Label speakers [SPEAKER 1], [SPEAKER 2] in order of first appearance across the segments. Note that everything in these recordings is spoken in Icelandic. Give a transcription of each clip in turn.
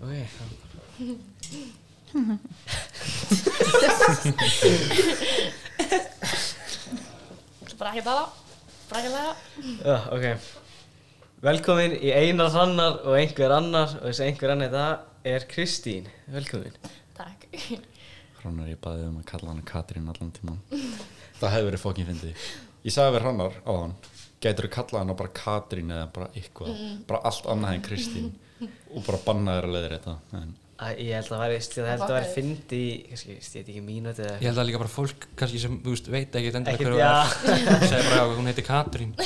[SPEAKER 1] Ok,
[SPEAKER 2] bara ekki það bara hérna ekki það
[SPEAKER 1] já, ok Velkomin í einar hannar og einhver annar og þessi einhver annar það er Kristín Velkomin
[SPEAKER 2] takk
[SPEAKER 3] Hrannar ég baði um að kalla hana Katrín allan tíman Það hefði verið fókin fyndið Ég sagði við Hrannar á hann Gætur þú kallað hana bara Katrín eða bara eitthvað
[SPEAKER 2] Mm.
[SPEAKER 3] Bara allt annað en Kristín Og bara bannaður að leiðir þetta en,
[SPEAKER 1] Æ, Ég held að væri, ég held að væri fyndi í, kannski, ég veit ekki mínúti eða
[SPEAKER 4] Ég held að líka bara fólk kannski sem, þú veist, veit ekki
[SPEAKER 1] Ekkert,
[SPEAKER 4] endilega hverju það er segir bara, já, hún heitir Katrín en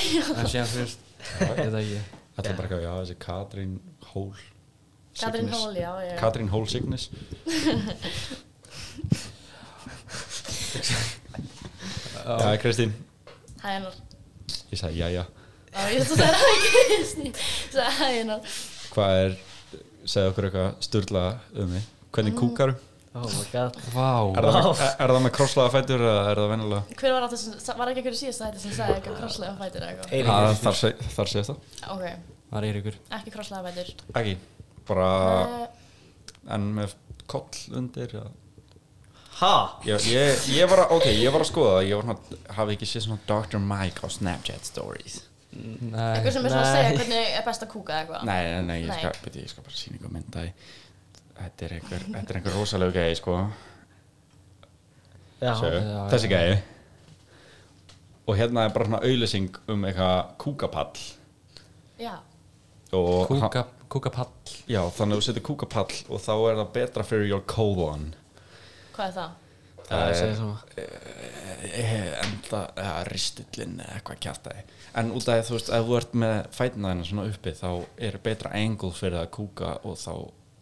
[SPEAKER 4] síðan, þú veist, ég veit ekki
[SPEAKER 3] Þetta er bara eitthvað, já þessi Katrín Hól
[SPEAKER 2] Katrín
[SPEAKER 3] Signis.
[SPEAKER 2] Hól, já, já.
[SPEAKER 3] Katrín Hól Signis Já, Kristín
[SPEAKER 2] hæ hennar
[SPEAKER 3] Ég sagði, já, já
[SPEAKER 2] og ég þú sagði það ekki sagði hæ hennar
[SPEAKER 3] Hvað er, segðu okkur eitthvað sturla um mig
[SPEAKER 2] Mm.
[SPEAKER 3] Hvernig kúkaru?
[SPEAKER 1] Oh my god
[SPEAKER 4] Vá,
[SPEAKER 3] Er það, með, er það með krosslaða fætur eða er það venjulega?
[SPEAKER 2] hver var aftur sem var ekki einhverju síðast þetta sem sagði eitthvað krosslega fætur eða eitthvað
[SPEAKER 3] Það
[SPEAKER 1] Eiríkur
[SPEAKER 3] Ah, þar, seg- þar segist það
[SPEAKER 2] ok
[SPEAKER 4] það er ykkur
[SPEAKER 2] ekki krosslega fætur
[SPEAKER 3] Ekki, bara
[SPEAKER 2] uh,
[SPEAKER 3] en með koll undir eða-
[SPEAKER 1] Ha?
[SPEAKER 3] ég, ég, ég var að, ok, ég var að skoða það, Ég var svona, hafi ekki séð svona Dr. Mike á Snapchat stories
[SPEAKER 4] Nei,
[SPEAKER 2] eitthvað sem er svona að
[SPEAKER 1] Nei.
[SPEAKER 2] segja hvernig er best að kúka eða eitthvað
[SPEAKER 3] Nei, nei, nei, ég
[SPEAKER 2] Ah. Nei.
[SPEAKER 3] skal, beti, ég skal bara sína ykkur mynda í Þetta er einhver, þetta er einhver rosalega gæði, sko
[SPEAKER 1] Já,
[SPEAKER 3] Sjö,
[SPEAKER 4] já,
[SPEAKER 3] Þessi gæði Og hérna er bara svona auðlýsing um eitthvað kúkapall
[SPEAKER 2] já
[SPEAKER 3] og
[SPEAKER 4] kúka, kúkapall
[SPEAKER 3] Já, þannig að þú setur kúkapall og þá er það betra fyrir your colon
[SPEAKER 2] hvað er það
[SPEAKER 1] það er segja svona
[SPEAKER 3] eh, enda eða ristullin eða eitthvað kjartaði en út af því, þú veist, ef þú ert með fætnaðina svona uppi þá er betra angle fyrir að kúka og þá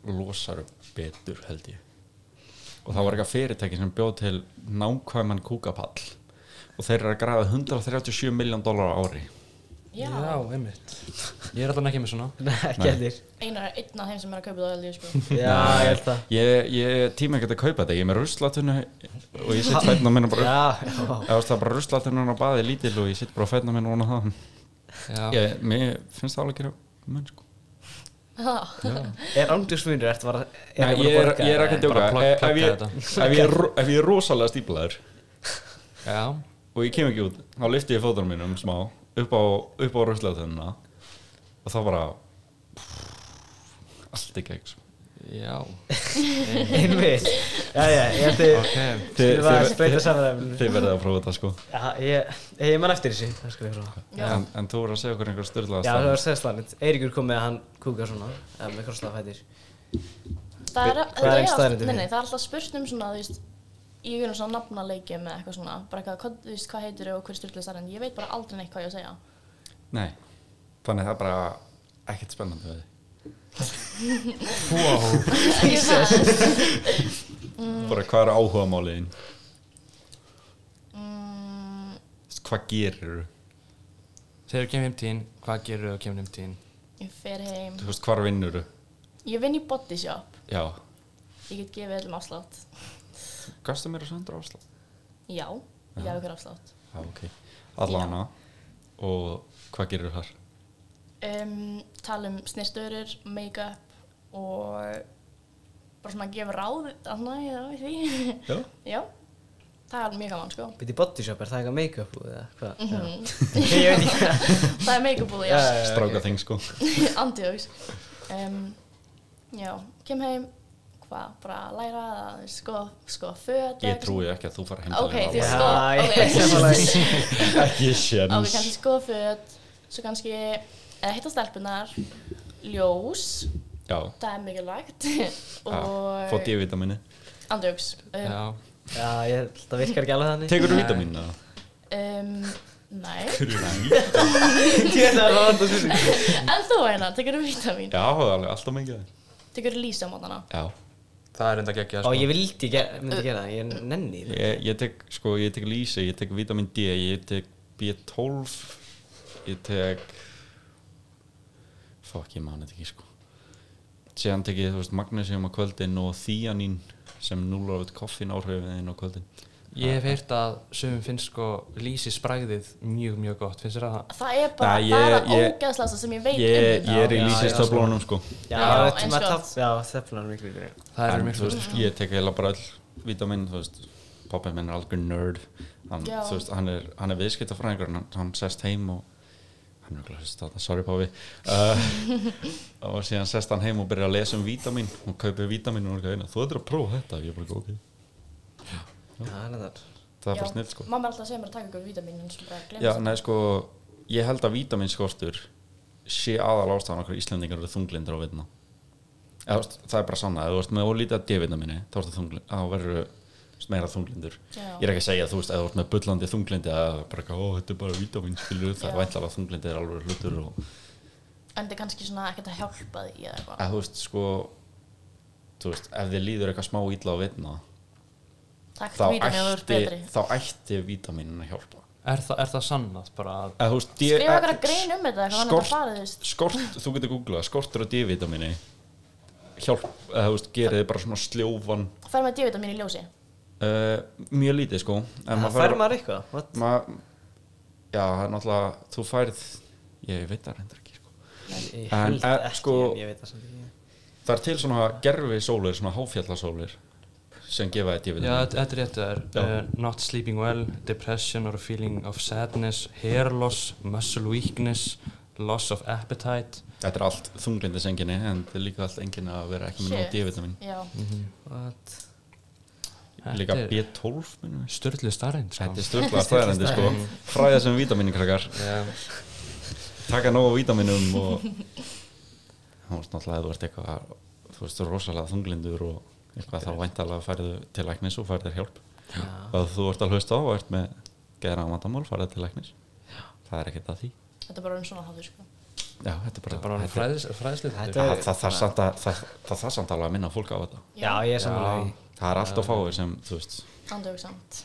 [SPEAKER 3] losar betur held ég og það var eitthvað fyrirtæki sem bjóð til nákvæman kúkapall og þeir eru að grafa 137 miljón dólar á ári
[SPEAKER 2] já,
[SPEAKER 4] Já, einmitt Ég er alltaf ekki með svona
[SPEAKER 1] Nei, ekki heldur
[SPEAKER 2] einar er einn af þeim sem er að kaupa það alveg sko
[SPEAKER 1] Já, ég held það
[SPEAKER 3] ég, ég tíma ekki að kaupa þetta, ég er með ruslatunni og ég sitt fætna minna bara upp
[SPEAKER 1] Já, já,
[SPEAKER 3] Eða, þú veist, það er bara ruslatunni á baði lítil og ég sitt bara á fætna minna og hann
[SPEAKER 4] Já,
[SPEAKER 3] ég, mér finnst það alveg að gera mun sko
[SPEAKER 1] er ándjúsmunur, ertu bara
[SPEAKER 3] Nei,
[SPEAKER 1] ertu bara
[SPEAKER 3] ég, er,
[SPEAKER 1] borga,
[SPEAKER 3] ég er ekki að
[SPEAKER 1] eða?
[SPEAKER 3] djóka
[SPEAKER 4] Bara plugga
[SPEAKER 3] ef, ef, ég-
[SPEAKER 4] þetta.
[SPEAKER 3] ef, ég er ro- ef ég er rosalega stíplaður
[SPEAKER 4] já,
[SPEAKER 3] og ég kem ekki út þá lyfti ég fótunum mínum smá upp á, upp á ruslatunna og þá bara allt í gegn sko.
[SPEAKER 4] já
[SPEAKER 1] Einmitt Já, já, ég held þið
[SPEAKER 4] Ok,
[SPEAKER 3] Þið-
[SPEAKER 1] Þið var að
[SPEAKER 3] þið-
[SPEAKER 1] spreita samræðum
[SPEAKER 3] Þið verðið að prófa þetta sko
[SPEAKER 1] Já, ég, ég man eftir þessu Það skal ég prófa
[SPEAKER 2] Já.
[SPEAKER 3] en, en þú voru að segja okkur einhver styrlaða
[SPEAKER 1] Já, það var sérstæðanit. Eiríkur kom með að hann kúka svona, eða með krosslaða fætir.
[SPEAKER 2] Það
[SPEAKER 1] Hvað
[SPEAKER 2] er,
[SPEAKER 1] er staðreyndin
[SPEAKER 2] þetta alltaf, nei,
[SPEAKER 1] fyrir?
[SPEAKER 2] nei, það er alltaf spurt um svona, þú veist, í einhvern svona nafnaleikjum eða eitthvað svona, bara eitthvað, hvað, þú veist, hvað heitir og hver styrlið þar en ég veit bara aldrei neitt hvað ég á að segja.
[SPEAKER 3] Nei, þannig það er bara ekkert spennandi við þið
[SPEAKER 4] wow
[SPEAKER 2] Jesus.
[SPEAKER 3] bara hvað er áhuga máliðin
[SPEAKER 2] mm,
[SPEAKER 3] hvað gerir þú
[SPEAKER 4] Þegar þú kemur um tíðin, hvað gerir þú að kemur um tíðin?
[SPEAKER 2] ég fer heim.
[SPEAKER 3] þú veist hvar vinnur þú
[SPEAKER 2] Ég vinn í body shop,
[SPEAKER 3] já,
[SPEAKER 2] ég get gefið öllum afslátt.
[SPEAKER 3] gastu mér að söndra áslag
[SPEAKER 2] Já, ég hef ykkur afslátt.
[SPEAKER 3] Já, ok. Allana. Og hvað gerir þar?
[SPEAKER 2] Um, tala um snirtöður, make-up og bara svona að gefa ráð, annað, já, í því.
[SPEAKER 3] Já.
[SPEAKER 2] já, það er alveg mjög gaman, sko.
[SPEAKER 1] Býtti bodyshop, er það eitthvað make-up eða hvað?
[SPEAKER 2] Mhm.
[SPEAKER 1] Mm Ég veit ekki.
[SPEAKER 2] Það er make-up búið,
[SPEAKER 1] Já,
[SPEAKER 2] já.
[SPEAKER 1] já, já,
[SPEAKER 3] Stráka
[SPEAKER 1] ok.
[SPEAKER 3] þing, sko.
[SPEAKER 2] Andjóks um, Já, kem heim Hvað, bara að læra eða, þú veist, sko, sko, föt
[SPEAKER 3] Ég trúi ekki að þú fara heim til
[SPEAKER 2] Ok,
[SPEAKER 3] þeirra.
[SPEAKER 1] Já,
[SPEAKER 2] því sko
[SPEAKER 1] ég er
[SPEAKER 2] ok.
[SPEAKER 1] sammála.
[SPEAKER 3] Ekki
[SPEAKER 2] Ok,
[SPEAKER 3] séns.
[SPEAKER 2] kannski sko föt Svo kannski eða hitta stelpunar Ljós,
[SPEAKER 3] Já.
[SPEAKER 2] það er mikilvægt
[SPEAKER 3] já. Fá
[SPEAKER 2] Og
[SPEAKER 3] D-vitamini.
[SPEAKER 2] andjóks um,
[SPEAKER 4] Já,
[SPEAKER 1] Já, ég held það virkar ekki alveg þannig.
[SPEAKER 3] Tekur þú vitaminu?
[SPEAKER 2] um, Nei,
[SPEAKER 1] Ég held að það var það þessu.
[SPEAKER 2] en þú einan, tekur þú vítamín
[SPEAKER 3] Já, alveg, alltaf mikið. af því.
[SPEAKER 2] Tekur þú lýsa á mótana
[SPEAKER 3] Já.
[SPEAKER 4] það er enda geggjað
[SPEAKER 1] Ó,
[SPEAKER 4] sko
[SPEAKER 1] ég vildi gera, myndi gera það, ég nenni því.
[SPEAKER 3] Ég, ég tek, sko, ég tek lýsi, ég tek vitamin D, ég tek B12, ég tek... Fuck, ég man þetta ekki, sko. Síðan tek ég, þú veist, magnesium á kvöldin og þíanín sem núlar við koffin áhrifin á kvöldin.
[SPEAKER 4] Ég hef heyrt að sögum finnst sko lýsisbræðið mjög, mjög gott, finnst þér að það?
[SPEAKER 2] það er bara
[SPEAKER 3] Nei,
[SPEAKER 2] það er
[SPEAKER 3] ég-
[SPEAKER 2] að
[SPEAKER 3] ég-
[SPEAKER 2] ógeðslega sem ég veit um
[SPEAKER 3] Ég, ég er í
[SPEAKER 1] Já, já,
[SPEAKER 3] lýsistöflunum sko
[SPEAKER 1] Já,
[SPEAKER 2] Já,
[SPEAKER 1] þetta
[SPEAKER 2] eins
[SPEAKER 1] maður
[SPEAKER 2] gott.
[SPEAKER 1] tafs- já, þeflan er miklu yfir
[SPEAKER 4] Það er
[SPEAKER 3] En, þú
[SPEAKER 4] mjög svo.
[SPEAKER 3] veist, Ég tek heila bara all vítaminn, þú veist Pappi minn er algjör nerd hann,
[SPEAKER 2] Já.
[SPEAKER 3] þú veist, hann er, hann er viðskiptafræðingur en hann, hann sest heim og hann er glæðist að það, sorry Páfi uh, og síðan sest hann heim og byrjar að lesa um vítaminn og kaupir vítaminn og hún er eitthvað eina, þú ættir að prófa þetta ég er bara ok,
[SPEAKER 1] Það er þetta
[SPEAKER 3] það er bara snill sko
[SPEAKER 2] Mamma er alltaf að segja mér að taka ykkur vítaminn en svo bara glemst
[SPEAKER 3] Já, nei, sko, ég held að vítaminnskortur sé aðal ástæðan okkur Íslendingar eru þunglindur á vitna Eða, þú veist, það er bara sanna, ef þú ert með ólítið að D-vitamini þá, ertu þungli- þá verður meira þunglindur
[SPEAKER 2] Já.
[SPEAKER 3] ég er ekki að segja, þú veist, ef þú ert með bullandi þunglindi að það er bara, eitthvað, ó, þetta er bara vítamin skilur, það
[SPEAKER 2] Já.
[SPEAKER 3] er væntalega að þunglindi er alveg hlutur og
[SPEAKER 2] en það er kannski svona ekkert að hjálpa því eða eitthvað
[SPEAKER 3] að þú veist, sko þú veist, ef þið líður eitthvað smá ítla á vitna
[SPEAKER 2] Takk
[SPEAKER 3] þá
[SPEAKER 2] vítaminn að þú ert betri
[SPEAKER 3] ætti, þá ætti vítaminin að hjálpa
[SPEAKER 4] Er, þa er það sannað bara að
[SPEAKER 3] Eða, þú veist, D-
[SPEAKER 2] Skrifa
[SPEAKER 3] eh,
[SPEAKER 2] eitthvað grein um þetta, eitthvað annað
[SPEAKER 3] skort-
[SPEAKER 2] bara farið þú veist
[SPEAKER 3] skort, þú getur googlað skortur á D-vitamini hjálp, eða þú veist, gerir þið bara svona sljófan
[SPEAKER 2] Fær með D-vitamin í ljósi
[SPEAKER 3] uh, mjög lítið sko en
[SPEAKER 1] Það
[SPEAKER 3] maður
[SPEAKER 1] fær
[SPEAKER 3] fær
[SPEAKER 1] maður eitthvað What?
[SPEAKER 3] maður, já, það er náttúrulega þú færð, ég veit það reyndar ekki sko.
[SPEAKER 1] Ég
[SPEAKER 3] En,
[SPEAKER 1] held
[SPEAKER 3] eh,
[SPEAKER 1] ekki,
[SPEAKER 3] sko-
[SPEAKER 1] en ég veit það samt ekki
[SPEAKER 3] það er til svona gerfi sólir, svona háfjallasólir sem gefa þið
[SPEAKER 4] Já,
[SPEAKER 3] D-vitamini
[SPEAKER 4] þetta þetta er rétt það
[SPEAKER 3] Já.
[SPEAKER 4] er uh, Not sleeping well, depression or a feeling of sadness, hair loss, muscle weakness, loss of appetite
[SPEAKER 3] þetta er allt þunglindisengini en þetta er líka allt engin að vera ekki með nóg
[SPEAKER 2] Shit.
[SPEAKER 3] D-vitamin
[SPEAKER 2] Já,
[SPEAKER 1] What?
[SPEAKER 3] líka
[SPEAKER 4] Þetta er
[SPEAKER 3] B12 minnum við
[SPEAKER 4] Sturlu starrend sko.
[SPEAKER 3] Þetta er stöflaðar þærandi sko Fræða sem vítaminu krakkar
[SPEAKER 4] Já.
[SPEAKER 3] taka nógu vítaminum og þú veist náttúrulega ef þú ert eitthvað þú veist þú er rosalega þunglindur og eitthvað þá væntalega færðu til læknis og færðu þér hjálp
[SPEAKER 1] Já.
[SPEAKER 3] og ef þú ert að hlusta á og ert með gera vandamál færðu til læknis það er ekkert að því
[SPEAKER 2] þetta er bara um svona hátur sko
[SPEAKER 3] Já, þetta er
[SPEAKER 4] Þetta
[SPEAKER 3] bara,
[SPEAKER 4] er bara hann
[SPEAKER 3] þetta,
[SPEAKER 4] fræðis, fræðislið
[SPEAKER 1] Þetta
[SPEAKER 3] það, það, það, samt að, það, það þarf samt alveg að minna fólk á þetta
[SPEAKER 1] Já, ég er samanlega í
[SPEAKER 3] það er allt að fáið sem þú veist
[SPEAKER 2] Andög samt,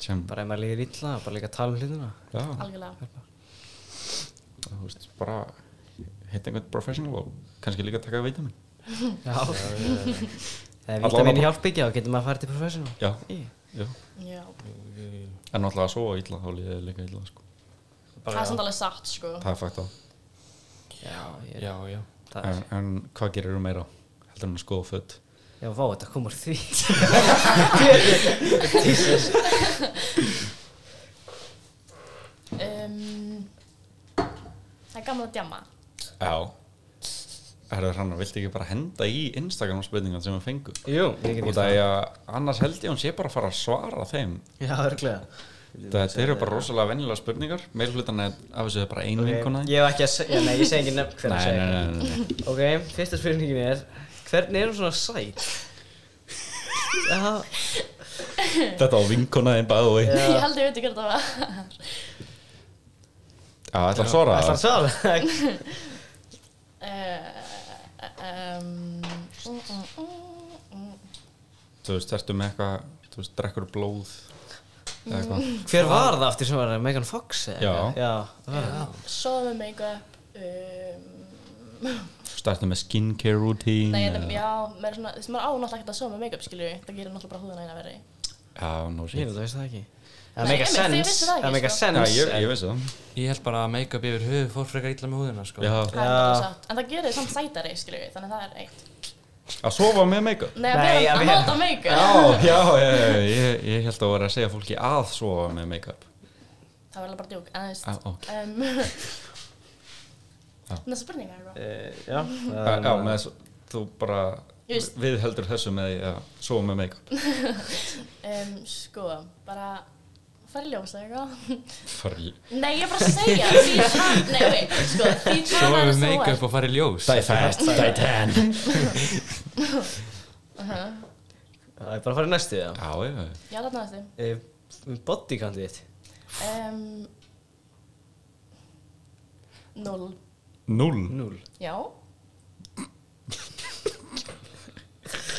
[SPEAKER 3] sem
[SPEAKER 1] Bara ef maður líður illa, bara líka að tala um hlutina
[SPEAKER 3] já,
[SPEAKER 2] algjörlega
[SPEAKER 3] þú veist bara hitt einhvern professional og kannski líka taka vítamin
[SPEAKER 1] Já Þegar
[SPEAKER 3] Allavega
[SPEAKER 1] vítamin
[SPEAKER 3] bara-
[SPEAKER 1] hjálp ekki, þá getur maður að fara til professional
[SPEAKER 3] já,
[SPEAKER 1] Í.
[SPEAKER 3] já.
[SPEAKER 2] Já,
[SPEAKER 3] en náttúrulega að sofa illa þá líður þér líka illa sko.
[SPEAKER 2] það er samt alveg satt sko
[SPEAKER 3] það er fakt
[SPEAKER 1] Já, ég,
[SPEAKER 4] Já, já
[SPEAKER 1] það
[SPEAKER 3] en,
[SPEAKER 1] er
[SPEAKER 3] en hvað gerir þú meira? heldur hann að skoða föt
[SPEAKER 1] Já, vá, þetta komur því
[SPEAKER 2] um, Það er gaman að djama
[SPEAKER 3] já Herður hann, viltu ekki bara henda í Instagram spurningan sem við fengum?
[SPEAKER 1] Jú, ég get
[SPEAKER 3] Og
[SPEAKER 1] ekki
[SPEAKER 3] það er að annars held ég að hún sé bara að fara að svara þeim
[SPEAKER 1] Já, örglega
[SPEAKER 3] Þetta eru bara rosalega venjulega spurningar Meir hlutan af þessu er bara einu okay. vinkona
[SPEAKER 1] Ég hef ekki að segja, nei, ég segi ekki nefn hver
[SPEAKER 3] Nei,
[SPEAKER 1] að
[SPEAKER 3] nei,
[SPEAKER 1] segja
[SPEAKER 3] nei, nei, nei.
[SPEAKER 1] Ok, fyrsta spurningin er Hvernig er hún svona sæt? Já,
[SPEAKER 3] Þetta á vinkona þinn bæðu vei
[SPEAKER 1] Já.
[SPEAKER 2] Ég held ég veit ekki hvað það var
[SPEAKER 3] Já, ætla að svara
[SPEAKER 1] ætlar að
[SPEAKER 3] það
[SPEAKER 1] svara
[SPEAKER 2] Eh, uh, um, mm, mm, mm, mm.
[SPEAKER 3] Þú veist, ertu með eitthvað Þú veist, drekkur blóð eða eitthvað
[SPEAKER 1] Hver var það aftur sem var það? Megan Fox? eða?
[SPEAKER 3] Já.
[SPEAKER 1] Já, það var það
[SPEAKER 2] Sofa með make-up um,
[SPEAKER 3] Startu með skincare routine
[SPEAKER 2] Nei, en,
[SPEAKER 3] eða-
[SPEAKER 2] já, maður, er svona, þess, maður á náttúrulega ekkert að sofa með make-up skilur Það gerir náttúrulega bara húðina eina verri
[SPEAKER 3] Já, no
[SPEAKER 1] Ég
[SPEAKER 3] shit
[SPEAKER 1] held að veist það ekki Það
[SPEAKER 2] Nei,
[SPEAKER 1] make a
[SPEAKER 2] einmitt, þið
[SPEAKER 1] sense
[SPEAKER 2] vissuð það ekki,
[SPEAKER 1] Það make a
[SPEAKER 2] sko.
[SPEAKER 3] Já,
[SPEAKER 1] sense
[SPEAKER 3] ég, ég
[SPEAKER 1] en-
[SPEAKER 3] veist það
[SPEAKER 4] Ég held bara að make-up yfir höfu fór frekar illa með húðina sko.
[SPEAKER 3] Já,
[SPEAKER 2] Það er náttúrulega satt En það gerir þið samt sætari skilur Þannig að það er eitt
[SPEAKER 3] að sofa með make-up
[SPEAKER 2] Nei, að
[SPEAKER 1] Nei, að
[SPEAKER 2] vera að
[SPEAKER 1] vera-
[SPEAKER 2] nota make-up
[SPEAKER 3] Já, já, já, já, já, ég, ég held að vera að segja fólki að sofa með make-up
[SPEAKER 2] Það verður bara djúk, en þú
[SPEAKER 3] Já,
[SPEAKER 2] veist
[SPEAKER 3] ok.
[SPEAKER 2] um,
[SPEAKER 3] Já.
[SPEAKER 2] Næsta spurning er eitthvað
[SPEAKER 1] Eh, Já,
[SPEAKER 3] Já,
[SPEAKER 1] það
[SPEAKER 3] já,
[SPEAKER 1] er-
[SPEAKER 3] með þess, þú bara
[SPEAKER 2] Ég veist.
[SPEAKER 3] við heldur þessu með því að sofa með make-up
[SPEAKER 2] um, Sko, bara fara í ljós eða eitthvað
[SPEAKER 3] Fyrir-
[SPEAKER 2] Nei, ég er bara að segja Því tala, nei, ok, sko Því
[SPEAKER 4] Svo
[SPEAKER 2] tala
[SPEAKER 4] við
[SPEAKER 2] er svo
[SPEAKER 4] make-up og farið ljós
[SPEAKER 3] Die fast, die tan Já,
[SPEAKER 1] það er bara að fara í næstu já
[SPEAKER 3] já, já,
[SPEAKER 2] Já, það náðist þið
[SPEAKER 1] Eh, Bodycount þitt
[SPEAKER 2] um, Null
[SPEAKER 3] null
[SPEAKER 1] Núl
[SPEAKER 2] Já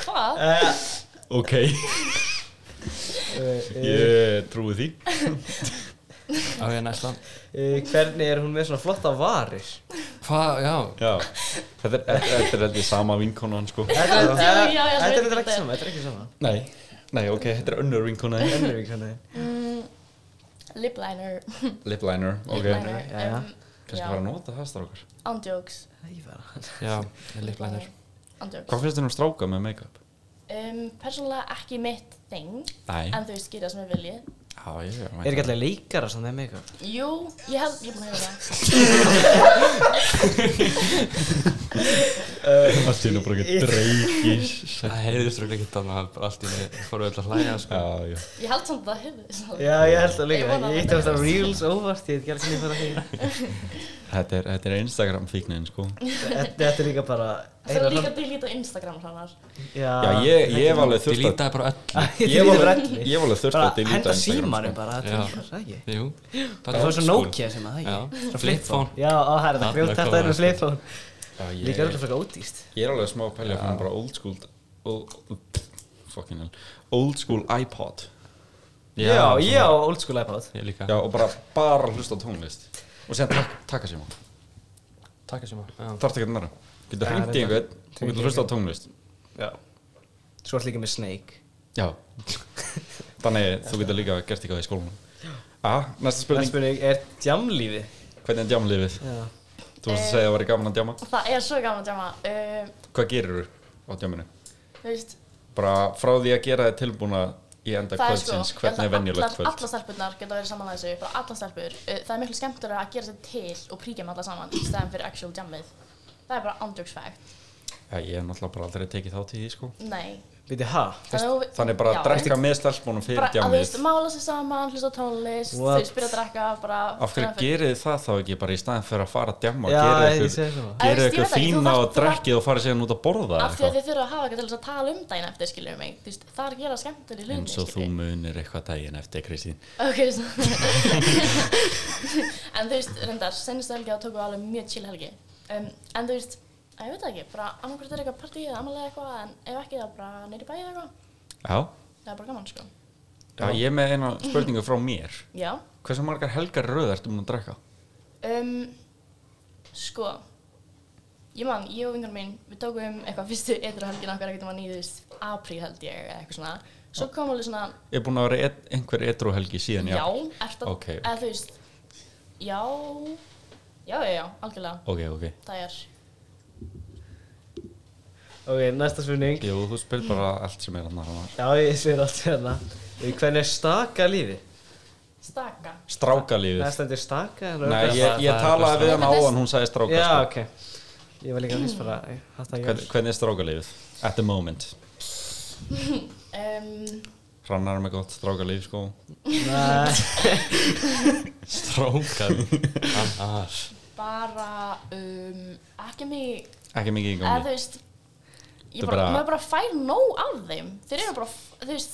[SPEAKER 2] Hvað?
[SPEAKER 1] Eh,
[SPEAKER 3] Ok,
[SPEAKER 1] Hvernig
[SPEAKER 3] ég trúi því
[SPEAKER 4] Á ég næsta
[SPEAKER 1] eh, er hún með svona flotta varir?
[SPEAKER 4] Hvað, já
[SPEAKER 3] Já, þetta er, þetta er heldur sama vinkonu hann sko
[SPEAKER 1] Þetta er
[SPEAKER 2] já, já,
[SPEAKER 1] þetta
[SPEAKER 2] svo
[SPEAKER 1] er
[SPEAKER 2] veit
[SPEAKER 1] ekki
[SPEAKER 2] ég
[SPEAKER 1] sama Þetta er ekki sama
[SPEAKER 3] Nei Nei, ok, þetta er önnur vinkona þín.
[SPEAKER 1] Önnur vinkona þín.
[SPEAKER 2] Mm, lip liner.
[SPEAKER 3] Lip liner,
[SPEAKER 2] Lip
[SPEAKER 3] ok
[SPEAKER 2] liner.
[SPEAKER 1] jæja.
[SPEAKER 2] um,
[SPEAKER 3] Kannski
[SPEAKER 2] já.
[SPEAKER 3] fara að nota það strákar
[SPEAKER 2] Ándjóks.
[SPEAKER 1] Æ, bara.
[SPEAKER 4] Já, ég lík lænir
[SPEAKER 2] Um,
[SPEAKER 3] Hvað
[SPEAKER 2] Ándjóks.
[SPEAKER 3] finnst þér um stráka með make-up?
[SPEAKER 2] Um, persónulega ekki mitt þing,
[SPEAKER 3] Nei,
[SPEAKER 2] en þau skýra sem ég vilji.
[SPEAKER 3] já, ég er
[SPEAKER 1] Er ekki alltaf leikara sem þeim eitthvað?
[SPEAKER 2] Jú, ég held, ég er búin að hefða það.
[SPEAKER 1] Eh,
[SPEAKER 3] Allt í nú bara ekki dreikis
[SPEAKER 4] Það heyrðist rúglega ekki þannig að bara allt í mig fóru öll að hlæja sko.
[SPEAKER 3] Já, já
[SPEAKER 2] Ég held samt að það hefði. sko. samt.
[SPEAKER 1] Já, ég held að
[SPEAKER 2] Ég
[SPEAKER 1] leikara.
[SPEAKER 2] vona
[SPEAKER 1] Ég
[SPEAKER 2] það.
[SPEAKER 1] ítti á þetta reels óvart, ég veit ekki alveg sem ég fara því.
[SPEAKER 3] Þetta er, þetta er Instagram fíknin, sko
[SPEAKER 1] Þetta- Þetta er líka bara...
[SPEAKER 2] Það er líka delete á Instagram hannar.
[SPEAKER 3] Já, ég, ég var alveg þurft að
[SPEAKER 4] Delítaði bara öll
[SPEAKER 3] Ég var alveg, ég var alveg þurft að
[SPEAKER 1] Bara
[SPEAKER 3] deleta
[SPEAKER 1] henda
[SPEAKER 3] Instagram,
[SPEAKER 1] símanum
[SPEAKER 3] sko.
[SPEAKER 1] bara, þetta
[SPEAKER 4] Já.
[SPEAKER 1] er bara það ekki.
[SPEAKER 4] Jú sko.
[SPEAKER 1] Það var svo Nokia sem að það ekki.
[SPEAKER 4] Já, flipphone
[SPEAKER 1] Já, á, það er þetta
[SPEAKER 4] Þarna
[SPEAKER 1] grjótt, þetta
[SPEAKER 4] kom
[SPEAKER 1] er um
[SPEAKER 4] það.
[SPEAKER 1] flipphone.
[SPEAKER 3] Já, ég-
[SPEAKER 1] Líka öllu frekar ódýrst.
[SPEAKER 3] Ég er alveg smá að pælja fyrir bara old school old, Fucking hell Old school iPod
[SPEAKER 1] Já,
[SPEAKER 4] svona-
[SPEAKER 1] ég á old school iPod.
[SPEAKER 4] Ég líka
[SPEAKER 3] Já, og bara, bara hlusta á tónlist Og sen tak, taka síma
[SPEAKER 4] Takk að síma Já.
[SPEAKER 3] Þarfti ekki að næra Getur
[SPEAKER 1] Já,
[SPEAKER 3] hringt í
[SPEAKER 1] reyndar.
[SPEAKER 3] einhvern og getur hlusta á tónlist
[SPEAKER 1] Já. Svo er líka með Snake.
[SPEAKER 3] Já Þannig þú getur líka gert eitthvað í skólanum Aha, næsta
[SPEAKER 1] Það
[SPEAKER 3] spurning
[SPEAKER 1] spurning er djamlífið.
[SPEAKER 3] Hvernig er djámlífið?
[SPEAKER 1] Já.
[SPEAKER 3] Þú varst að segja að það væri gaman að djáma
[SPEAKER 2] Það er svo gaman að djama. Um,
[SPEAKER 3] Hvað gerir þú á djáminu?
[SPEAKER 2] þú veist,
[SPEAKER 3] Bara frá því að gera þið tilbúna í enda
[SPEAKER 2] það er sko,
[SPEAKER 3] kvöldsins Hvernig er venjulegt
[SPEAKER 2] allar,
[SPEAKER 3] kvöld?
[SPEAKER 2] allar stelpurnar geta verið saman að þessu, bara allar stelpur. Uh, það er miklu skemmtur að gera sér til og príkja með alla saman í stæðan fyrir actual jammið. Það er bara ándjóks fact.
[SPEAKER 3] Já, ég hef náttúrulega bara aldrei tekið þátt í því sko
[SPEAKER 2] Nei.
[SPEAKER 1] Viti, ha?
[SPEAKER 2] Þannig, að þú-
[SPEAKER 3] Þannig bara
[SPEAKER 2] já,
[SPEAKER 3] að drekka með stelpunum fyrir
[SPEAKER 2] bara að þú
[SPEAKER 3] djámið
[SPEAKER 2] veist, mála sér saman, hlusta á tónlist,
[SPEAKER 1] What?
[SPEAKER 2] þau spyrja að drekka, bara
[SPEAKER 3] Af hverju gerir þið það þá ekki bara í staðin fyrir að fara að djáma
[SPEAKER 1] Já,
[SPEAKER 3] Gerið
[SPEAKER 1] ég
[SPEAKER 3] ykkur-
[SPEAKER 1] segi svona.
[SPEAKER 2] Æ, veist,
[SPEAKER 3] gerið
[SPEAKER 2] ég
[SPEAKER 3] ykkur
[SPEAKER 2] veit ekki, þú
[SPEAKER 3] fína
[SPEAKER 2] þarft-
[SPEAKER 3] og
[SPEAKER 2] þú
[SPEAKER 3] drekkið og farið síðan út að
[SPEAKER 2] Af því
[SPEAKER 3] borða
[SPEAKER 2] að
[SPEAKER 3] eitthvað
[SPEAKER 2] þið þurfa að hafa eitthvað til þess að tala um daginn eftir, skiljum mig, þú veist, það er að gera skemmtileg hluti,
[SPEAKER 3] eins og þú
[SPEAKER 2] skilurðu.
[SPEAKER 3] munir eitthvað daginn eftir Kristín
[SPEAKER 2] Ok, svo. en þú veist, reyndar, senast helgi þá tókum við alveg mjög chill helgi. Um, en þú veist, að ég veit það ekki, bara annarkvært er eitthvað partíð eða amalega eitthvað, en ef ekki þá bara neyri bæði eitthvað.
[SPEAKER 3] Já,
[SPEAKER 2] Það er bara gaman, sko.
[SPEAKER 3] Já ég er með eina spurningu frá mér
[SPEAKER 2] Já.
[SPEAKER 3] Hversu margar helgar í röð ertu múin að drekka?
[SPEAKER 2] Um, sko, ég man, ég og vingur minn, við tókum eitthvað fyrstu eitthvað helgin okkar eitthvað mann í, þú veist, apríl held ég, eða eitthvað svona. Svo kom alveg svona,
[SPEAKER 3] Er búin að vera et, einhver etru helgi síðan í
[SPEAKER 2] já,
[SPEAKER 3] apríl?
[SPEAKER 2] ert að,
[SPEAKER 3] Ok.
[SPEAKER 2] eða þú veist, já, já, já, já, algjörlega,
[SPEAKER 3] Ok, ok.
[SPEAKER 2] það er,
[SPEAKER 1] Ok, næsta spurning.
[SPEAKER 3] Jú, þú spil bara allt sem er hann hann.
[SPEAKER 1] Já, ég spyr allt hérna. Eh, Hvernig er staka lífið?
[SPEAKER 2] staka.
[SPEAKER 3] Strákalífið.
[SPEAKER 1] Það stendur staka? en
[SPEAKER 3] Nei,
[SPEAKER 1] örugglega-
[SPEAKER 3] ég, ég
[SPEAKER 4] Það-
[SPEAKER 3] talaði við hann
[SPEAKER 2] það er-
[SPEAKER 3] áðan, hún sagði stráka.
[SPEAKER 1] Já,
[SPEAKER 3] sko.
[SPEAKER 1] ok. Ég var líka að vísa bara, eh, hatt að
[SPEAKER 3] Hvern-
[SPEAKER 1] ég...
[SPEAKER 3] Hvernig er strákalífið? At the moment.
[SPEAKER 2] Um,
[SPEAKER 3] Hrannar með gott strákalíf, sko.
[SPEAKER 1] Nei.
[SPEAKER 4] Strókar Annars
[SPEAKER 2] bara um, ekki mig
[SPEAKER 3] Ekki mikið í
[SPEAKER 2] eða þú
[SPEAKER 3] gangi.
[SPEAKER 2] veist ég
[SPEAKER 3] Þetta
[SPEAKER 2] bara,
[SPEAKER 3] bara-
[SPEAKER 2] maður bara fær nóg af þeim þeir eru bara, f- þú veist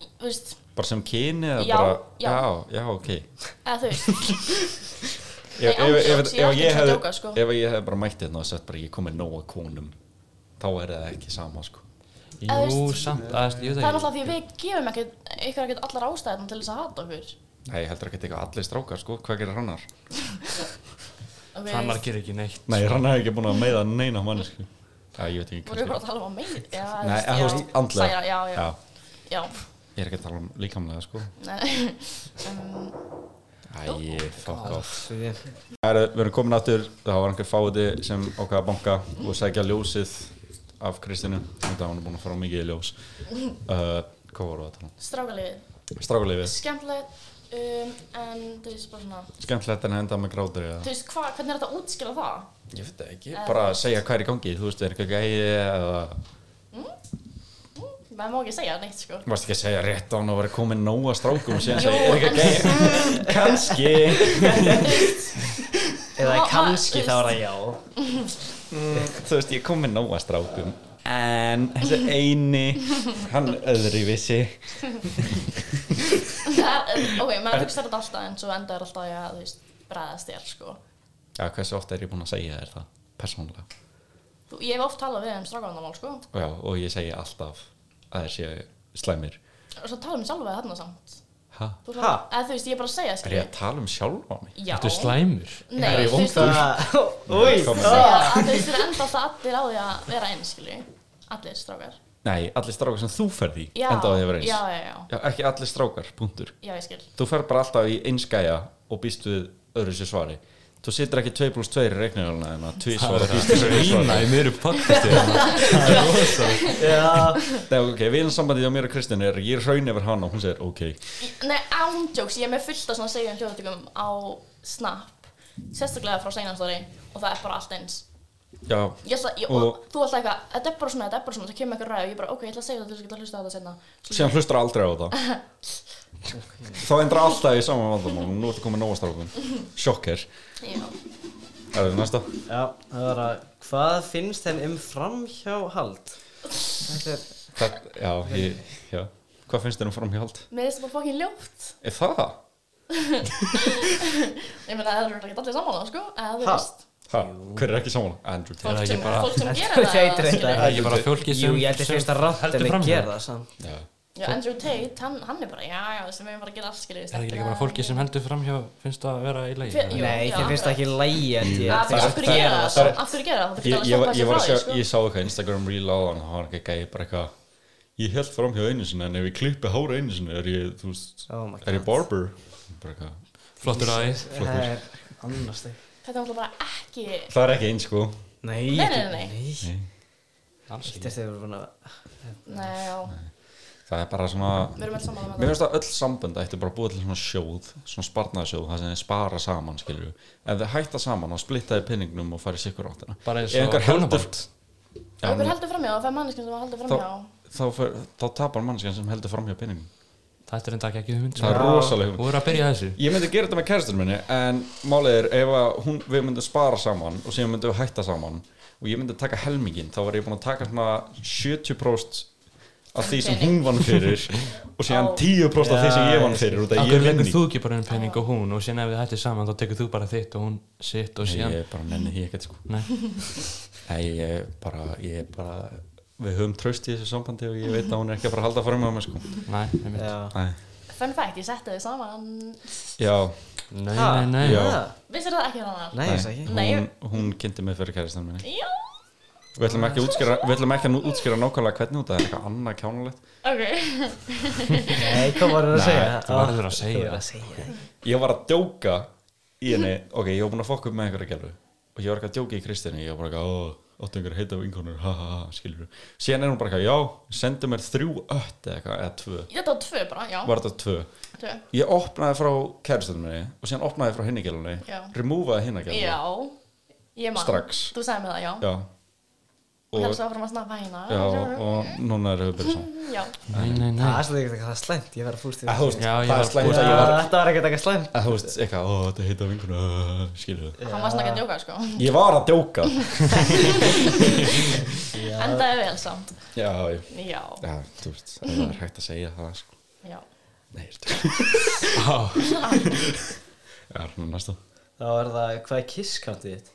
[SPEAKER 2] þú veist,
[SPEAKER 3] Bara sem kyni eða
[SPEAKER 2] Já,
[SPEAKER 3] bara...
[SPEAKER 2] já.
[SPEAKER 3] Já, já, ok.
[SPEAKER 2] eða þú veist ándjóks,
[SPEAKER 3] Ef- ef- ef-
[SPEAKER 2] ég er
[SPEAKER 3] Ef
[SPEAKER 2] ekki
[SPEAKER 3] ég
[SPEAKER 2] að
[SPEAKER 3] hefði
[SPEAKER 2] djóka, sko.
[SPEAKER 3] ef ég hefði bara mætt þetta og sett bara ég komið nóg að konum, þá er það ekki sama, sko.
[SPEAKER 2] Eða þú
[SPEAKER 4] Jú,
[SPEAKER 2] veist-
[SPEAKER 4] samt aðeins,
[SPEAKER 2] það
[SPEAKER 4] ég
[SPEAKER 2] er
[SPEAKER 4] veit
[SPEAKER 2] náttúrulega því að við gefum ekki ykkur ekkert allar ástæðan til þess að hata okkur
[SPEAKER 3] Nei, ég heldur ekki eitthvað allir strákar, sko. Hvað gerir Hrannar?
[SPEAKER 2] Ok,
[SPEAKER 4] ekki Hannar gerir ekki neitt sko.
[SPEAKER 3] Nei, Hrannar hefði ekki búin að meiða neina mannesku. Já, ég veit ekki
[SPEAKER 2] voru við bara
[SPEAKER 3] kannski.
[SPEAKER 2] að tala um að mig já,
[SPEAKER 3] Nei, eða þú veist, andlega.
[SPEAKER 2] særa, já, já,
[SPEAKER 3] Já.
[SPEAKER 2] já,
[SPEAKER 3] Ég er ekki að tala um líkamlega sko
[SPEAKER 2] nei, um,
[SPEAKER 3] Æ, fuck off
[SPEAKER 1] Svo ég-
[SPEAKER 3] Það eru- Við erum komin aftur, það var einhver fáiði sem ákvaða að banka og sækja ljósið af Kristinu Þetta var hún búin að fara á mikið í ljós uh, Hvað voru að tala um?
[SPEAKER 2] strákaliðið
[SPEAKER 3] Strákulífið,
[SPEAKER 2] skemmtilegt um, en þú veist bara svona
[SPEAKER 3] skemmtilegt en að enda með grátur eða
[SPEAKER 2] þú veist, hva, hvernig er þetta að útskila það?
[SPEAKER 3] Ég veit það ekki, bara að segja hvað er í gangi Þú veist, er eitthvað gæði eða
[SPEAKER 2] maður má ekki segja neitt sko
[SPEAKER 3] Varst ekki að segja rétt á hann og verið komin nóga strákum og síðan
[SPEAKER 2] Jú,
[SPEAKER 3] segja, er
[SPEAKER 2] en-
[SPEAKER 3] eitthvað gæði Kanski
[SPEAKER 1] Eða
[SPEAKER 2] Ma- ma-
[SPEAKER 1] kannski
[SPEAKER 2] þú
[SPEAKER 1] þá
[SPEAKER 2] veist-
[SPEAKER 1] er það já.
[SPEAKER 3] Þú veist, ég kom með nóga strákum En þessi eini, hann öðruvísi
[SPEAKER 2] Það er- ok, maður hugsa þetta alltaf en svo enda er alltaf að, þú veist, bræðast þér sko.
[SPEAKER 3] Já, hversu ofta er ég búin að segja þér það, persónulega?
[SPEAKER 2] Þú, ég hef oft talað við þeim strákaðandamál sko
[SPEAKER 3] Og Já, og ég segi alltaf að þér séu slæmir.
[SPEAKER 2] og svo tala um sjálfa við þarna samt
[SPEAKER 3] Hæ?
[SPEAKER 2] Þú
[SPEAKER 1] Ha?
[SPEAKER 2] svona- eða þú veist, ég er bara að segja
[SPEAKER 3] Er ég
[SPEAKER 2] skilju
[SPEAKER 3] að tala um sjálf á mig?
[SPEAKER 2] Já,
[SPEAKER 4] Þú slæmur
[SPEAKER 2] nei,
[SPEAKER 3] Er ég
[SPEAKER 2] þú veist, þú
[SPEAKER 1] Ah.
[SPEAKER 3] vongóður?
[SPEAKER 1] Það, úi,
[SPEAKER 3] Kom
[SPEAKER 2] segja að þú veist, þeir enda alltaf allir á því að vera eins skilju allir strákar
[SPEAKER 3] Nei, allir strákar sem þú ferð í
[SPEAKER 2] Já,
[SPEAKER 3] enda á því að vera eins
[SPEAKER 2] já, já, já.
[SPEAKER 3] Ekki allir strákar, punktur
[SPEAKER 2] Já, ég skil.
[SPEAKER 3] Þú ferð bara alltaf í einskæja og býst við öðru sér svari Þú situr ekki 2 pluss 2 í reikningáluna en að 2 svar og býst við öðru sér
[SPEAKER 4] Lína í miður podcasti Það er rosa
[SPEAKER 1] Já,
[SPEAKER 3] svari Ok, vilansambandið á mér og Kristinn er ég raun yfir hana og hún segir ok
[SPEAKER 2] Nei, ándjóks, ég er með fullt af svona segjum hljóðutökum á Snap, sérstaklega frá seinastóri og það er bara allt eins.
[SPEAKER 3] Já,
[SPEAKER 2] Ég ætla, ég, og,
[SPEAKER 3] Og-
[SPEAKER 2] þú ætla eitthvað, þetta er bara svona, þetta er bara svona, það kemur eitthvað ræð og ég bara, ok, ég ætla að segja þetta til þess að geta hlusta á þetta senna.
[SPEAKER 3] síðan hlustar aldrei á það Þá endur alltaf í saman vandamál og Nú ertu komið nóga strákum Sjokker,
[SPEAKER 2] Já.
[SPEAKER 3] er það næsta?
[SPEAKER 1] já, það var að hvað finnst þeim um framhjáhald? Þetta er,
[SPEAKER 3] Það, já, ég, já Hvað finnst þér um framhjáld?
[SPEAKER 2] Mér finnst þetta bara fokkin ljótt.
[SPEAKER 3] Er það?
[SPEAKER 2] Ég meina, það eru ekki allir sammála, sko, eða þú
[SPEAKER 1] Ha?
[SPEAKER 2] veist,
[SPEAKER 3] Ha, hver er ekki saman? Andrew Tate
[SPEAKER 2] fólk
[SPEAKER 4] ekki
[SPEAKER 2] sem,
[SPEAKER 4] bara-
[SPEAKER 2] fólk sem
[SPEAKER 1] Ég
[SPEAKER 2] gerir
[SPEAKER 1] veit
[SPEAKER 2] það,
[SPEAKER 1] reyndar
[SPEAKER 2] skilur.
[SPEAKER 1] það.
[SPEAKER 4] Ekki bara fólki sem
[SPEAKER 1] jú, ég held að
[SPEAKER 4] sem
[SPEAKER 1] finnst að rátt
[SPEAKER 4] heldur
[SPEAKER 1] en
[SPEAKER 4] fram
[SPEAKER 1] að
[SPEAKER 4] hjá.
[SPEAKER 1] gera það samt.
[SPEAKER 3] Já,
[SPEAKER 2] Já, Andrew Tate, hann, hann er bara, já, já, þessum við bara að gera allt, skilur.
[SPEAKER 4] Er það ekki líka bara fólki sem heldur framhjá finnst það að vera í lagi?
[SPEAKER 2] Fe- jú.
[SPEAKER 1] Nei,
[SPEAKER 2] já,
[SPEAKER 1] þeim finnst það ekki lægi en ég
[SPEAKER 2] Af af hverju gera það,
[SPEAKER 1] samt.
[SPEAKER 2] samt? af hverju gera það, það
[SPEAKER 3] Ég,
[SPEAKER 2] getur
[SPEAKER 3] ég, var-
[SPEAKER 2] alveg
[SPEAKER 3] ég, var að
[SPEAKER 2] stoppað sér
[SPEAKER 3] sjá,
[SPEAKER 2] frá því, sko.
[SPEAKER 3] ég sá eitthvað Instagram reel á hann og hann var ekki gæði bara eitthvað ég held fram hjá einu sinni en ef ég klippi hára einu sinni er ég, þú veist,
[SPEAKER 1] Oh my
[SPEAKER 3] er
[SPEAKER 1] god.
[SPEAKER 3] ég barber bara eitthvað,
[SPEAKER 4] Flottur aði
[SPEAKER 1] Það er annars þig.
[SPEAKER 2] sko. Þetta er alltaf bara ekki,
[SPEAKER 3] það er ekki eins sko
[SPEAKER 1] Nei,
[SPEAKER 2] Nei,
[SPEAKER 1] ekki-
[SPEAKER 2] nei, nei.
[SPEAKER 1] nei.
[SPEAKER 4] Alls
[SPEAKER 1] Þetta er þegar við erum búin að
[SPEAKER 2] nei, já,
[SPEAKER 3] það er bara svona,
[SPEAKER 2] við erum alltaf sammála um með
[SPEAKER 3] mér finnst að öll sambönd ætti bara að búa til svona sjóð, svona sparnaðsjóð það sem þið spara saman, skilju ef þið hætta saman og splittaði penningnum og farið sikkur áttina
[SPEAKER 4] Bara eins
[SPEAKER 3] Ef
[SPEAKER 4] og
[SPEAKER 3] einhver heldur-
[SPEAKER 4] hjónaband.
[SPEAKER 2] það. Ef Okkur heldur framjá, það er manneskinn sem heldur
[SPEAKER 3] Þá-
[SPEAKER 2] framjá.
[SPEAKER 3] þá, fer, þá tapar mannskjan sem heldur fram hjá penningnum
[SPEAKER 4] Þetta er enda ekki ekki hugmynd
[SPEAKER 3] það er
[SPEAKER 1] Já.
[SPEAKER 3] rosalega hugmynd
[SPEAKER 4] Þú er að byrja þessu
[SPEAKER 3] Ég myndi gera þetta með kærastunum minni en málið er ef að hún, við myndum spara saman og síðan myndum við hætta saman og ég myndi taka helmingin þá var ég búin að taka svona 70% af því sem hún vann fyrir og síðan
[SPEAKER 2] Ó.
[SPEAKER 3] 10% af því sem
[SPEAKER 1] Já,
[SPEAKER 3] ég vann fyrir út af
[SPEAKER 4] Akkur
[SPEAKER 3] ég
[SPEAKER 4] leikur
[SPEAKER 3] vinni
[SPEAKER 4] þú ekki bara um penning og hún og síðan ef þið hættir saman þá tekur þú bara þitt og hún sitt og síðan
[SPEAKER 3] Ég er bara nenni því ekkert sko
[SPEAKER 4] Nei,
[SPEAKER 3] Nei, ég er bara, ég er bara við höfum tröst í þessu sambandi og ég veit að hún er ekki að fara að halda fram með mér sko
[SPEAKER 4] nei, einmitt.
[SPEAKER 1] Já.
[SPEAKER 3] Nei.
[SPEAKER 2] Fun fact, ég setti þau saman.
[SPEAKER 3] Já,
[SPEAKER 4] nei,
[SPEAKER 1] Ha?
[SPEAKER 4] nei, nei.
[SPEAKER 3] Já.
[SPEAKER 2] Vissir það ekki hann
[SPEAKER 1] Nei, þess ekki
[SPEAKER 2] Nei.
[SPEAKER 3] hún, hún kynnti mig fyrir kærastunum minni
[SPEAKER 2] Já,
[SPEAKER 3] Við ætlum ekki að útskýra, við ætlum ekki að nú- útskýra nákvæmlega hvernig út það er eitthvað annað kjánulegt
[SPEAKER 2] ok.
[SPEAKER 1] Nei, hvað var það að
[SPEAKER 3] Nei,
[SPEAKER 1] segja?
[SPEAKER 4] þú verður að
[SPEAKER 1] Á, þú
[SPEAKER 4] segja.
[SPEAKER 1] verður að segja
[SPEAKER 3] ég var að djóka í henni ok, ég var búin að fokka upp með einhverja gælu og ég var eitthvað að djóka í Kristinni ég var bara eitthvað, ó, áttu einhverja heita vinkonur ha ha ha, skilur við, síðan er hún bara eitthvað já, sendu mér þrjú ött eða eitthvað eða tvö,
[SPEAKER 2] Þetta var tvö bara, já.
[SPEAKER 3] var þetta tvö
[SPEAKER 2] Tvö.
[SPEAKER 3] ég opnaði frá kærastunum minni og síðan opnaði frá henni gælunni,
[SPEAKER 2] Já.
[SPEAKER 3] removaði henni
[SPEAKER 2] Já.
[SPEAKER 3] gælunni
[SPEAKER 2] Ég man.
[SPEAKER 3] Strax.
[SPEAKER 2] Þú sagði mér það, já.
[SPEAKER 3] já,
[SPEAKER 2] Og
[SPEAKER 3] og,
[SPEAKER 2] helst áfram að snappa hérna.
[SPEAKER 3] já, og núna er höfubyrð saman
[SPEAKER 2] Já.
[SPEAKER 4] nei, nei, nei.
[SPEAKER 1] Það er svolítið eitthvað slæmt, ég verður að fúst í
[SPEAKER 3] Að þú veist,
[SPEAKER 4] Já, ég
[SPEAKER 3] það
[SPEAKER 4] var-
[SPEAKER 3] er slæmt að ég var
[SPEAKER 1] Þetta var ekkert eitthvað slæmt
[SPEAKER 3] að þú veist, eitthvað, ó, þetta heita vinkonur skilur við,
[SPEAKER 2] Hann var svona ekki að djóka, sko.
[SPEAKER 3] ég var að djóka
[SPEAKER 2] Endaði vel samt.
[SPEAKER 3] já, ég,
[SPEAKER 2] Já.
[SPEAKER 3] já, þú veist, ef það er hægt að segja það sko.
[SPEAKER 2] Já.
[SPEAKER 3] Nei, þetta Já, svona næsta
[SPEAKER 1] Þá er það, hvað er kisskantið þitt?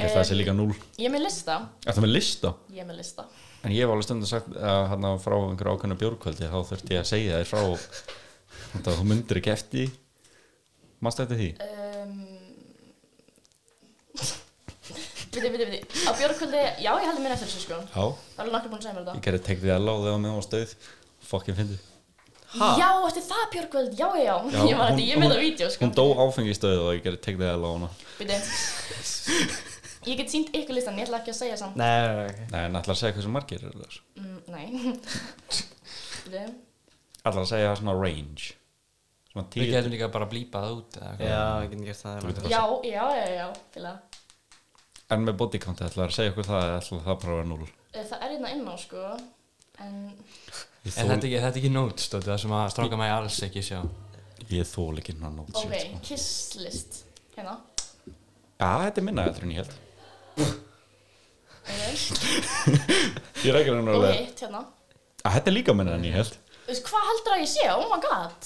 [SPEAKER 3] Ég held að það sé líka núl
[SPEAKER 2] Ég er með lista.
[SPEAKER 3] Þetta með lista
[SPEAKER 2] Ég er með lista.
[SPEAKER 3] En ég hef alveg stundum sagt að hann frá einhverju ákveðnu bjórkvöldi þá þurfti ég að segja þér frá þetta þú myndir ekki eftir því. Manstu eftir því?
[SPEAKER 2] Um, Viti, viti, viti. Á björgkvöldi, já, ég heldur mér eftir þessu, sko.
[SPEAKER 3] Já,
[SPEAKER 2] Það er alveg nokkur búin að segja mér þetta.
[SPEAKER 3] ég gerði tekt við alla og þegar með á stöð Fokkin fyndi
[SPEAKER 1] Ha?
[SPEAKER 2] Já, eftir það Björgvöld, já, já, já Ég var þetta, ég með það vídeo, sko
[SPEAKER 3] Hún dó áfengi í stöðu og ég gerði tekt við alla á hana
[SPEAKER 2] Bíddu. Ég get sínt ykkur listan, ég ætla ekki að segja samt
[SPEAKER 1] Nei, nei, nei, ok.
[SPEAKER 3] Nei, en ætlar að segja hversu margir er það
[SPEAKER 2] mm, Nei Bíddu.
[SPEAKER 3] Ætlar að segja svona range Svona
[SPEAKER 4] Við
[SPEAKER 3] tíu
[SPEAKER 4] getum líka bara blípað út eða eitthvað.
[SPEAKER 1] Já, ég get gert það
[SPEAKER 3] veit
[SPEAKER 1] nei.
[SPEAKER 2] Já, já, já, já, til að
[SPEAKER 3] En með bodycount ætlar að segja okkur það eða ætlar það bara að vera núl
[SPEAKER 2] Eh, Það er hérna inná, sko En,
[SPEAKER 3] Ég
[SPEAKER 4] Er
[SPEAKER 3] þoli-
[SPEAKER 4] þetta ekki, þetta ekki nót, stóttu, það sem að stráka mæ alls ekki sjá
[SPEAKER 3] Ég þól ekki hann átt
[SPEAKER 2] ok,
[SPEAKER 3] sér sko.
[SPEAKER 2] kisslist Hérna,
[SPEAKER 3] Já, Ah, þetta er minna eftir en ég held
[SPEAKER 2] ok
[SPEAKER 3] Ég rækir hann
[SPEAKER 2] Og
[SPEAKER 3] alveg
[SPEAKER 2] hitt, hérna
[SPEAKER 3] að Ah, Þetta er líka minna en ég held
[SPEAKER 2] Þú veist, hvað heldur að ég sé? Oh my god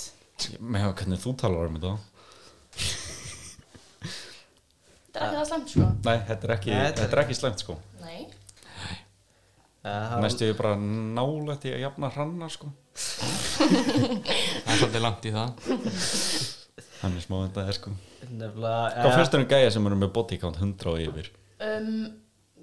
[SPEAKER 3] Með hvernig þú talar um þetta
[SPEAKER 2] Það er ekki það slæmt, sko
[SPEAKER 3] Nei, þetta er ekki,
[SPEAKER 1] Nei, þetta er
[SPEAKER 3] þetta er ekki slæmt sko
[SPEAKER 2] Nei
[SPEAKER 1] Það var-
[SPEAKER 3] Næstu ég bara nálætt í að jafna hrannar sko
[SPEAKER 4] Það er svolítið langt í það
[SPEAKER 3] Hann er smá þetta er sko
[SPEAKER 1] Nefnilega
[SPEAKER 3] Hvað fyrst er um gæja sem eru með bodycount 100 og yfir?
[SPEAKER 2] um,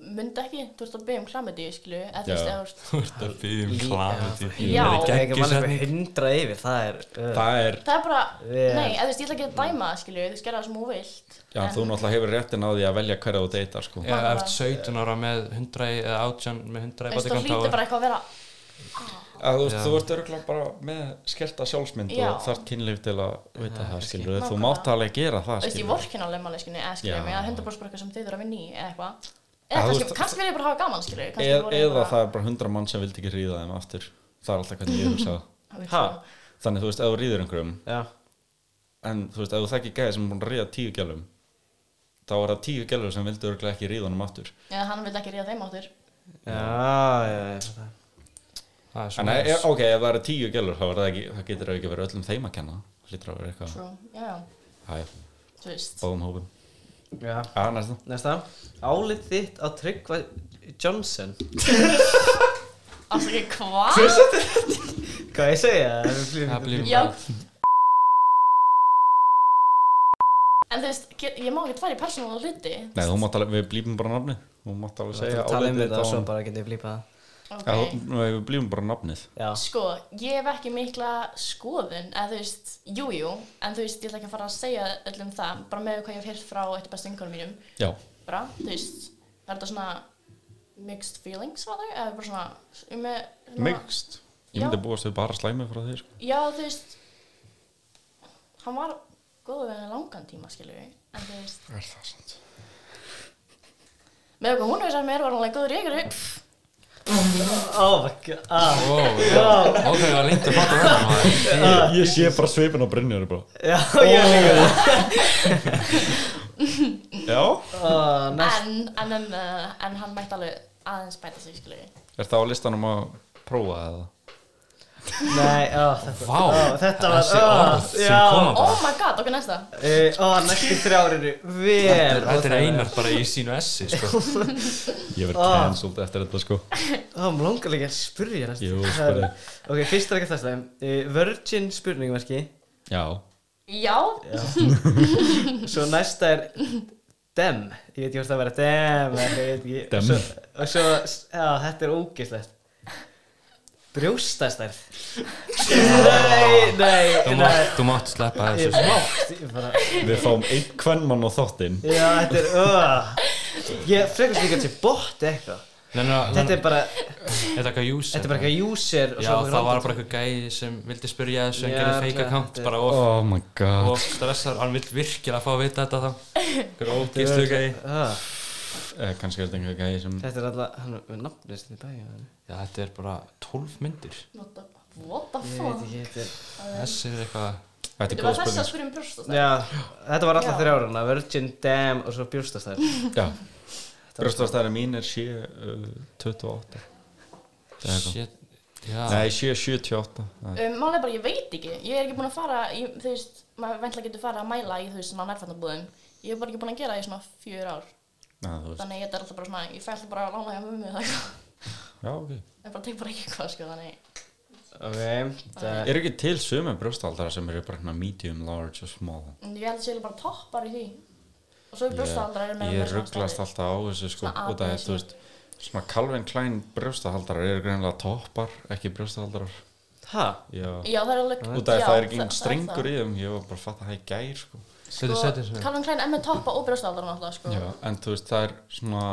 [SPEAKER 2] mynda ekki, þú ert að byggja um klamidíu, skilju, eða þú
[SPEAKER 3] Já.
[SPEAKER 2] veist, eða þú veist,
[SPEAKER 4] Þú ert að byggja um klamið
[SPEAKER 2] Já.
[SPEAKER 1] Það er ekki mann
[SPEAKER 4] Geggjusett
[SPEAKER 1] sem hundra yfir, það er uh,
[SPEAKER 3] það er,
[SPEAKER 2] það er bara,
[SPEAKER 1] Vel.
[SPEAKER 2] nei, eða þú veist, ég ætla ekki að dæma það, skilju, þú skerða það sem þú vilt.
[SPEAKER 3] já, þú náttúrulega hefur réttin á því að velja hverja þú deytar sko.
[SPEAKER 4] Já, eftir 17 ára með 100 í- eða 18 með 100 í
[SPEAKER 2] Þú veist, þú
[SPEAKER 4] bodycount
[SPEAKER 2] hlýtur bara eitthvað að vera,
[SPEAKER 3] að þú,
[SPEAKER 4] Já.
[SPEAKER 3] þú ert örgulega bara með skerta sjálfsmynd
[SPEAKER 2] Já.
[SPEAKER 3] og þarf kynlíf til að veita það skilur þú
[SPEAKER 2] Nákvæmlega.
[SPEAKER 3] mátt alveg gera það
[SPEAKER 2] þú veist, ég
[SPEAKER 3] skilur
[SPEAKER 2] vorkin alveg máli, skilju, eða skilju,
[SPEAKER 3] Já.
[SPEAKER 2] mér er hundra bara eitthvað sem þau þurfa að vinna í, eða eitthvað.
[SPEAKER 3] Já,
[SPEAKER 2] Eða
[SPEAKER 3] þú
[SPEAKER 2] kannski,
[SPEAKER 3] veist,
[SPEAKER 2] kannski vil ég bara hafa gaman, skilju, kannski
[SPEAKER 3] Eð, eða það er bara hundra mann sem vildi ekki ríða þeim aftur það er alltaf hvernig ég hugsa það
[SPEAKER 2] það,
[SPEAKER 1] Ha?
[SPEAKER 3] þannig þú veist, ef þú ríður einhverjum
[SPEAKER 1] Já,
[SPEAKER 3] en þú veist, ef þú þekki gæði sem er búin að ríða tíu gælum þá er það tíu gælur sem vildi örgulega ekki ríða honum aftur
[SPEAKER 2] eða hann vil ekki ríða þeim áttur.
[SPEAKER 1] já, já, já, ég fattar.
[SPEAKER 3] en
[SPEAKER 4] Það
[SPEAKER 3] e,
[SPEAKER 4] er
[SPEAKER 3] ok, ef það eru tíu gælur þá, er það ekki, það getur það ekki verið öllum þeim að kenna það hlýtur að vera eitthvað
[SPEAKER 2] True, já, já,
[SPEAKER 3] Hæ,
[SPEAKER 2] þú veist.
[SPEAKER 3] báðum hópum
[SPEAKER 1] Já,
[SPEAKER 3] að Ah, næsta
[SPEAKER 1] næsta Álit þitt á Tryggva Johnson
[SPEAKER 2] Alltaf ekki hvað?
[SPEAKER 1] Hvað ég segja? Það er flýðum-
[SPEAKER 4] Það blífum
[SPEAKER 2] Já.
[SPEAKER 4] bara
[SPEAKER 2] En þú veist, get- ég má ekki fara í persónulega hluti.
[SPEAKER 3] Nei, þú mátt alveg, við blífum bara nafnið Þú mátt alveg
[SPEAKER 1] Þú
[SPEAKER 3] segja
[SPEAKER 1] ert að tala um
[SPEAKER 3] álitið
[SPEAKER 1] þetta og
[SPEAKER 3] á
[SPEAKER 1] svo
[SPEAKER 3] honum.
[SPEAKER 1] bara getum við flýpað það.
[SPEAKER 3] Já,
[SPEAKER 2] Ok.
[SPEAKER 3] þú- við blífum bara nafnið
[SPEAKER 1] Já,
[SPEAKER 2] Sko, ég hef ekki mikla skoðun, eða þú veist, jújú, jú, en þú veist, ég ætla ekki að fara að segja öllum það, bara með hvað ég hef heyrt frá eitt bestu yngur mínum,
[SPEAKER 3] Já,
[SPEAKER 2] bara, þú veist, það er þetta svona mixed feelings á þau, eða bara svona, með, svona
[SPEAKER 3] mixed Ég
[SPEAKER 2] Já.
[SPEAKER 3] myndi búast við bara slæmi frá þér sko.
[SPEAKER 2] Já, þú veist, hann var góður við langan tíma, skilur við, en þú veist,
[SPEAKER 3] Er það sant?
[SPEAKER 2] með okkur hún veist að mér var hann alveg góður í ykkur, pff,
[SPEAKER 1] Oh my god ah,
[SPEAKER 4] Ó, já Ok, það var lengt að fatta þetta
[SPEAKER 3] Ég,
[SPEAKER 4] maður
[SPEAKER 3] ég sé bara sveipin á Brynjar bara.
[SPEAKER 1] Já, ég líka
[SPEAKER 3] Já
[SPEAKER 1] Ah, Næst
[SPEAKER 2] en, en, en, uh, en hann mætti alveg aðeins bæta sig, skilur við.
[SPEAKER 3] Er það á listanum að prófa eða?
[SPEAKER 1] Nei, ó, þetta
[SPEAKER 4] Vá,
[SPEAKER 1] ó, Þetta var
[SPEAKER 4] þessi
[SPEAKER 1] ó,
[SPEAKER 4] orð sem
[SPEAKER 1] já.
[SPEAKER 4] koma bara
[SPEAKER 2] Oh my god, ok, næsta.
[SPEAKER 1] Eh, Ó, næstu þrjárinu Vel
[SPEAKER 4] Þetta er einar bara í sínu essi, sko
[SPEAKER 3] Ég verð
[SPEAKER 1] Ah.
[SPEAKER 3] cancelled eftir þetta sko
[SPEAKER 1] Ó, mér langar líka að spyrja næst
[SPEAKER 3] Jú, spurðu.
[SPEAKER 1] Ok, fyrst er ekki þess það Virgin spurningverki
[SPEAKER 3] Já
[SPEAKER 2] Já,
[SPEAKER 1] Svo næsta er Dem Ég veit ekki hvort það verið Dem eða eitthvað, ég veit ekki.
[SPEAKER 3] Dem.
[SPEAKER 1] Og svo- Og svo, já, þetta er ógislegt Brjóstastærð Nei, nei,
[SPEAKER 4] Þú
[SPEAKER 1] nei
[SPEAKER 4] mátt, þú mátt sleppa
[SPEAKER 1] Ég
[SPEAKER 4] þessu, sko.
[SPEAKER 1] mátt ég bara,
[SPEAKER 3] Við fáum einn kvennmann á þáttinn
[SPEAKER 1] Já, þetta er uh. Ég frekast líka til bot eitthvað
[SPEAKER 4] sko Þetta
[SPEAKER 1] Þetta er bara,
[SPEAKER 4] Þetta er eitthvað user
[SPEAKER 1] þetta er bara eitthvað user og
[SPEAKER 4] Já,
[SPEAKER 1] svo
[SPEAKER 4] það var bara eitthvað gæði sem vildi spyrja þessu en
[SPEAKER 1] Já,
[SPEAKER 4] gerði fake
[SPEAKER 1] þetta-
[SPEAKER 4] account bara of,
[SPEAKER 3] Oh my god
[SPEAKER 4] og stressar, hann vill virkilega fá að vita þetta þá Hver ógistu gæði
[SPEAKER 1] eitthvað uh,
[SPEAKER 3] eh, Kannski er þetta einhver gæði sem
[SPEAKER 1] Þetta er alltaf, hann er nafnlist í bæja
[SPEAKER 4] Já, þetta er bara 12 myndir
[SPEAKER 2] What the, what the
[SPEAKER 1] Ég veit
[SPEAKER 2] fuck?
[SPEAKER 1] ekki, þetta er
[SPEAKER 4] Þessi er eitthvað
[SPEAKER 3] Þetta er
[SPEAKER 2] Þetta var
[SPEAKER 3] góð
[SPEAKER 2] þess að spyrja
[SPEAKER 3] spurning sko.
[SPEAKER 2] um brjóstastæð.
[SPEAKER 1] Já, þetta var alltaf
[SPEAKER 2] Já.
[SPEAKER 1] þrjáruna Virgin, Damn og svo bjústastær
[SPEAKER 3] Já Brjóstastæri mín er eh, 728 er eitthvað.
[SPEAKER 4] Shit,
[SPEAKER 2] Ah.
[SPEAKER 4] já
[SPEAKER 3] Nei, 778 Það
[SPEAKER 2] Um, Málið er bara, ég veit ekki. Ég er ekki búin að fara, í, þú veist, maður ventla getur fara að mæla í þú veist svona nærfændabúðum. Ég er bara ekki búin að gera það í svona fjör ár.
[SPEAKER 3] Já, Ah, þú veist
[SPEAKER 2] Þannig að ég er alltaf bara svona, ég fæ alltaf bara að lána hjá mummi eða eitthvað.
[SPEAKER 3] Já, ok
[SPEAKER 2] Ég bara tek bara ekki eitthvað, sko, þannig.
[SPEAKER 1] Ok, það
[SPEAKER 3] Er ekki til sömu brjóstaldara sem eru bara hérna medium, large og small?
[SPEAKER 2] En Ég held að ég er bara toppar í því. Og svo er brjóstaldrar með
[SPEAKER 3] Ég rugglast alltaf á þessu sko
[SPEAKER 2] Svona
[SPEAKER 3] og
[SPEAKER 2] A,
[SPEAKER 3] það er,
[SPEAKER 2] B,
[SPEAKER 3] þú veist, svona Calvin Klein brjóstahaldarar eru greinlega toppar, ekki brjóstahaldarar
[SPEAKER 1] Hæ?
[SPEAKER 3] Já,
[SPEAKER 2] Já, það er alveg...
[SPEAKER 3] út af því
[SPEAKER 2] já,
[SPEAKER 3] það er ekki
[SPEAKER 2] það-
[SPEAKER 3] einhvern strengur í þeim, ég var bara að fatta það í gær sko
[SPEAKER 4] Setur, setur,
[SPEAKER 2] Sko,
[SPEAKER 4] setur
[SPEAKER 2] Calvin Klein er með toppa og brjóstaldrar náttúrulega, sko.
[SPEAKER 3] Já, en þú veist, það er svona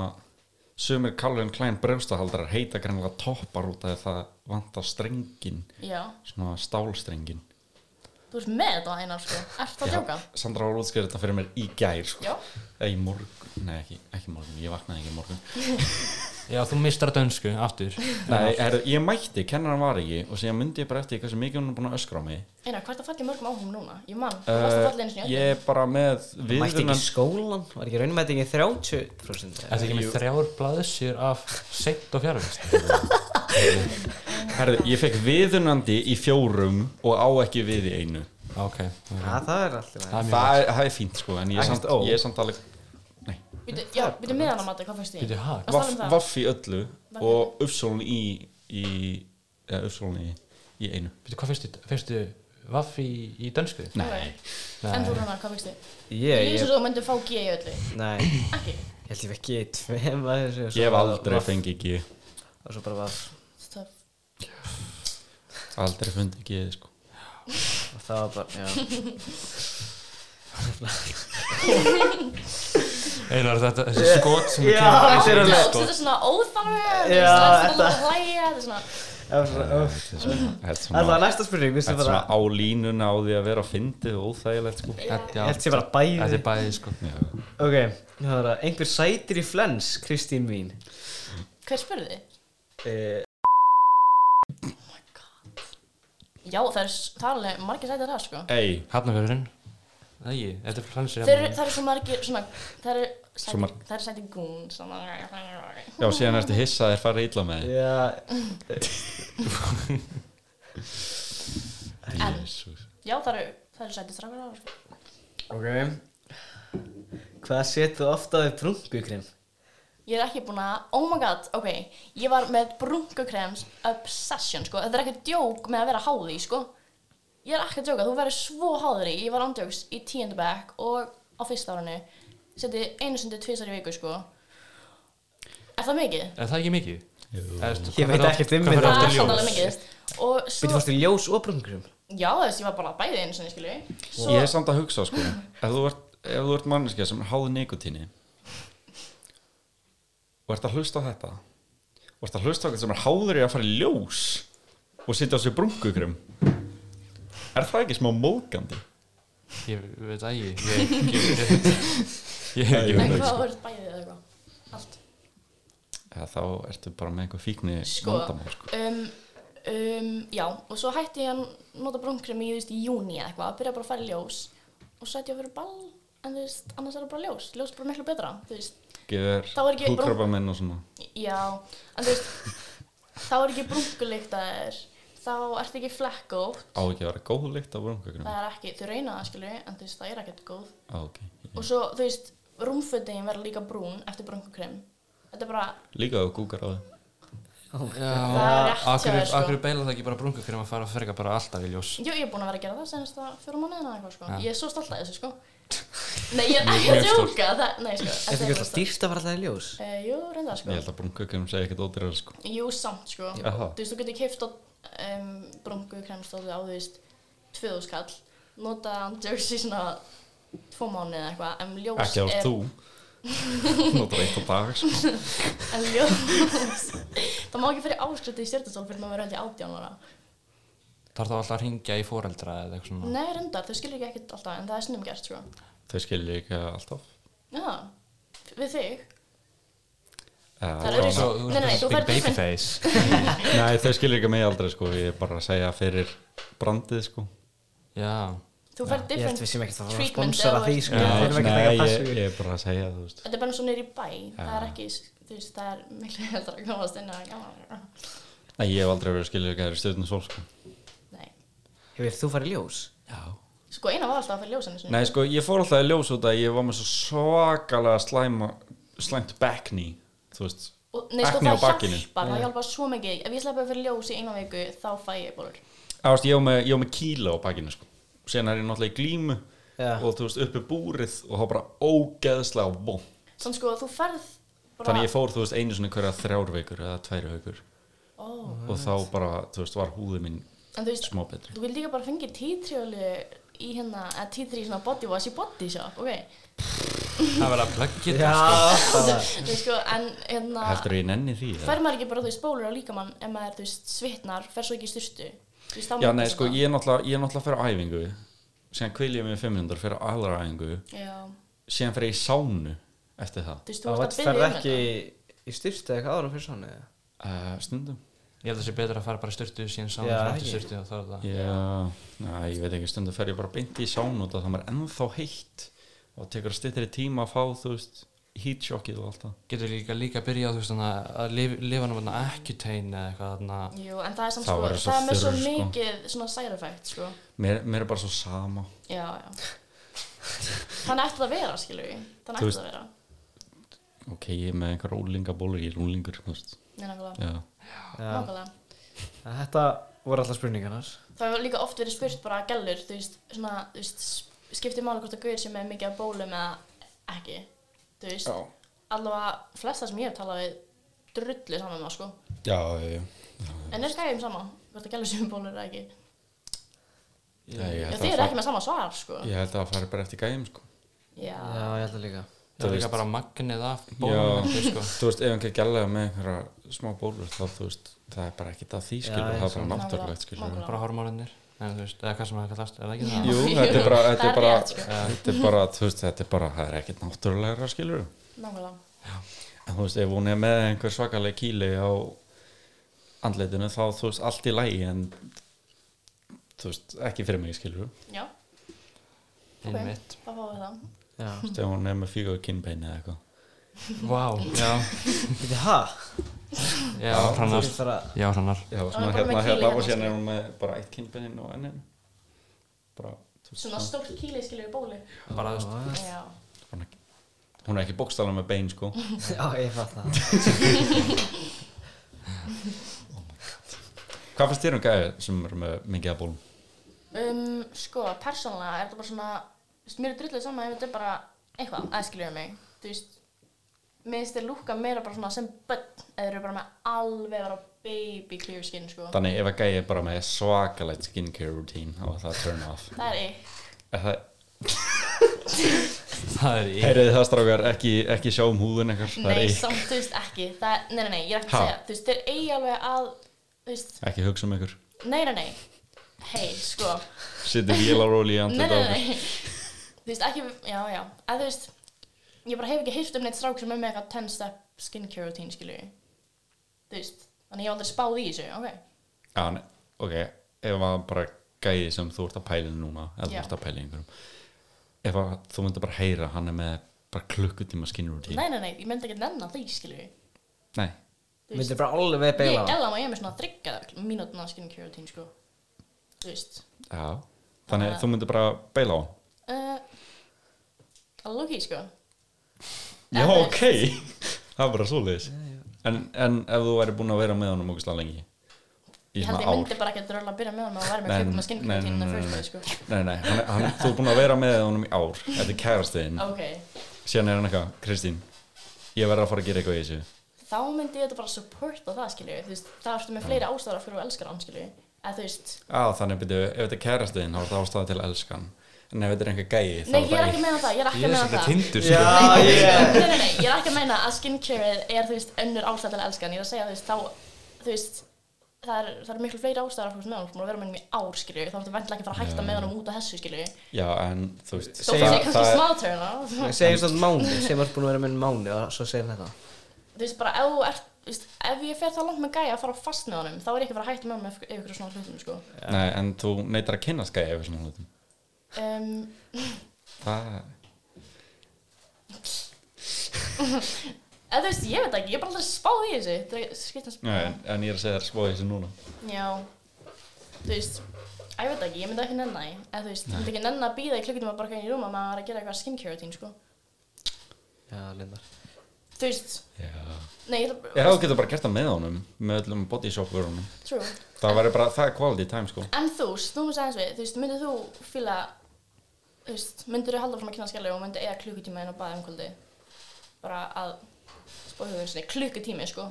[SPEAKER 3] sumir Calvin Klein brjóstahaldarar heita greinlega toppar út af því það vantar strengin,
[SPEAKER 2] Já.
[SPEAKER 3] svona stálstrengin
[SPEAKER 2] Þú ert með þetta, Einar, sko. Ert það að djóka?
[SPEAKER 3] Sandra var útskýrð þetta fyrir mér í gær sko
[SPEAKER 2] Já.
[SPEAKER 3] Eða í morgun, nei ekki, ekki morgun, ég vaknaði ekki í morgun
[SPEAKER 4] Já, þú mistar dönsku aftur
[SPEAKER 3] Nei, er, ég mætti, kennaran var ekki og síðan myndi ég bara eftir því hversu mikið hún er búin að öskra á mig
[SPEAKER 2] Einar, hvað er það fallið mörgum áhugum núna? Ég mann, það varst að fallið einu
[SPEAKER 3] uh,
[SPEAKER 2] sinni í
[SPEAKER 3] Ég er bara með
[SPEAKER 1] Mætti ekki
[SPEAKER 3] viðunan
[SPEAKER 1] í skólan? Var ekki raunmætingin 30%?
[SPEAKER 4] Þetta er ekki með þrjár blaðsjur af seint og fjárvist
[SPEAKER 3] Herði, ég fekk viðunandi í fjórum og á ekki við í einu
[SPEAKER 4] Ah, Ok,
[SPEAKER 1] Já, það er alltaf
[SPEAKER 4] það er mjög
[SPEAKER 3] Það er, það er fínt sko, en ég er
[SPEAKER 1] Ekkert
[SPEAKER 3] samt,
[SPEAKER 1] ó.
[SPEAKER 3] ég er samt alveg Nei,
[SPEAKER 2] öllu. Býtu, já, býtu meðan að mati, hvað fannst þið?
[SPEAKER 4] Býtu, ha?
[SPEAKER 2] Varstu að tala
[SPEAKER 3] vaff,
[SPEAKER 2] um það?
[SPEAKER 3] vaff í öllu og uppsólun í, í eða uppsólun í, í einu
[SPEAKER 4] Býtu, hvað fyrstu, fyrstu vaff í, í dönsku?
[SPEAKER 2] Nei. En þú, Rúnar, hvað fannst þið?
[SPEAKER 1] Ég,
[SPEAKER 2] Ég eins og
[SPEAKER 1] ég,
[SPEAKER 2] þú myndir fá G í öllu.
[SPEAKER 1] nei
[SPEAKER 2] Ekki.
[SPEAKER 1] Ég held ég ekki tveim að þessu og svo
[SPEAKER 3] Ég hef
[SPEAKER 1] bara
[SPEAKER 3] aldrei
[SPEAKER 1] vaff-
[SPEAKER 3] fengið ekki
[SPEAKER 1] Og svo bara var
[SPEAKER 2] Stöf.
[SPEAKER 3] Aldrei fundið ekki sko.
[SPEAKER 1] Og það var bara, já
[SPEAKER 4] Einar þetta, þessi skot sem
[SPEAKER 1] Já,
[SPEAKER 4] kemur
[SPEAKER 1] þetta er alveg-
[SPEAKER 4] Skot.
[SPEAKER 2] Þetta er svona óþarfi,
[SPEAKER 1] Já,
[SPEAKER 2] þetta er
[SPEAKER 1] þetta-
[SPEAKER 2] svona hlæja, þetta er svona,
[SPEAKER 1] Það var svona, öff.
[SPEAKER 3] Þetta er svona- þetta er
[SPEAKER 1] Það var
[SPEAKER 3] svona-
[SPEAKER 1] næsta spurning, mér
[SPEAKER 3] þetta
[SPEAKER 1] finnst
[SPEAKER 3] er svona
[SPEAKER 1] bara
[SPEAKER 3] á línuna á því að vera fyndið og óþægilegt sko.
[SPEAKER 4] Þetta
[SPEAKER 1] Ég
[SPEAKER 4] já,
[SPEAKER 1] held sé bara
[SPEAKER 4] þetta
[SPEAKER 1] bæði
[SPEAKER 4] er bæði sko
[SPEAKER 1] Ok, það var að einhver sætir í flens, Kristín mín
[SPEAKER 2] hver spurði þið?
[SPEAKER 1] Eh,
[SPEAKER 2] Já, það er talaðið margir sætið það, sko.
[SPEAKER 3] Ey,
[SPEAKER 4] Hafnafjörðurinn Það ég, þetta er fransir
[SPEAKER 2] Þeir, eru- það eru svo margir, svona, það eru
[SPEAKER 3] Svo
[SPEAKER 2] sætið,
[SPEAKER 3] marg-
[SPEAKER 2] það eru sætið gún, svona,
[SPEAKER 3] já síðan ertu hissa að þér farið illa með þig.
[SPEAKER 1] Já,
[SPEAKER 2] En-
[SPEAKER 3] Jesús.
[SPEAKER 2] já, það eru, það eru sætið strafgar á, sko.
[SPEAKER 1] ok Hvað setur þú ofta við brungukrem?
[SPEAKER 2] Ég er ekki búin að, oh my god, ok, ég var með brunkukrems obsession, sko, þetta er ekki djók með að vera háði, sko. Ég er ekki að djóka, þú verður svo háður í, ég var ándjóks í tíundabæk og á fyrsta árinu, seti einu sundi tvisar í viku, sko. Er það mikið?
[SPEAKER 4] Er það ekki mikið? Ertu-
[SPEAKER 1] Ég veit
[SPEAKER 4] hvað fer
[SPEAKER 1] ekkert
[SPEAKER 4] á-
[SPEAKER 1] um
[SPEAKER 4] hvað fer
[SPEAKER 1] þetta.
[SPEAKER 2] Það
[SPEAKER 4] aftur
[SPEAKER 2] er
[SPEAKER 4] í
[SPEAKER 2] sannlega
[SPEAKER 4] ljós?
[SPEAKER 2] mikið. Og
[SPEAKER 1] Býttu
[SPEAKER 2] svo,
[SPEAKER 1] fórstu í ljós og brungukrem?
[SPEAKER 2] já, þú veist, ég var bara bæðið einu sinni, skilju. Svo,
[SPEAKER 3] Ég hef samt að hugsa sko Ef þú ert, ef þú ert manneskja sem er háðu nikotíni og ert að hlusta á þetta og ert að hlusta á þetta sem er háður í að fara í ljós og sitja á sér brungugrum Er það ekki smá móðgandi?
[SPEAKER 4] Ég veit að ég Ég ég- ég- ég hef ekki sko.
[SPEAKER 2] en
[SPEAKER 4] verið
[SPEAKER 2] hvað voru bæðið eða eitthvað? Allt.
[SPEAKER 3] Eða þá ertu bara með einhver fíkni
[SPEAKER 2] Sko.
[SPEAKER 3] vandamál sko
[SPEAKER 2] Um, um, já, og svo hætti ég að nota brúnkrem í, þú veist, í júni eða eitthvað, byrja bara að fara í ljós og svo hætti ég að vera ball, en þú veist, annars er það bara ljós, ljós er bara miklu betra, þú veist,
[SPEAKER 3] Gefur
[SPEAKER 2] Þá er ekki-
[SPEAKER 3] húkrafa menn og svona
[SPEAKER 2] já, en þú veist, þá er ekki brúnkulikt að þér, þá ertu ekki flekkótt,
[SPEAKER 3] á ekki að vera góð lykt á brungugrum
[SPEAKER 2] það er ekki, þau reyna það, skilju, en þú veist, það er ekkert góð.
[SPEAKER 3] okay.
[SPEAKER 2] Og svo, þú veist, rúmfötin verður líka brún eftir brúnkukrem. Þetta er bara,
[SPEAKER 3] Líka ef þú gúkar á það
[SPEAKER 4] Já
[SPEAKER 2] það er rétt hjá
[SPEAKER 4] Akkur,
[SPEAKER 2] þér,
[SPEAKER 4] akkur
[SPEAKER 2] sko.
[SPEAKER 4] beila það ekki bara brunga hverjum að fara að ferga bara alltaf í ljós
[SPEAKER 2] Jú, ég er búin að vera að gera það senast að fjóra mánuðina eða eitthvað, sko.
[SPEAKER 4] Ja.
[SPEAKER 2] Ég er svo stolt að þessu, sko. Nei, ég er ekki að
[SPEAKER 4] Mjög stolt.
[SPEAKER 2] djóka, það, nei, sko.
[SPEAKER 1] Er þetta
[SPEAKER 2] þetta
[SPEAKER 1] ekki alltaf dýrt að fara alltaf í ljós?
[SPEAKER 2] Uh, jú, reyndar,
[SPEAKER 3] Ég
[SPEAKER 2] sko.
[SPEAKER 3] held að brungugrum segja ekkert ódýrar sko
[SPEAKER 2] Jú, samt, sko.
[SPEAKER 3] Aha.
[SPEAKER 2] Þú veist, þú getur keift á um, brungu kremstóti á, þú veist, 2000 kall, nota djóks í svona tvo mánuði eða eitthvað, en ljós
[SPEAKER 3] Ekki ef þú Nóttur eitt á dag sko
[SPEAKER 2] En ljós Það má ekki fyrir áskrifti í stjórnastól fyrir maður verið held ég átján ára
[SPEAKER 4] Þarf þá alltaf að ringja í foreldra eða eitthvað svona
[SPEAKER 2] Nei, reyndar, þau skilur ekki ekkert alltaf en það er snum gert, sko
[SPEAKER 3] Þau skilja ekki alltaf
[SPEAKER 2] Já, við þig Það
[SPEAKER 3] uh,
[SPEAKER 2] er
[SPEAKER 4] Svo-
[SPEAKER 2] öðruvísi.
[SPEAKER 4] svo-
[SPEAKER 2] Nei,
[SPEAKER 4] þú
[SPEAKER 2] nei,
[SPEAKER 4] ert
[SPEAKER 2] þú
[SPEAKER 4] svo big
[SPEAKER 2] færð different-
[SPEAKER 4] babyface
[SPEAKER 3] Nei, þau skilja ekki mig aldrei sko Ég er bara að segja fyrir brandið sko
[SPEAKER 4] Já
[SPEAKER 2] Þú færð
[SPEAKER 1] Ég held við
[SPEAKER 2] different
[SPEAKER 1] sem ekkert að fara að
[SPEAKER 2] treatment
[SPEAKER 1] sponsora
[SPEAKER 2] eða-
[SPEAKER 1] því sko
[SPEAKER 2] Já,
[SPEAKER 1] Við erum ekki að taka
[SPEAKER 3] Nei,
[SPEAKER 1] passu
[SPEAKER 3] ég, ég er bara að segja þú veist
[SPEAKER 2] Þetta er bara eins og niður í bæ Það
[SPEAKER 3] Já.
[SPEAKER 2] er ekki, þú veist, það er miklu heldur að komast inn að gamla
[SPEAKER 3] Nei, ég hef aldrei verið skilja ekki að það er stjórnum sól sko
[SPEAKER 2] Nei,
[SPEAKER 1] Hefur þú farið í ljós?
[SPEAKER 3] Já
[SPEAKER 2] sko eina var alltaf að fyrir ljósan
[SPEAKER 3] Nei, sko, ég fór alltaf í ljós út að ég var með svo svakalega slæma Slæmt back knee Þú veist
[SPEAKER 2] og, Nei, sko
[SPEAKER 3] Akne á
[SPEAKER 2] það
[SPEAKER 3] bakinu.
[SPEAKER 2] hjálpar, það hjálpar svo mikið Ef ég sleppa fyrir ljós í eina viku, þá fæ ég bólur
[SPEAKER 3] Á, veist, ég var með, ég var með kíla á bakinu sko Sen er ég náttúrulega í glímu
[SPEAKER 1] Já.
[SPEAKER 3] Og þú veist, uppi búrið Og þá bara ógeðslega vond
[SPEAKER 2] Sann sko, þú færð bara
[SPEAKER 3] Þannig ég fór, þú veist, einu svona hverja þrjár veikur Eða tværi veikur
[SPEAKER 2] Ó,
[SPEAKER 3] og þá bara, þú veist, var húðu mín
[SPEAKER 2] En þú veist,
[SPEAKER 3] smá betri
[SPEAKER 2] Þú vil líka bara fengi títrjóli í hérna, eða títri í svona body wash í body shop, ok?
[SPEAKER 4] Það verður að plugga
[SPEAKER 1] Já,
[SPEAKER 4] þetta sko
[SPEAKER 1] það var-
[SPEAKER 2] Þú veist sko, en hérna,
[SPEAKER 3] Heldur ég nenni því? eða?
[SPEAKER 2] fer maður ekki bara þú veist bólur á líkamann ef maður þú veist svitnar, fer svo ekki í styrstu? Þú veist, þá
[SPEAKER 3] Já,
[SPEAKER 2] maður
[SPEAKER 3] nei,
[SPEAKER 2] passa
[SPEAKER 3] sko,
[SPEAKER 2] það.
[SPEAKER 3] ég er náttúrulega, ég er náttúrulega fyrir á æfingu síðan kvíl ég mig 500 fyrir aðra æfingu
[SPEAKER 2] Já,
[SPEAKER 3] síðan fyrir ég í sánu eftir það
[SPEAKER 2] þú veist, þú
[SPEAKER 1] Það var
[SPEAKER 2] ert að
[SPEAKER 1] ferð
[SPEAKER 2] byrja um
[SPEAKER 1] ekki
[SPEAKER 2] þetta.
[SPEAKER 1] í styrst eða eitthvað ára fyrir svona eða?
[SPEAKER 3] uh, Stundum?
[SPEAKER 4] Ég held að það sé betur að fara bara í styrtu síðan saman
[SPEAKER 1] Já,
[SPEAKER 4] sem eftir
[SPEAKER 1] ekki.
[SPEAKER 4] styrtu og þá er það
[SPEAKER 3] Já, næ, ég veit ekki, stundum fer ég bara beint í sánu og það er ennþá heitt og tekur stittri tíma að fá, þú veist heat shockið og allt það
[SPEAKER 4] Getur líka líka að byrja á þú veist þannig að lif- lifa nú ekki tein eða eitthvað þarna
[SPEAKER 2] Jú, en það er samt
[SPEAKER 3] Það
[SPEAKER 2] sko,
[SPEAKER 3] verður svo
[SPEAKER 2] það er með svo
[SPEAKER 3] þurr, sko.
[SPEAKER 2] mikið svona side effect, sko.
[SPEAKER 3] mér, mér er bara svo sama
[SPEAKER 2] Já, já. Þannig ætti það að vera, skilur við. Þannig ætti
[SPEAKER 3] Þú veist-
[SPEAKER 2] það að vera.
[SPEAKER 3] Ok, ég er með einhver rólingabólur, ég er rúlingur, þú veist
[SPEAKER 2] Nei, nákvæmlega.
[SPEAKER 3] Já,
[SPEAKER 1] Já,
[SPEAKER 2] Nákvæmlega.
[SPEAKER 1] Þetta voru alltaf spurningarnar
[SPEAKER 2] Það hefur líka oft verið spurt bara gælur, þú veist, svona, þú veist, skiptir máli hvort að gauðir sem er mikið að bólum eða ekki, þú veist. allavega flesta sem ég hef talað við drullu saman með, sko.
[SPEAKER 3] já, já,
[SPEAKER 2] En er skæðum sama, hvort það gæla sumbólur um eða ekki.
[SPEAKER 3] já, já,
[SPEAKER 2] Já,
[SPEAKER 3] ég
[SPEAKER 2] þið
[SPEAKER 3] held að
[SPEAKER 2] eru
[SPEAKER 3] fara-
[SPEAKER 2] ekki með sama svar, sko.
[SPEAKER 3] ég held að það fari bara eftir gæjum sko.
[SPEAKER 2] Já.
[SPEAKER 1] Já, ég held að líka
[SPEAKER 4] það
[SPEAKER 3] Þú
[SPEAKER 4] er líka
[SPEAKER 3] veist.
[SPEAKER 4] bara magnið af
[SPEAKER 3] Já.
[SPEAKER 4] bólum sko.
[SPEAKER 3] þú veist, ef einhver gælega með einhverja smá bólur þá þú veist, það er bara ekki það því
[SPEAKER 1] Já, já,
[SPEAKER 3] skilur, það er bara
[SPEAKER 1] svona.
[SPEAKER 3] náttúrulegt skilur
[SPEAKER 2] Nákvæmlega.
[SPEAKER 4] bara hormónarnir Nei, þú veist, eða hvað sem það kallast, er það ekki það?
[SPEAKER 3] Jú, þetta er bara,
[SPEAKER 2] Það
[SPEAKER 3] þetta er
[SPEAKER 2] er
[SPEAKER 3] bara,
[SPEAKER 2] rétt, sko.
[SPEAKER 3] þetta er bara, þú veist, þetta er bara, það er ekkert náttúrulega skilur
[SPEAKER 2] Nákvæmlega.
[SPEAKER 3] En þú veist, ef hún er með einhver svakaleg kýli á andleitinu þá þú veist, allt í lægi en þú veist, ekki fyrir mig skilur
[SPEAKER 2] Já,
[SPEAKER 4] Einmitt.
[SPEAKER 2] það fáum við það.
[SPEAKER 1] Já
[SPEAKER 3] þú veist, ef hún er með fígur kinnbeini eða eitthvað
[SPEAKER 4] Vá, já,
[SPEAKER 1] Býtti, hæ?
[SPEAKER 4] já, hrannar
[SPEAKER 1] Það er að
[SPEAKER 4] Já, hrannar
[SPEAKER 3] Já,
[SPEAKER 2] Hún
[SPEAKER 3] svona
[SPEAKER 2] er bara
[SPEAKER 3] hérna,
[SPEAKER 2] með kýli
[SPEAKER 3] hérna
[SPEAKER 2] hérna,
[SPEAKER 3] og síðan
[SPEAKER 2] skilur.
[SPEAKER 3] er hún með bara eitt kinnbeinin og ennin bara, þú veist,
[SPEAKER 2] Svona stórt kýli skilur í bóli.
[SPEAKER 4] Bara, þú veist,
[SPEAKER 2] Já.
[SPEAKER 3] svona, hún er ekki bókstala með bein sko
[SPEAKER 1] Já, ég fatt það
[SPEAKER 3] Hvað fannst þér um gæði sem eru með mikið að bólum?
[SPEAKER 2] Um, sko, persónulega er þetta bara svona, þú veist, mér er drullið saman ef þetta er bara eitthvað, aðskiljum mig, þú veist, mér finnst þér lúka meira bara svona sem börn, eða þeir eru bara með alveg bara baby clear skin, sko.
[SPEAKER 3] Þannig ef að gæði bara með svakalegt skincare routine þá er það turn off
[SPEAKER 2] það er ykk.
[SPEAKER 3] Er það
[SPEAKER 4] það er í
[SPEAKER 3] Heyrið það strákar, ekki, ekki sjá um húðun eitthvað Það er
[SPEAKER 2] Nei,
[SPEAKER 3] ekki,
[SPEAKER 2] samt, þú veist, ekki. Það er, nei, nei, nei, ég er ekki
[SPEAKER 3] Ha?
[SPEAKER 2] að segja, þú veist, þeir eigi alveg að, þú veist,
[SPEAKER 3] ekki hugsa um ykkur
[SPEAKER 2] nei, nei, nei, hei, sko,
[SPEAKER 3] Sittu vélaról í
[SPEAKER 2] nei,
[SPEAKER 3] andlita
[SPEAKER 2] nei, nei, þú veist, ekki, já, já, að þú veist, ég bara hef ekki heyrt um neitt strák sem er með eitthvað 10 step skincare routine, skilur ég, þú veist, þannig ég hef aldrei spáð í þessu, ok.
[SPEAKER 3] Já, nei, ok, ef að bara gæði sem þú ert að pæla í núna eða þú
[SPEAKER 2] Já.
[SPEAKER 3] ert að pæla í einhverjum ef að þú myndir bara heyra að hann er með bara klukkutíma skin routine
[SPEAKER 2] Nei, nei, nei, ég myndi ekki nennan því, skilur ég.
[SPEAKER 3] Nei,
[SPEAKER 2] Þú veist,
[SPEAKER 1] Myndi bara alveg beila
[SPEAKER 2] ég
[SPEAKER 1] á.
[SPEAKER 2] eða maður ég er með svona þryggja mínútna skincare routine, sko. Þú veist,
[SPEAKER 3] já Þannig að þú myndir bara beila á hann
[SPEAKER 2] uh, að lúki, sko.
[SPEAKER 3] Já,
[SPEAKER 2] En þú
[SPEAKER 3] ok, það er bara svoleiðis en, en ef þú væri búin að vera með honum ógislega lengi í
[SPEAKER 2] Ég held
[SPEAKER 3] svona
[SPEAKER 2] ég
[SPEAKER 3] ár
[SPEAKER 2] myndi bara ekki að drölla að byrja með hann og væri með
[SPEAKER 3] Nei,
[SPEAKER 2] klukkum að
[SPEAKER 3] nei,
[SPEAKER 2] skincare routine
[SPEAKER 3] nei,
[SPEAKER 2] in the first
[SPEAKER 3] nei,
[SPEAKER 2] place, sko.
[SPEAKER 3] Nei, nei, hann, hann, þú er búin að vera með honum í ár Þetta er kærastiðin
[SPEAKER 2] Ok,
[SPEAKER 3] síðan er hann eitthvað, Kristín ég verður að fara að gera eitthvað í þessu
[SPEAKER 2] þá myndi ég þetta bara supporta það, skilur Þú veist, það ertu með fleiri ástæður af hverju þú elskar hann, skilur Eða þú veist,
[SPEAKER 3] að þannig byrju, ef þetta er kærastiðin þá er þetta ástæða til að elska hann en ef þetta er einhver gæi þá
[SPEAKER 2] nei,
[SPEAKER 3] er
[SPEAKER 2] ég er
[SPEAKER 3] það
[SPEAKER 2] ekki að meina það, ég er ekki að
[SPEAKER 4] Ég er
[SPEAKER 2] meina
[SPEAKER 4] svolítið
[SPEAKER 2] það.
[SPEAKER 4] tindur
[SPEAKER 1] Já,
[SPEAKER 4] sko.
[SPEAKER 1] ég
[SPEAKER 2] nei, nei, nei, ég er ekki að meina að skincare er, þú veist, önnur ástæð til að elska hann, ég er að segja, þú veist, þá, þú veist, það er, það er miklu fleiri ástæðar af hverju með honum, þú múið að vera með honum í ár, skilju, þá ertu vantilega ekki að fara að hætta með honum út af þessu, skilju,
[SPEAKER 3] já, en þú veist
[SPEAKER 2] þó
[SPEAKER 1] Segir-
[SPEAKER 2] það sé
[SPEAKER 3] það
[SPEAKER 2] kannski
[SPEAKER 3] er-
[SPEAKER 2] smá turn off,
[SPEAKER 1] Segir svona mánu, sem er búin að vera með mánu og svo segir þetta
[SPEAKER 2] þú veist, bara ef þú ert, þú veist, ef ég fer það langt með gæja að fara fast með honum, þá er ég ekki að fara að hætta með honum ef ef ykkur svona hlutum, sko,
[SPEAKER 3] nei, en þú neytar að kynast gæi ef svona hlutum
[SPEAKER 2] um,
[SPEAKER 3] það,
[SPEAKER 2] eða þú veist, ég veit ekki, ég er bara alltaf spáð í þessu, þetta er skiptast,
[SPEAKER 3] já, en, en ég er að segja þér spóið þessu núna
[SPEAKER 2] já, þú veist, að ég veit ekki, ég myndi ekki nenni, því. eða þú veist, ég myndi ekki nenni að býða í klukkutíma bara eitthvað í rúma með að gera eitthvað skincare routine, sko.
[SPEAKER 1] Já, lindar
[SPEAKER 2] þú veist,
[SPEAKER 3] já,
[SPEAKER 2] nei, ég ætla
[SPEAKER 3] já þú getur bara gert það með honum með öllum bodyshop vörunum
[SPEAKER 2] true.
[SPEAKER 3] það væri bara, það er quality time sko
[SPEAKER 2] En þú, snúmast aðeins við, þú veist, myndir þú fíla, þú veist, myndir þú halda frá að kynna skellur og myndir eiga klukkutíma inn á baði um kvöldi? Bara að, spóðu þú veist, klukkutími, sko.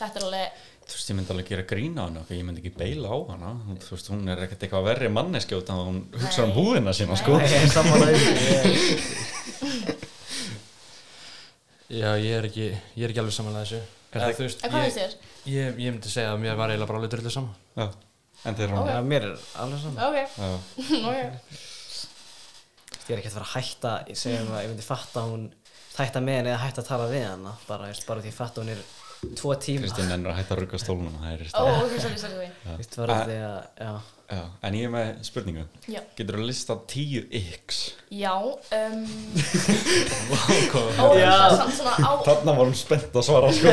[SPEAKER 2] Þetta er alveg,
[SPEAKER 3] þú veist, ég myndi alveg gera grína hann ég myndi ekki beila á hana Hún- þú veist, hún er ekkert eitthvað verri manneskjóta hún hugsa um
[SPEAKER 2] Nei.
[SPEAKER 3] húðina sína
[SPEAKER 2] Nei.
[SPEAKER 3] sko
[SPEAKER 1] Ég er sammála því ég-
[SPEAKER 4] Já, ég er ekki, ég er ekki alveg samanlega þessu
[SPEAKER 3] Er
[SPEAKER 4] Eða,
[SPEAKER 3] það-
[SPEAKER 4] þú veist,
[SPEAKER 2] en hvað
[SPEAKER 4] ég,
[SPEAKER 2] finnst þér?
[SPEAKER 4] ég, ég myndi segja að mér var eiginlega bara alveg drullu saman
[SPEAKER 3] Já. en þeir eru
[SPEAKER 1] Já, mér er alveg saman
[SPEAKER 2] Ok,
[SPEAKER 3] Já.
[SPEAKER 2] ok,
[SPEAKER 1] Ég er ekkert að fara að hætta, ég segjum að ég myndi fatta að hún hætta með henni eða hætta að tala við hana bara, veist, bara því ég fatta að hún er tvo tíma
[SPEAKER 3] Kristín ennur að hætta að rugga stólunum það
[SPEAKER 2] ó,
[SPEAKER 3] er rétt.
[SPEAKER 2] ok, sorry, sorry, sorry.
[SPEAKER 1] Vist var því að, já
[SPEAKER 3] Já, en ég er með spurningu
[SPEAKER 2] Já,
[SPEAKER 3] getur þú að lista tíu yks
[SPEAKER 2] já, um,
[SPEAKER 4] Vákóð
[SPEAKER 2] ó,
[SPEAKER 1] Já.
[SPEAKER 2] það er samt svona á,
[SPEAKER 3] þarna var hún spennt að svara sko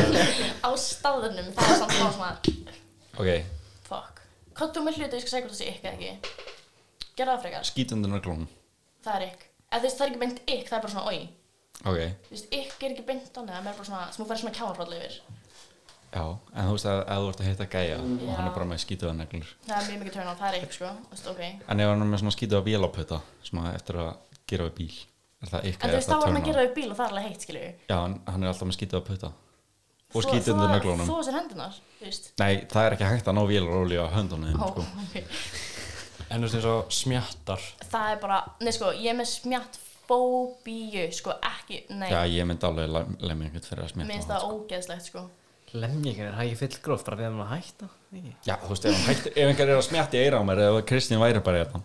[SPEAKER 2] á staðunum, það er samt svona svona,
[SPEAKER 3] ok,
[SPEAKER 2] fuck. Kottu með hluti, ég skal segja hvort það sé ykkur eða ekki. Gerða það frekar,
[SPEAKER 3] skítundunar glón
[SPEAKER 2] það er ykk. Eða þú veist, það er ekki beint ykk, það er bara svona oi.
[SPEAKER 3] ok,
[SPEAKER 2] Þú veist, ykk er ekki beint þannig að maður er bara svona, sem hún færi svona kjáðanfráll yfir.
[SPEAKER 3] já en þú veist að ef þú ert að hitta gæja og
[SPEAKER 2] Já.
[SPEAKER 3] hann er bara með skítuða neglur
[SPEAKER 2] Það er mjög mikið turn on, það er ykk, sko, þú veist, ok.
[SPEAKER 3] en ef hann er með svona skítuða vélapöta sem að eftir að gera við bíl er Er það ykkar
[SPEAKER 2] En þú
[SPEAKER 3] eða
[SPEAKER 2] veist,
[SPEAKER 3] er
[SPEAKER 2] þá
[SPEAKER 3] það
[SPEAKER 2] var hann að
[SPEAKER 3] turn
[SPEAKER 2] gera
[SPEAKER 3] on?
[SPEAKER 2] það í bíl og það er alveg heitt, skilur við.
[SPEAKER 3] Já, en hann er alltaf með skítið að putta Og skítið undir nöglunum
[SPEAKER 2] Þú þessar hendunar, þú veist.
[SPEAKER 3] Nei, það er ekki hægt að ná vélarólíu á höndunum
[SPEAKER 2] Ó,
[SPEAKER 3] oh. sko.
[SPEAKER 2] ok.
[SPEAKER 4] En þú veist eins og smjattar
[SPEAKER 2] Það er bara, nei sko, ég er með smjatt fóbíu, sko, ekki, nei,
[SPEAKER 3] Já, ég myndi alveg lem- lemja einhvern fyrir að
[SPEAKER 2] mér
[SPEAKER 3] smita
[SPEAKER 2] finnst það ógeðslegt, sko.
[SPEAKER 1] Lemjingar er hægi fullgróf bara við hann að hætta ekki?
[SPEAKER 3] Já, þú veist, ef, hann hægt, ef einhver er að smjatti eira á mér eða Kristín væri bara þetta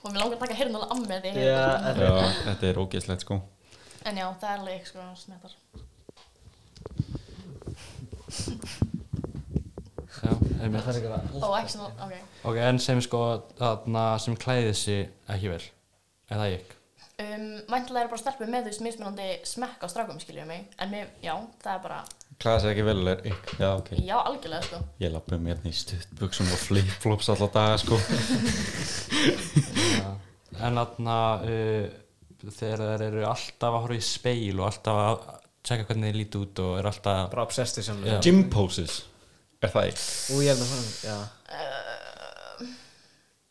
[SPEAKER 2] Og mér langar að taka hérna alveg að mér því
[SPEAKER 1] Já, eh,
[SPEAKER 2] ég hefði.
[SPEAKER 3] Já, þetta er ógeðslegt sko
[SPEAKER 2] En já, það er alveg, sko, smjattar.
[SPEAKER 4] Já, einmitt
[SPEAKER 1] Það er eitthvað
[SPEAKER 2] Ó, ekki svona, ok.
[SPEAKER 4] Ok, en sem sko þarna sem klæðið sig ekki vel Eða ég
[SPEAKER 2] Um, Væntilega er bara stelpur með þú veist mismunandi smekk á strákum, skiljum mig. En mér, já, það er bara,
[SPEAKER 3] Klæða sig ekki vel er ykk Já, ok
[SPEAKER 2] já, algjörlega, sko.
[SPEAKER 3] Ég lappi um hérna í stuttbuxum og flip-flops alla daga sko
[SPEAKER 4] Já. En þarna uh, þegar þær eru alltaf að horfa í speil og alltaf að tjekka hvernig þið líti út og eru alltaf
[SPEAKER 1] bara obsesstu sem
[SPEAKER 4] Já.
[SPEAKER 3] Gym poses Er það ykk?
[SPEAKER 1] Ú, ég held að hann, já
[SPEAKER 2] Eh,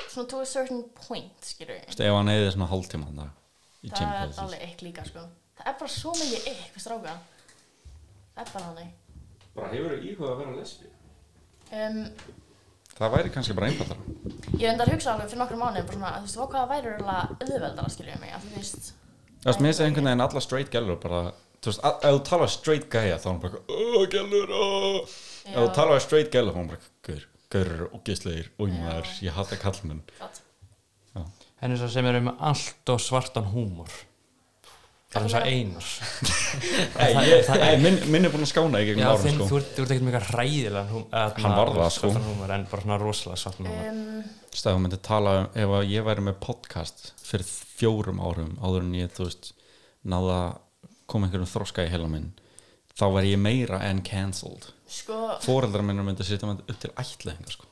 [SPEAKER 2] Svona to a certain point, skiljum við.
[SPEAKER 3] Þú veist, ef hann eða svona hálftíma hann dag Í gym
[SPEAKER 2] Það er
[SPEAKER 3] poses
[SPEAKER 2] alveg eitt líka, sko. Það er bara svo mikið eitt við stráka. Það er bara þannig.
[SPEAKER 3] Bara hefur þú íhuga að vera lesbi
[SPEAKER 2] Um,
[SPEAKER 3] Það væri kannski bara einfaldara
[SPEAKER 2] Ég reyndar að hugsa alveg fyrir nokkrum mánuðum bara svona, þú veist, vá, hvað það væri röglega auðveldara, skiljum mig, að þú veist,
[SPEAKER 3] Þú veist, mér finnst einhvern veginn alla straight gælur bara Þú veist, að- ef þú talar straight gæja þá er hann bara Ó, gælur, ó Ef þú
[SPEAKER 2] Já.
[SPEAKER 3] talar straight gælur þá er hann bara Gaur, gaur, ógeðslegir, ójumæður, ég hata kallmenn
[SPEAKER 2] satt.
[SPEAKER 4] En eins og sem eru með allt og svartan húmor Það er eins og einar
[SPEAKER 3] Ei, ég- ei, Minn minn er búin að skána í
[SPEAKER 4] Já,
[SPEAKER 3] gegnum árum
[SPEAKER 4] þinn,
[SPEAKER 3] sko
[SPEAKER 4] þú ert, þú ert ekkert mjög hræðilegan húmor
[SPEAKER 3] Hann var það, sko.
[SPEAKER 4] Svartan húmor, en bara svona rosalega svartan húmor
[SPEAKER 2] Um,
[SPEAKER 3] Stæðu myndi tala um ef að ég væri með podcast fyrir fjórum árum áður en ég, þú veist, náða kom einhverjum þroska í heila minn þá væri ég meira en cancelled
[SPEAKER 2] sko,
[SPEAKER 3] Fóreldrar minnur myndi sitja með upp til ætlaðingar sko.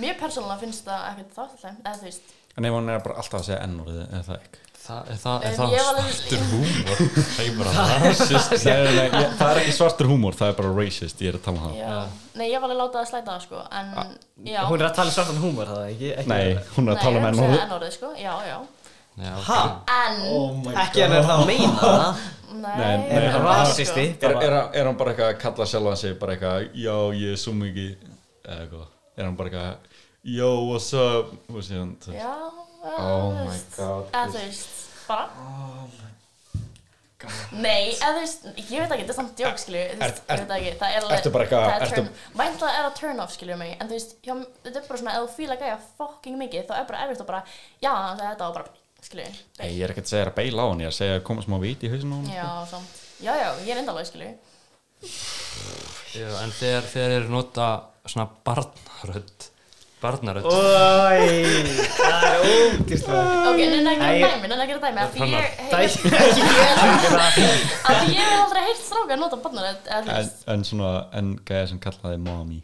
[SPEAKER 2] mér persónulega finnst það ekkert það alltaf, eða þú veist,
[SPEAKER 3] En ef hann er bara alltaf að segja ennúrið eða það ekki
[SPEAKER 4] Það er það,
[SPEAKER 2] Um,
[SPEAKER 4] er það
[SPEAKER 2] ég var alveg-
[SPEAKER 4] svartur húmor Það er bara rasist
[SPEAKER 3] nei, nei, nei, ég, Það er ekki svartur húmór, það er bara racist Ég er að tala um það
[SPEAKER 2] já, nei, ég var alveg látað að slæta það, sko, en, já,
[SPEAKER 1] Hún er að tala um svartan húmor það, ekki? ekki
[SPEAKER 3] Nei, hún Ah,
[SPEAKER 2] nei,
[SPEAKER 3] er að
[SPEAKER 2] ég er að segja
[SPEAKER 3] tala um ennúrið
[SPEAKER 2] enn orðið, sko, já, já,
[SPEAKER 4] Já,
[SPEAKER 1] Ha?
[SPEAKER 2] en,
[SPEAKER 1] Ekki hann er það að meina það
[SPEAKER 2] nei,
[SPEAKER 3] Nei, Oh nei,
[SPEAKER 1] Er
[SPEAKER 2] en-
[SPEAKER 1] hann rasisti?
[SPEAKER 2] sko,
[SPEAKER 3] er, er, hann- er hann bara eitthvað að kalla sjálfan sig bara eitthvað, já ég er svo mikið eða eitthvað, er hann bara eitthvað yo what's up og síðan, þú veist,
[SPEAKER 2] Já, eða
[SPEAKER 3] Oh
[SPEAKER 2] þú
[SPEAKER 3] my
[SPEAKER 2] veist,
[SPEAKER 3] God, Oh
[SPEAKER 2] eða þú veist, bara, nei, eða þú veist, ég veit ekki, þetta er samt djók, skilju, þú veist,
[SPEAKER 3] Er-
[SPEAKER 2] ég veit ekki, það er alveg,
[SPEAKER 3] ertu bara eitthvað-
[SPEAKER 2] það er
[SPEAKER 3] ertu-
[SPEAKER 2] turn, væntalega er að turn off, skilju mig, en þú veist, hjá, þetta er bara svona, ef þú fíla gæja fucking mikið, þá er bara erfitt að bara, já, það er þetta og bara, skilju,
[SPEAKER 3] Nei, ég er ekkert að segja þér að beila á hann, ég er að segja að koma smá viti í hausinu á hann.
[SPEAKER 2] já, samt, já, já, ég er endalagi, skilju,
[SPEAKER 4] Já, en þegar þeir eru nota svona barnarödd Barnarödd
[SPEAKER 1] Ói, það er ómtýrslega
[SPEAKER 2] ok, neina að
[SPEAKER 1] Nei,
[SPEAKER 2] gera
[SPEAKER 1] ég-
[SPEAKER 2] dæmi, neina að gera dæmi, af því
[SPEAKER 4] Kannar.
[SPEAKER 2] ég,
[SPEAKER 1] Það er
[SPEAKER 2] heyri-
[SPEAKER 1] ekki ekki
[SPEAKER 2] af því ég hef aldrei heyrt stráka að nota barnarödd, eða þú
[SPEAKER 3] En,
[SPEAKER 2] veist,
[SPEAKER 3] en svona, en gæði sem kallaði mommy.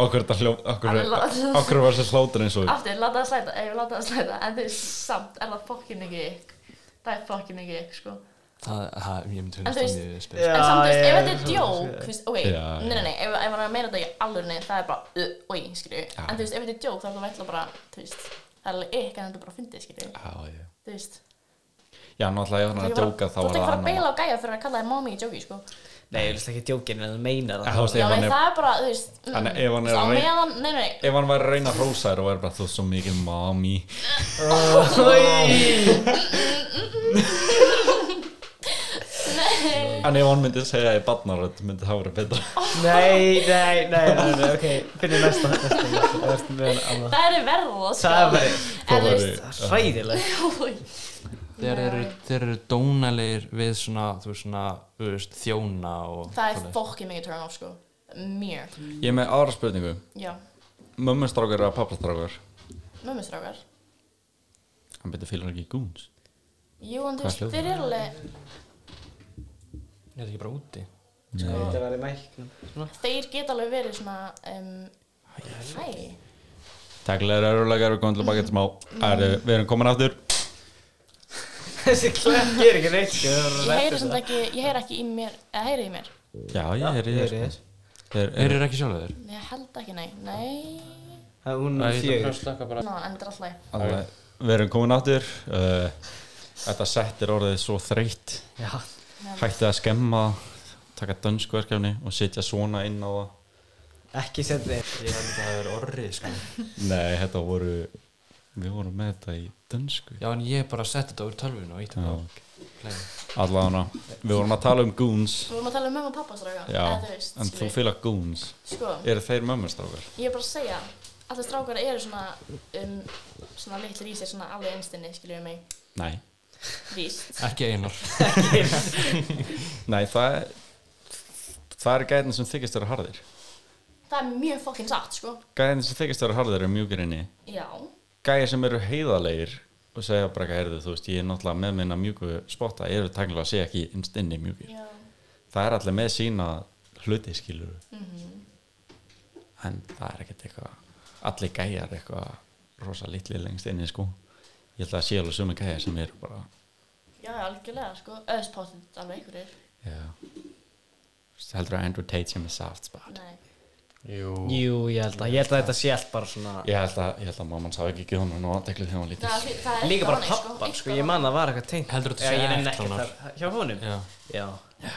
[SPEAKER 3] Okkur þetta hljó, okkur,
[SPEAKER 2] Alveg lá-
[SPEAKER 3] okkur var þessi hlátur eins og,
[SPEAKER 2] aftur, láta það slæta, ef ég láta það slæta en þú veist, samt, er það fokkin ekki ykk það er fokkin ekki ykk, sko
[SPEAKER 4] Það, það, ég
[SPEAKER 2] En
[SPEAKER 4] myndi
[SPEAKER 2] þú
[SPEAKER 4] finnast það
[SPEAKER 2] veist-
[SPEAKER 4] mjög spil
[SPEAKER 1] Já,
[SPEAKER 2] en samt, þú veist,
[SPEAKER 1] ég-
[SPEAKER 2] ef þetta er djók, þú veist, ok
[SPEAKER 3] Já, já.
[SPEAKER 2] nei, nei, nei, ef ef hann er að meina þetta í alvörni það er bara, oi, skilju
[SPEAKER 3] Já.
[SPEAKER 2] en þú veist, ef þetta er djók, þá er það veitlega bara, þú veist það er alveg ykk en þetta er bara fyndið, skilju
[SPEAKER 3] já, já.
[SPEAKER 2] þú veist,
[SPEAKER 3] Já, náttúrulega ég var
[SPEAKER 2] Þú
[SPEAKER 3] hann að
[SPEAKER 2] ert
[SPEAKER 3] djóka þá
[SPEAKER 2] ekki að
[SPEAKER 3] var það
[SPEAKER 2] fara að
[SPEAKER 3] annar.
[SPEAKER 2] beila á gæja fyrir að kalla þig mommy í djóki, sko
[SPEAKER 1] Nei, ég veist ekki djókin en þú meinar
[SPEAKER 3] En þú
[SPEAKER 1] það
[SPEAKER 3] veist,
[SPEAKER 2] já,
[SPEAKER 3] ef
[SPEAKER 2] nei,
[SPEAKER 3] hann er,
[SPEAKER 2] það er bara, þú veist mm,
[SPEAKER 3] Þannig, ef hann er
[SPEAKER 2] á
[SPEAKER 3] að rey-
[SPEAKER 2] meðan, nei, nei, nei,
[SPEAKER 3] ef hann var að reyna að hrósa þér og var bara þú ert svo mikið mommy.
[SPEAKER 1] Ói
[SPEAKER 3] En ef hann myndi segja í barnarönd, myndi það verið betra.
[SPEAKER 1] Nei, nei, nei, nei, nei, ok, finnum næsta næsta, næsta, næsta, næsta, næsta.
[SPEAKER 2] það er verða, sko
[SPEAKER 1] Það verið
[SPEAKER 2] en þú
[SPEAKER 3] verið-
[SPEAKER 2] veist,
[SPEAKER 1] hræðileg
[SPEAKER 2] oi.
[SPEAKER 4] Þeir eru, þeir eru dónalegir við svona, þú veist, svona, þú veist, þjóna og
[SPEAKER 2] það er fokkin mikið turn off, sko mér,
[SPEAKER 3] Ég er með aðra spurningu.
[SPEAKER 2] já,
[SPEAKER 3] Mömmustrákar eða pappastrákar?
[SPEAKER 2] mömmustrákar
[SPEAKER 3] Hann betur fylgur ekki gúns.
[SPEAKER 2] Jú, en þú
[SPEAKER 3] Hvað
[SPEAKER 2] veist,
[SPEAKER 3] hljóð?
[SPEAKER 2] þeir eru alveg,
[SPEAKER 4] Er það ekki bara úti?
[SPEAKER 1] Þetta var í mæknum
[SPEAKER 2] þeir geta alveg verið svona, um, hæ,
[SPEAKER 3] Tæklega er örulegar, við komum til að baka þetta smá er, Við erum komin aftur
[SPEAKER 1] Þessi klepp gerir ekki neitt sko, það
[SPEAKER 2] ég
[SPEAKER 1] var
[SPEAKER 2] heyri
[SPEAKER 1] rétt
[SPEAKER 2] samt ekki, ég heyri ekki í mér, eða heyri í mér,
[SPEAKER 3] Já, ég er í
[SPEAKER 1] ég er í
[SPEAKER 3] þessu
[SPEAKER 1] þessu.
[SPEAKER 3] Þeir
[SPEAKER 4] Þeir
[SPEAKER 3] eru
[SPEAKER 4] eru ekki sjálfur
[SPEAKER 2] ég held ekki, nei, nei,
[SPEAKER 1] Það er hún
[SPEAKER 4] Æ,
[SPEAKER 1] er
[SPEAKER 4] ég ætla að
[SPEAKER 1] fjögur
[SPEAKER 4] slökka bara.
[SPEAKER 2] Ná, en þetta er alltaf
[SPEAKER 3] Alveg, við erum komin áttur uh, Þetta sett er orðið svo þreytt
[SPEAKER 1] Já,
[SPEAKER 3] Hættið að skemma Taka dönsku verkefni og setja svona inn á það
[SPEAKER 1] ekki setja
[SPEAKER 4] Ég held að það hefur orrið sko.
[SPEAKER 3] Nei, þetta voru Við vorum með þetta í dönsku
[SPEAKER 4] Já en ég bara setti þetta úr tölvun og ítti
[SPEAKER 3] Já.
[SPEAKER 4] bara play.
[SPEAKER 3] Allavega, við vorum að tala um goons
[SPEAKER 2] Við vorum að tala um mömmu og pappa stráka
[SPEAKER 3] Já,
[SPEAKER 2] Eða, þú veist,
[SPEAKER 3] en þú
[SPEAKER 2] skilur.
[SPEAKER 3] fylgja goons
[SPEAKER 2] Sko,
[SPEAKER 3] Eru þeir mömmustrákar?
[SPEAKER 2] ég er bara að segja Allir strákar eru svona um, Svona litlir í sér, svona alveg einstinni Skiljum mig,
[SPEAKER 3] Nei
[SPEAKER 2] víst
[SPEAKER 4] Ekki einar
[SPEAKER 3] Nei, það er Það eru gæðin sem þykist vera harðir
[SPEAKER 2] Það er mjög fokkin satt, sko
[SPEAKER 3] Gæðin sem þykist vera harðir eru mjúkir inni
[SPEAKER 2] Já,
[SPEAKER 3] gæja sem eru heiðalegir og segja bara eitthvað erðu, þú veist, ég er náttúrulega með minna mjúku spotta, ég eru tæknilega að segja ekki innst inni mjúkir.
[SPEAKER 2] já
[SPEAKER 3] Það er allir með sína hluti skilur
[SPEAKER 2] Mhm.
[SPEAKER 3] en það er ekkert eitthvað allir gæjar eitthvað rosa litli lengst inni sko ég held að sé alveg sumi gæjar sem eru bara
[SPEAKER 2] Já, já, algjörlega, sko Öðspáttið alveg einhverjir
[SPEAKER 3] já Þú heldur að Andrew Tate sem er soft spot
[SPEAKER 2] Nei,
[SPEAKER 4] Jú
[SPEAKER 1] Jú, ég held að, ég held að þetta sé allt bara svona
[SPEAKER 3] ég held að, ég held að mamman sá ekki ekki hún og aðteklu þegar hún var
[SPEAKER 2] það,
[SPEAKER 3] lítið
[SPEAKER 2] það er
[SPEAKER 1] Líka
[SPEAKER 2] eitthvað
[SPEAKER 1] bara
[SPEAKER 2] þannig,
[SPEAKER 1] pappan, sko,
[SPEAKER 2] Eitthvað
[SPEAKER 1] ég man að var eitthvað tengt
[SPEAKER 4] Heldurðu að þetta
[SPEAKER 1] Já,
[SPEAKER 4] sé
[SPEAKER 1] ég nenni ekki
[SPEAKER 4] ætlanar?
[SPEAKER 1] það- Hjá honum?
[SPEAKER 4] Já.
[SPEAKER 1] Já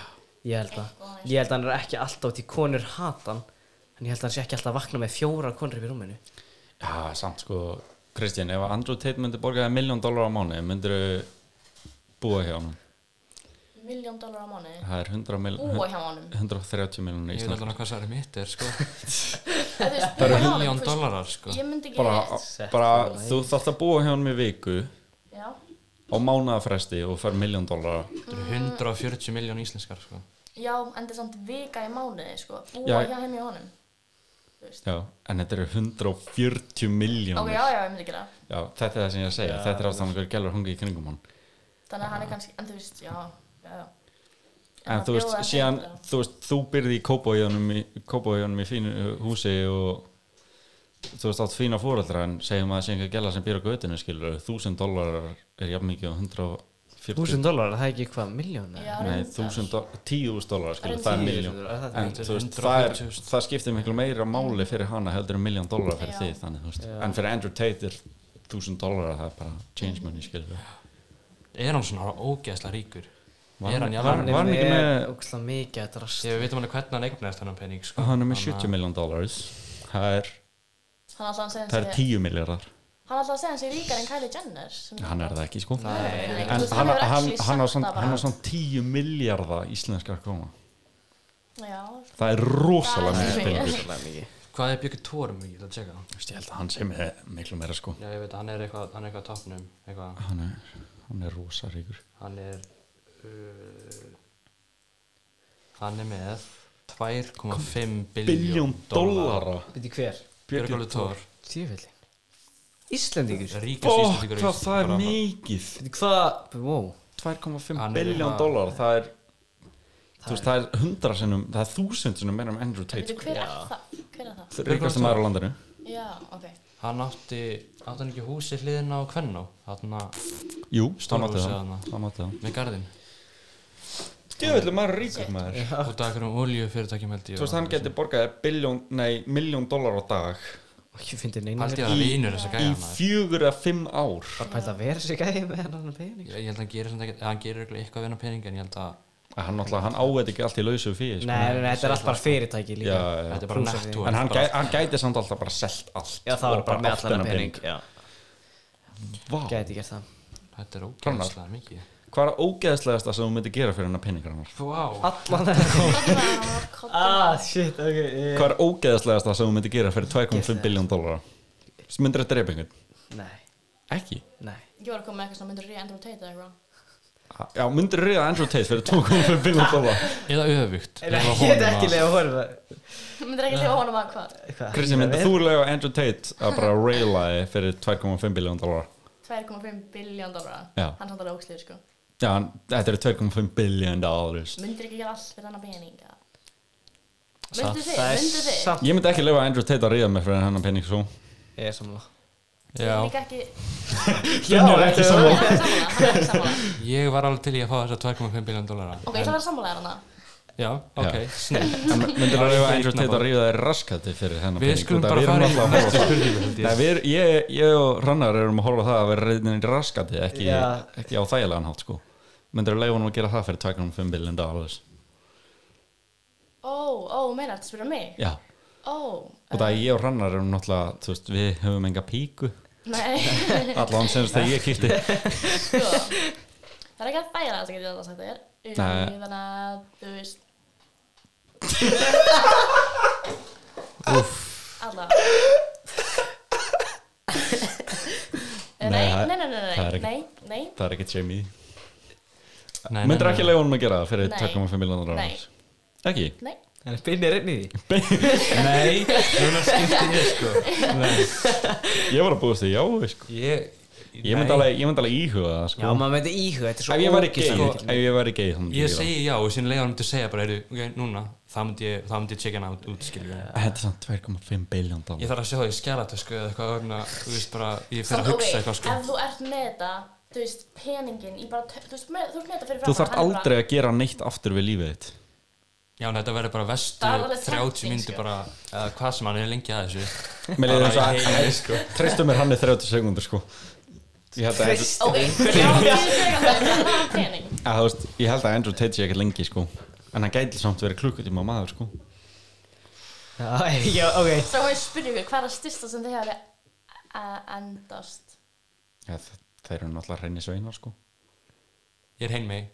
[SPEAKER 1] Ég held að,
[SPEAKER 2] Eitthvað,
[SPEAKER 1] ég held að hann er ekki alltaf til konur hatan En ég held að hann sé ekki alltaf að vakna með fjóra konur upp í rúminu
[SPEAKER 3] Já, samt sko Kristján, ef Andrew Tate myndi borgaði miljón dólar á mánu, myndir búa hjá hann
[SPEAKER 2] þannig. Milljón dólar á mánu
[SPEAKER 3] það er 100 mil,
[SPEAKER 2] Búa hjá honum
[SPEAKER 3] 130 miljónir í
[SPEAKER 4] Ég veit
[SPEAKER 3] Ísland
[SPEAKER 4] alveg hvað það er mitt er sko
[SPEAKER 2] Eða, þú veist,
[SPEAKER 4] Það eru
[SPEAKER 2] búa hjá honum,
[SPEAKER 4] miljón
[SPEAKER 2] þú veist,
[SPEAKER 4] dólarar sko
[SPEAKER 2] Ég myndi ekki
[SPEAKER 3] bara, bara þú þarft að búa hjá hann í viku
[SPEAKER 2] Já,
[SPEAKER 3] á mánuðafresti og fær miljón dólar
[SPEAKER 4] Þetta eru 140 miljón íslenskar sko
[SPEAKER 2] já, en þetta er samt vika í mánuði, sko Búa
[SPEAKER 3] Já.
[SPEAKER 2] hjá heim hjá honum Þú veist
[SPEAKER 3] já, en þetta eru 140
[SPEAKER 2] Ok,
[SPEAKER 3] miljónir
[SPEAKER 2] já, já, ég myndi gera það.
[SPEAKER 3] já, þetta er það sem ég er að segja, þetta er ástæðan hver gælur hungi í kringum hann
[SPEAKER 2] Þannig að hann er kannski, en þú veist, já, já, já.
[SPEAKER 3] en þú veist, síðan, þú veist, þú byrði í kópóiðunum í, Kópavoginum í fínu húsi og þú veist, átt fína fóreldra en segjum að það sé einhver gæla sem býr á götinu skilur, 1000 dólarar er jafn mikið og 140
[SPEAKER 1] Þúsund dólar, það er ekki hvað, miljón? eða?
[SPEAKER 3] Nei, 1000 dólar, 10.000 dólarar skilur, það
[SPEAKER 1] Tíu
[SPEAKER 3] er miljón
[SPEAKER 1] þúsund dólar, það er-
[SPEAKER 3] en
[SPEAKER 4] Þetta er
[SPEAKER 3] þú veist, það, er,
[SPEAKER 4] 140.000.
[SPEAKER 3] það skiptir miklu meira máli fyrir hana heldur en miljón dólarar fyrir
[SPEAKER 2] Já.
[SPEAKER 3] þið þannig, þú veist, en fyrir Andrew Tate er 1000 dólarar, það er bara change money skilur
[SPEAKER 4] Er hann svona ógeðslega ríkur?
[SPEAKER 3] Var-
[SPEAKER 4] er hann, já,
[SPEAKER 3] hann-
[SPEAKER 4] hann,
[SPEAKER 1] Hann
[SPEAKER 3] var
[SPEAKER 1] er
[SPEAKER 3] hann ekki
[SPEAKER 1] með
[SPEAKER 3] með-
[SPEAKER 1] ógstlega mikið að drast
[SPEAKER 4] ég veit um hann hvernig hann eignast hann pening sko
[SPEAKER 3] hann er með
[SPEAKER 4] Þannig að-
[SPEAKER 3] 70 miljón dólarars það er,
[SPEAKER 2] Hann alltaf að segja
[SPEAKER 3] það er
[SPEAKER 2] hann sé,
[SPEAKER 3] 10 miljardar
[SPEAKER 2] hann alltaf að segja hann sé ríkar en Kylie Jenner. sem-
[SPEAKER 3] hann er það ekki sko
[SPEAKER 2] Nei, nei, nei, þú
[SPEAKER 3] en
[SPEAKER 2] veist,
[SPEAKER 3] hann,
[SPEAKER 2] hefur
[SPEAKER 3] hann,
[SPEAKER 2] actually
[SPEAKER 3] hann á
[SPEAKER 2] sagt
[SPEAKER 3] svona,
[SPEAKER 2] það bara.
[SPEAKER 3] hann á svona 10 miljardar íslenskar koma
[SPEAKER 2] Já,
[SPEAKER 3] það er rosalega
[SPEAKER 2] Það er
[SPEAKER 3] mikið
[SPEAKER 2] mikið.
[SPEAKER 3] peningur
[SPEAKER 4] Hvað er Björgur Tórum mikið? Það tjekka það.
[SPEAKER 3] Þú veist, ég held að hann sé með miklu meira sko
[SPEAKER 4] Já, ég veit að hann er eitthvað, hann er eitthvað á toppnum, eitthvað.
[SPEAKER 3] hann er, hann er rosaríkur
[SPEAKER 4] Hann er, uh, hann er með 2,5 biljón
[SPEAKER 3] biljón dólara
[SPEAKER 1] Býtti hver?
[SPEAKER 4] Björgur Tór,
[SPEAKER 1] Tífellin Íslendingur?
[SPEAKER 4] ríkast
[SPEAKER 3] Bó,
[SPEAKER 4] íslendingur í
[SPEAKER 3] hvað það er
[SPEAKER 4] bara-
[SPEAKER 3] mikið
[SPEAKER 1] Býtti hvað? Wow
[SPEAKER 3] 2,5
[SPEAKER 4] Hann er
[SPEAKER 3] biljón
[SPEAKER 4] eitthvað-
[SPEAKER 3] dólar það er þú veist, það er hundra sinnum, það er þúsund sinnum meira en Andrew Tate
[SPEAKER 2] veitu,
[SPEAKER 3] sko.
[SPEAKER 2] hver er það? Hver er það?
[SPEAKER 3] ríkast maður á landinu
[SPEAKER 2] Já, ok.
[SPEAKER 4] Hann átti, átti hann ekki húsi hliðin á Kvennó, þarna
[SPEAKER 3] jú, það
[SPEAKER 4] Stóra
[SPEAKER 3] mátti
[SPEAKER 4] húsið
[SPEAKER 3] það
[SPEAKER 4] þarna.
[SPEAKER 3] það mátti það
[SPEAKER 4] með garðin.
[SPEAKER 3] djöðlega maður er ríkur maður
[SPEAKER 4] Út af einhverjum oljufyrirtækjum held ég.
[SPEAKER 3] þú veist, hann getur borgaði biljón, nei, miljón dólar á dag
[SPEAKER 1] Ég fyndi neina
[SPEAKER 4] Haldi
[SPEAKER 1] verið
[SPEAKER 4] ég að
[SPEAKER 3] í-
[SPEAKER 4] vinur þess
[SPEAKER 3] í
[SPEAKER 4] að gæja hann.
[SPEAKER 3] fjögur að fimm ár
[SPEAKER 1] Bara pælt að vera sig gæði með hennan pening
[SPEAKER 4] Ég ég held að hann gerir samt ekkert, hann gerir örugglega eitthvað við hann pening en ég held að
[SPEAKER 3] hann náttúrulega, hann áveði ekki allt í lausu
[SPEAKER 1] Nei,
[SPEAKER 3] fyrir
[SPEAKER 1] nei, nei, þetta er allt bara fyrirtæki líka
[SPEAKER 3] Já, já.
[SPEAKER 4] þetta er bara
[SPEAKER 1] Plúsa
[SPEAKER 4] netto.
[SPEAKER 1] því.
[SPEAKER 3] en hann,
[SPEAKER 4] bara-
[SPEAKER 3] gæ, hann gæti samt alltaf bara selt allt
[SPEAKER 1] Já, það var
[SPEAKER 3] og
[SPEAKER 1] bara með
[SPEAKER 3] átt
[SPEAKER 1] allan
[SPEAKER 3] þennan
[SPEAKER 1] þennan pening Já,
[SPEAKER 3] Vá.
[SPEAKER 1] gæti gert það
[SPEAKER 4] Þetta er
[SPEAKER 3] Hrannar.
[SPEAKER 4] ógeðslega mikið.
[SPEAKER 3] hvað er ógeðslegasta sem þú myndir gera fyrir hennar peningar hann
[SPEAKER 4] Vá.
[SPEAKER 1] Allan þennan Ah,
[SPEAKER 2] Kottuna,
[SPEAKER 1] shit, ok eh,
[SPEAKER 3] Hvað er ógeðaslegast það sem þú myndir gera fyrir 2,5 biljón dólara? Myndir þetta drepa einhvern?
[SPEAKER 1] Nei,
[SPEAKER 3] Ekki
[SPEAKER 1] nei
[SPEAKER 2] ég var að koma með eitthvað svona myndur ríða endur og teita eitthvað.
[SPEAKER 3] Já, myndir reyða Andrew Tate fyrir 2,5 biljón dólara
[SPEAKER 4] Eða öfugt
[SPEAKER 1] Ég get
[SPEAKER 4] um
[SPEAKER 1] ekki lega honum að-
[SPEAKER 2] Myndur ekki lifa honum að hvað?
[SPEAKER 1] hvað?
[SPEAKER 3] Kristi, myndir þú reyða Andrew Tate að bara reyla þig fyrir 2,5 biljón dólara?
[SPEAKER 2] 2,5 biljón dólar.
[SPEAKER 3] Já.
[SPEAKER 2] Hann er samt alveg ógslir, sko.
[SPEAKER 3] Já, en þetta eru 2,5 biljón dólar
[SPEAKER 2] Myndur ekki gera allt fyrir hann að peninga.
[SPEAKER 4] Satt.
[SPEAKER 2] Myndur þið,
[SPEAKER 1] Það er
[SPEAKER 2] myndur þið.
[SPEAKER 1] samt
[SPEAKER 3] Ég myndi ekki reyða Andrew Tate að reyða mig fyrir sko. hennar pening svo
[SPEAKER 1] Ég er sammála
[SPEAKER 2] Ég er
[SPEAKER 4] Já,
[SPEAKER 2] líka ekki,
[SPEAKER 3] Finnur er ekki saman
[SPEAKER 2] hann er ekki sammála, hann er ekki sammála.
[SPEAKER 4] ég var alveg til í að fá þessa 2,5 biljón dólara
[SPEAKER 2] Ok, ég ætla að vera sammálaðar hana
[SPEAKER 4] Já, ok,
[SPEAKER 3] Já.
[SPEAKER 4] snill
[SPEAKER 3] myndir að rífa Andrew Tate að rífa þeir raskati fyrir hennar
[SPEAKER 4] Við
[SPEAKER 3] pening,
[SPEAKER 4] skulum
[SPEAKER 3] út af
[SPEAKER 4] bara
[SPEAKER 3] við erum
[SPEAKER 4] fara í
[SPEAKER 3] alltaf að horfa
[SPEAKER 4] næstu
[SPEAKER 3] á það.
[SPEAKER 4] spurningu held
[SPEAKER 3] Nei,
[SPEAKER 4] ég
[SPEAKER 3] við erum- ég, ég og Rannar erum að horfa á það að vera reyðin í raskati ekki,
[SPEAKER 1] Já.
[SPEAKER 3] ekki á þægilegan hátt sko myndir að leiða honum að gera það fyrir 2,5 billion dollars
[SPEAKER 2] Ó, ó, meinar, þetta spyrir mig
[SPEAKER 3] já,
[SPEAKER 2] Ó,
[SPEAKER 3] og það að ég og Rannar erum náttúrulega, þú veist, við höfum enga píku
[SPEAKER 2] nei
[SPEAKER 3] allan sem þess að ég kýtti
[SPEAKER 2] sko það er ekki að þægilega sem getur þetta sagt þér Um,
[SPEAKER 3] Nei.
[SPEAKER 2] þannig að þú veist alla nei,
[SPEAKER 3] Nei,
[SPEAKER 2] nei, nei,
[SPEAKER 3] það-
[SPEAKER 2] nei,
[SPEAKER 3] það er
[SPEAKER 2] nei,
[SPEAKER 3] ekki-
[SPEAKER 2] nei, nei,
[SPEAKER 3] það er ekki Jamie
[SPEAKER 4] Nei, nei,
[SPEAKER 3] myndir
[SPEAKER 4] nei,
[SPEAKER 3] ekki
[SPEAKER 4] nei.
[SPEAKER 3] leiða honum að gera það fyrir
[SPEAKER 2] Nei.
[SPEAKER 3] 2,5 million dollars ekki?
[SPEAKER 2] nei.
[SPEAKER 1] En Binni er inn í því
[SPEAKER 4] Nei, svona skipti ég sko Nei,
[SPEAKER 3] ég var að búast því, já, sko
[SPEAKER 4] ég
[SPEAKER 3] ég myndi
[SPEAKER 4] nei.
[SPEAKER 3] alveg, ég myndi alveg íhuga það
[SPEAKER 1] Já,
[SPEAKER 3] sko.
[SPEAKER 1] maður myndi íhuga, þetta er svo
[SPEAKER 3] ef ég væri gay,
[SPEAKER 1] ógeðslega
[SPEAKER 3] sko,
[SPEAKER 1] mikill-
[SPEAKER 3] ef ég væri gay þá myndi
[SPEAKER 4] Ég
[SPEAKER 3] gera
[SPEAKER 4] segi já og síðan leiðan myndi segja bara, heyrðu, ok, núna Það myndi ég, það myndi ég checka hana út, út skilur
[SPEAKER 3] það. þetta er samt 2,5 billion
[SPEAKER 4] Ég
[SPEAKER 3] dollars
[SPEAKER 4] þarf að sjá það í skjælatösku eða eitthvað öfna, þú veist bara, ég fer
[SPEAKER 2] Samt,
[SPEAKER 4] að
[SPEAKER 2] ok,
[SPEAKER 4] hugsa eitthvað sko
[SPEAKER 2] ef þú ert með þetta þú veist, peningin í bara, tö- þú veist, með, þú ert með þetta fyrir
[SPEAKER 3] þú
[SPEAKER 2] framan, hann er
[SPEAKER 3] þarft
[SPEAKER 2] bara-
[SPEAKER 3] aldrei að gera neitt aftur við lífið þitt
[SPEAKER 4] Já, en þetta verður bara vestu
[SPEAKER 2] Það er alveg
[SPEAKER 4] 30
[SPEAKER 2] taktík,
[SPEAKER 4] myndi
[SPEAKER 2] sko.
[SPEAKER 4] bara, eða hvað sem hann er lengi að þessu
[SPEAKER 3] Mér leiði þess
[SPEAKER 4] Bara
[SPEAKER 3] að
[SPEAKER 4] í heimi, sko
[SPEAKER 3] Treystu mér hann er 30 sekundur sko Ég held að,
[SPEAKER 1] Treyst-
[SPEAKER 2] ok, já, ég er þegar það er bara pening
[SPEAKER 3] að, þú veist, ég held að Andrew Tate sé ekkert lengi sko En hann gæti samt verið klukkutíma maður sko
[SPEAKER 1] Já, já, ok
[SPEAKER 2] þá hefur spyrjum við hvað er að styrsta sem þið hefur að endast
[SPEAKER 3] ja, þe- Þeir eru náttúrulega hreinni sveinar sko
[SPEAKER 4] Ég er heim mig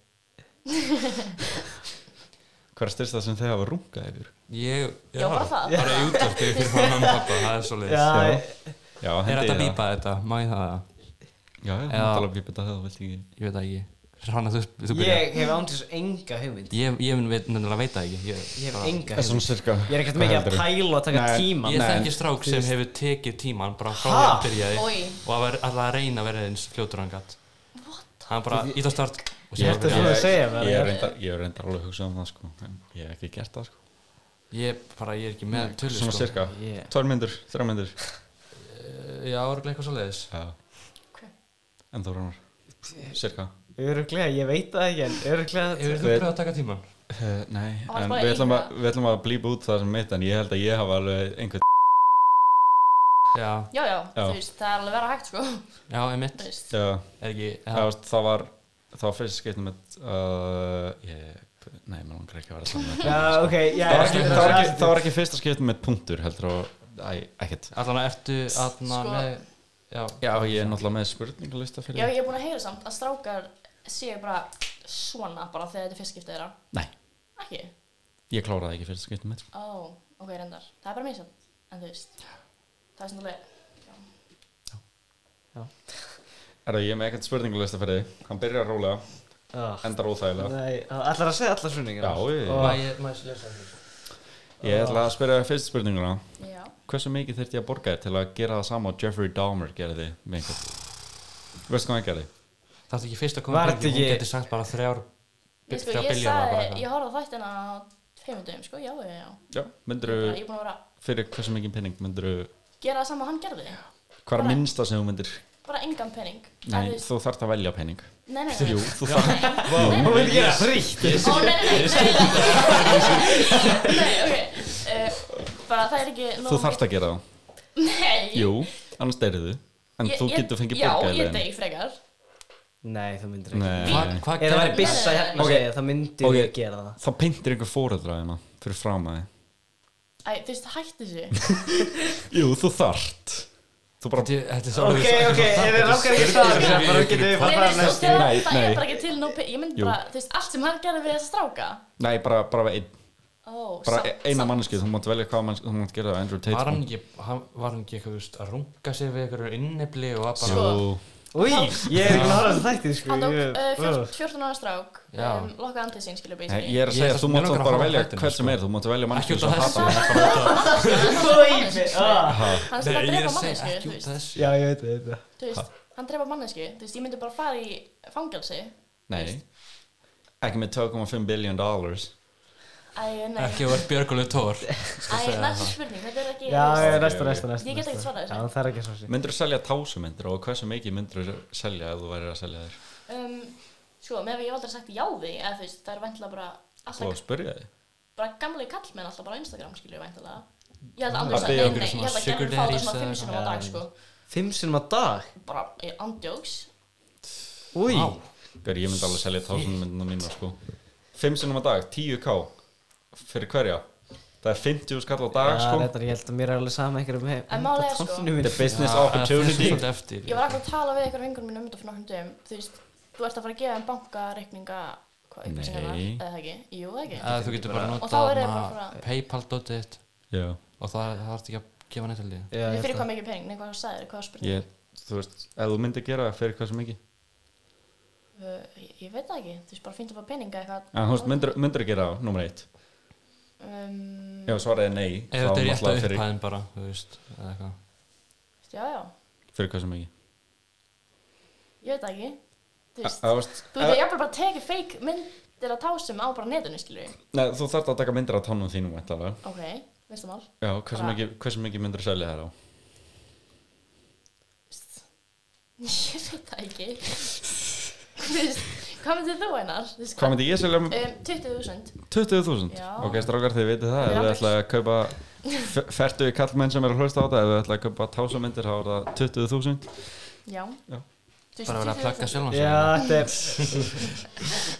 [SPEAKER 3] Hver er styrsta sem þeir hafa rungað yfir?
[SPEAKER 4] Ég,
[SPEAKER 2] Já, bara það.
[SPEAKER 4] Bara í útvarpi fyrir mamma og pappa, það er svo leiðis
[SPEAKER 1] Já,
[SPEAKER 3] Já.
[SPEAKER 1] ég-
[SPEAKER 3] Já,
[SPEAKER 4] Er
[SPEAKER 3] hendi
[SPEAKER 4] þetta
[SPEAKER 3] ég
[SPEAKER 4] að býpa þetta? Má ég það það?
[SPEAKER 3] Já, já,
[SPEAKER 4] Já.
[SPEAKER 3] hann tala býpa þetta þegar þú vilt ekki
[SPEAKER 4] Ég veit það ekki Hanna, þú, þú byrja
[SPEAKER 1] Ég hef ándis enga hugmynd
[SPEAKER 4] Ég, ég mun veit, nefnilega veit það ekki Ég,
[SPEAKER 1] Ég hef
[SPEAKER 4] bara-
[SPEAKER 1] enga
[SPEAKER 3] Það er Ah, svona
[SPEAKER 1] hugmynd
[SPEAKER 3] cirka
[SPEAKER 1] Ég er ekkert mikið að pæla og taka
[SPEAKER 3] Nei.
[SPEAKER 1] tíma
[SPEAKER 4] Ég
[SPEAKER 3] Nei,
[SPEAKER 4] þekki
[SPEAKER 3] en-
[SPEAKER 4] strák sem hefur tekið tíman bara frá því
[SPEAKER 1] Ha?
[SPEAKER 4] að byrjaði
[SPEAKER 2] Oj.
[SPEAKER 4] og að vera alltaf að reyna að vera eins fljótur og hann gatt Hann bara ít á start og
[SPEAKER 1] Ég
[SPEAKER 4] sér
[SPEAKER 1] held að
[SPEAKER 4] bara
[SPEAKER 1] þú-
[SPEAKER 4] byrja
[SPEAKER 1] að segja mér,
[SPEAKER 3] Ég
[SPEAKER 1] já.
[SPEAKER 3] er reyndar, ég er reyndar alveg að hugsa um það sko En ég hef ekki gert það sko
[SPEAKER 4] Ég bara, ég er ekki með sko. tölur
[SPEAKER 3] Svona cirka
[SPEAKER 1] Ég-
[SPEAKER 3] Tvær myndur, þrjá myndur
[SPEAKER 4] Já, orðlega eitthvað svo leiðis
[SPEAKER 3] Já En þú rannar Cirka
[SPEAKER 1] Öruglega, ég veit það ekki en
[SPEAKER 4] Hefur
[SPEAKER 1] öruglega
[SPEAKER 4] þú pröfð að taka tíman?
[SPEAKER 3] Uh, nei,
[SPEAKER 2] Það var
[SPEAKER 3] en
[SPEAKER 2] bara
[SPEAKER 3] við ætlum, að,
[SPEAKER 2] einhver-
[SPEAKER 3] við ætlum að blípa út það sem mitt en ég held að ég hafa alveg einhvern
[SPEAKER 4] Já,
[SPEAKER 2] já, já,
[SPEAKER 3] Já.
[SPEAKER 2] þú veist, það er alveg vera hægt sko
[SPEAKER 4] já, einmitt
[SPEAKER 2] þú veist,
[SPEAKER 3] já,
[SPEAKER 4] Er ekki,
[SPEAKER 3] það,
[SPEAKER 4] já,
[SPEAKER 3] var, það var það var fyrst skiptum með uh, ég, nei, mér langar ekki að vera saman með
[SPEAKER 1] Já, ok, já
[SPEAKER 3] það,
[SPEAKER 1] ég-
[SPEAKER 3] var ekki, það, var ekki, það var ekki fyrsta skiptum með punktur heldur og, æ, ekkert
[SPEAKER 4] allan að ertu aðna
[SPEAKER 2] Sko-
[SPEAKER 4] með Já,
[SPEAKER 3] Já, ég er náttúrulega með spurningalista
[SPEAKER 2] já,
[SPEAKER 3] fyrir
[SPEAKER 2] ég er búin að heyra samt að strákar séu bara svona bara þegar þetta er fyrst skiptið þeirra
[SPEAKER 3] Nei,
[SPEAKER 2] ekki,
[SPEAKER 3] ég kláraði ekki fyrsta skiptum með
[SPEAKER 2] ó, ok, reyndar það er bara mjög samt, en þú veist það er svona alveg
[SPEAKER 3] Er það ég er með ekkert spurningalista fyrir þig hann byrjar rólega,
[SPEAKER 1] Ah,
[SPEAKER 3] endar óþægilega
[SPEAKER 1] Nei, allar að segja allar spurningar
[SPEAKER 3] Já, ég,
[SPEAKER 1] Og-
[SPEAKER 4] maður maður sér lesa
[SPEAKER 3] ég ætla að spyrja þig fyrstu spurninguna
[SPEAKER 2] já,
[SPEAKER 3] Hversu mikið þurfti ég að borga þér til að gera það sama og Jeffrey Dahmer gerði með einhvern? Veistu hvað hann gerði?
[SPEAKER 4] Það er ekki fyrst að koma
[SPEAKER 1] Var
[SPEAKER 4] byrgi, hún
[SPEAKER 1] þetta ekki-
[SPEAKER 4] geti sagt bara þrjár
[SPEAKER 2] ég sko,
[SPEAKER 4] þrjár
[SPEAKER 2] ég
[SPEAKER 4] billjónir bara
[SPEAKER 2] sagði
[SPEAKER 4] eitthvað.
[SPEAKER 2] ég horfði á þættina á tveimundum, sko, já, já, já
[SPEAKER 3] Já, myndir
[SPEAKER 2] ég er
[SPEAKER 3] þú,
[SPEAKER 2] búin að vera að
[SPEAKER 3] fyrir hversu mikið pening myndir þú,
[SPEAKER 2] gera það sama og hann gerði
[SPEAKER 3] hvað er
[SPEAKER 2] Bara-
[SPEAKER 3] minnsta sem þú myndir?
[SPEAKER 2] bara engan pening En
[SPEAKER 3] Nei,
[SPEAKER 2] þú veist-
[SPEAKER 3] þú þarft að velja pening.
[SPEAKER 2] nei, nei, nei,
[SPEAKER 3] Jú, þú þarft að,
[SPEAKER 1] Hún vil gera frítt
[SPEAKER 2] Ó, nei, nei, nei, nei, nei, nei, ok, uh, bara það er ekki nóg
[SPEAKER 3] þú þarft að gera það.
[SPEAKER 2] Nei
[SPEAKER 3] Jú, annars deyrið þú, en þú getur fengið
[SPEAKER 2] Já,
[SPEAKER 3] borgað í
[SPEAKER 2] ég
[SPEAKER 3] leiðinni.
[SPEAKER 2] deyk frekar
[SPEAKER 1] Nei, þú myndir ekki
[SPEAKER 3] Nei.
[SPEAKER 4] Hvað, hvað
[SPEAKER 1] Ef það væri
[SPEAKER 4] gerði-
[SPEAKER 1] byssa hérna
[SPEAKER 3] Ok.
[SPEAKER 1] okay. segja, það myndir
[SPEAKER 3] Ok.
[SPEAKER 1] okay. gera það
[SPEAKER 3] Það pyntir einhver fóreðraðina fyrir fram að þið.
[SPEAKER 2] Æ, þú veist, hætti þessu
[SPEAKER 3] Jú, þú þarft. Þú bara,
[SPEAKER 4] Þetta þetta er svo
[SPEAKER 1] Ok, ok, ef þið rákar ekki svara þessu, bara getum við
[SPEAKER 2] Nei,
[SPEAKER 1] farið að
[SPEAKER 2] nei, svo
[SPEAKER 1] næst
[SPEAKER 2] þegar
[SPEAKER 3] Nei,
[SPEAKER 2] það
[SPEAKER 3] nei.
[SPEAKER 2] er bara ekki til nóg pe- Ég myndi
[SPEAKER 3] Jú.
[SPEAKER 2] bara, þú veist, allt sem hann gerði við þess að stráka
[SPEAKER 3] nei, bara, bara við einn,
[SPEAKER 2] Ó,
[SPEAKER 3] bara e-
[SPEAKER 2] samt-
[SPEAKER 3] eina
[SPEAKER 2] samt-
[SPEAKER 3] manneskið, þú mátt velja hvað manneskið, þú mátt gera það, Andrew Tate.
[SPEAKER 4] Var hann ekki, hann, var hann ekki eitthvað, þú veist, að runga sig við eitthvað innibli og að bara
[SPEAKER 2] Sko.
[SPEAKER 3] Jú,
[SPEAKER 1] Új, ég er ekki búin að horfa á þess þætti sko
[SPEAKER 2] Hann tók
[SPEAKER 1] ég-
[SPEAKER 2] uh,
[SPEAKER 1] Ugh.
[SPEAKER 2] fjórtán- 14 ára strák
[SPEAKER 4] Já.
[SPEAKER 2] um, Lokka andið sín, skilur
[SPEAKER 3] Nei,
[SPEAKER 2] basically
[SPEAKER 3] ég er að
[SPEAKER 4] Ég
[SPEAKER 3] segja,
[SPEAKER 4] ætla
[SPEAKER 3] þú mátt
[SPEAKER 4] samt- mig langar
[SPEAKER 3] samt bara
[SPEAKER 4] að horfa á
[SPEAKER 3] velja
[SPEAKER 4] þættina,
[SPEAKER 3] hvern sem
[SPEAKER 4] sko.
[SPEAKER 3] er, þú mátt velja
[SPEAKER 4] Ekki
[SPEAKER 3] manneskið
[SPEAKER 4] út af
[SPEAKER 3] sem
[SPEAKER 4] þessu
[SPEAKER 3] hata hann.
[SPEAKER 1] Új, ah.
[SPEAKER 2] Hann sem
[SPEAKER 4] Nei,
[SPEAKER 2] bara
[SPEAKER 4] ég er
[SPEAKER 2] drepa
[SPEAKER 4] að segja
[SPEAKER 2] mannesku,
[SPEAKER 4] ekki
[SPEAKER 2] þú
[SPEAKER 4] út
[SPEAKER 2] veist
[SPEAKER 4] af þessu
[SPEAKER 1] Já, ég veit það, ég veit það
[SPEAKER 2] Þú veist, hann drepa mannesku Þú veist, ég myndi bara fara í fangelsi
[SPEAKER 3] Nei, ekki með 2,5 billion dollars
[SPEAKER 2] Æ, nei,
[SPEAKER 4] Ekki að vera Björgulegu Tór
[SPEAKER 2] æ, næsta spurning, þetta er ekki
[SPEAKER 1] Já, já,
[SPEAKER 2] þú veist,
[SPEAKER 1] næsta, næsta, næsta
[SPEAKER 2] Ég get ekki
[SPEAKER 1] næsta.
[SPEAKER 2] svarað þessu.
[SPEAKER 1] Já, það er ekki svo sér
[SPEAKER 3] Myndur þú selja tásumindir og hversu mikið myndur þú selja ef þú værir að selja þér?
[SPEAKER 2] um, Sko, með að ég hef aldrei sagt já við eða þú veist, það er vantilega bara
[SPEAKER 3] og
[SPEAKER 2] alltaf
[SPEAKER 3] spurja þið
[SPEAKER 2] bara gamli kallmenn alltaf bara á Instagram skilju væntalega ég held að
[SPEAKER 3] Að
[SPEAKER 2] Andri sagði,
[SPEAKER 3] biðja
[SPEAKER 2] nei,
[SPEAKER 3] okkur
[SPEAKER 2] nei, ég held að Gerður
[SPEAKER 4] svona sugar
[SPEAKER 2] fá það
[SPEAKER 4] daddies
[SPEAKER 2] svona
[SPEAKER 4] eða
[SPEAKER 2] fimm sinum
[SPEAKER 1] eitthvað. Fimm sinnum
[SPEAKER 2] á dag sko
[SPEAKER 1] á dag?
[SPEAKER 2] bara eh, andjóks
[SPEAKER 1] Úi,
[SPEAKER 4] Vá.
[SPEAKER 3] Gauður, ég myndi alveg selja tásunmyndina mína sko. 5 sinnum á dag, 10k fyrir hverja það er 50 skall á dag
[SPEAKER 1] Já,
[SPEAKER 3] sko.
[SPEAKER 1] reyndar, ég held að mér er alveg sama einhverjum með
[SPEAKER 2] En málið er, sko,
[SPEAKER 1] tónlunum
[SPEAKER 3] þetta
[SPEAKER 1] minn
[SPEAKER 3] er business
[SPEAKER 4] Það
[SPEAKER 3] opportunity
[SPEAKER 4] er eftir
[SPEAKER 2] ég var alltaf að tala við einhverjum vingunum minn um þetta fyrir nokkrum dögum þú veist, þú ert að fara að gefa þeim bankareikninga hvað upplýsingarna,
[SPEAKER 3] Nei.
[SPEAKER 2] eða það ekki jú, það ekki,
[SPEAKER 4] Eða þú getur bara
[SPEAKER 2] Og þá er
[SPEAKER 4] notað
[SPEAKER 2] þeir bara
[SPEAKER 4] nota
[SPEAKER 2] bara-
[SPEAKER 4] Paypal.it
[SPEAKER 3] Já,
[SPEAKER 4] og það það þarf ekki að gefa neitt til því
[SPEAKER 1] Já, ég
[SPEAKER 2] fyrir
[SPEAKER 1] held
[SPEAKER 2] hvað
[SPEAKER 1] að-
[SPEAKER 2] mikið pening, nei, hvað sagðir, hvað spurning
[SPEAKER 3] ég, þú veist, ef þú myndir gera það fyrir hversu mikið
[SPEAKER 2] Uh, ég, ég veit það ekki, þú veist bara fínt að fá peninga eitthvað
[SPEAKER 3] en þú veist, myndir, myndir gera það, nummer 1
[SPEAKER 2] um,
[SPEAKER 3] ef svaraði nei,
[SPEAKER 4] Ef þetta er rétt að
[SPEAKER 3] fyrir,
[SPEAKER 4] upphæðin bara, þú veist, eða eitthvað
[SPEAKER 2] já, já,
[SPEAKER 3] fyrir hversu mikið
[SPEAKER 2] ég veit það ekki þú
[SPEAKER 3] Ef-
[SPEAKER 2] veist,
[SPEAKER 3] ef þú veist,
[SPEAKER 2] þú veist, ég er bara að teka fake myndir að tásum á bara netinu, skilur ég
[SPEAKER 3] Nei, þú þarft að taka myndir af tánum þínum væntanlega.
[SPEAKER 2] ok, veistum all
[SPEAKER 3] Já, hversu
[SPEAKER 2] Bara-
[SPEAKER 3] mikið, hversu mikið myndir selja þær á?
[SPEAKER 2] ég veit það ekki þú veist, hvað myndir þú einar þú veist,
[SPEAKER 3] Hvað myndi ég selja um
[SPEAKER 2] um, 20.000
[SPEAKER 3] 20.000?
[SPEAKER 2] Já.
[SPEAKER 3] Ok, strákar, þið veitir það Ef
[SPEAKER 2] Já.
[SPEAKER 3] þið ætlaði að kaupa f- fertugi kallmenn sem eru að hlusta á þetta Ef þið ætlaði að kaupa tásamyndir þá er það 20.000
[SPEAKER 2] já,
[SPEAKER 3] Já.
[SPEAKER 2] Þú veist,
[SPEAKER 4] Bara verið
[SPEAKER 2] 20.000.
[SPEAKER 4] að plugga sjálfan sig hérna.
[SPEAKER 1] Já, þetta er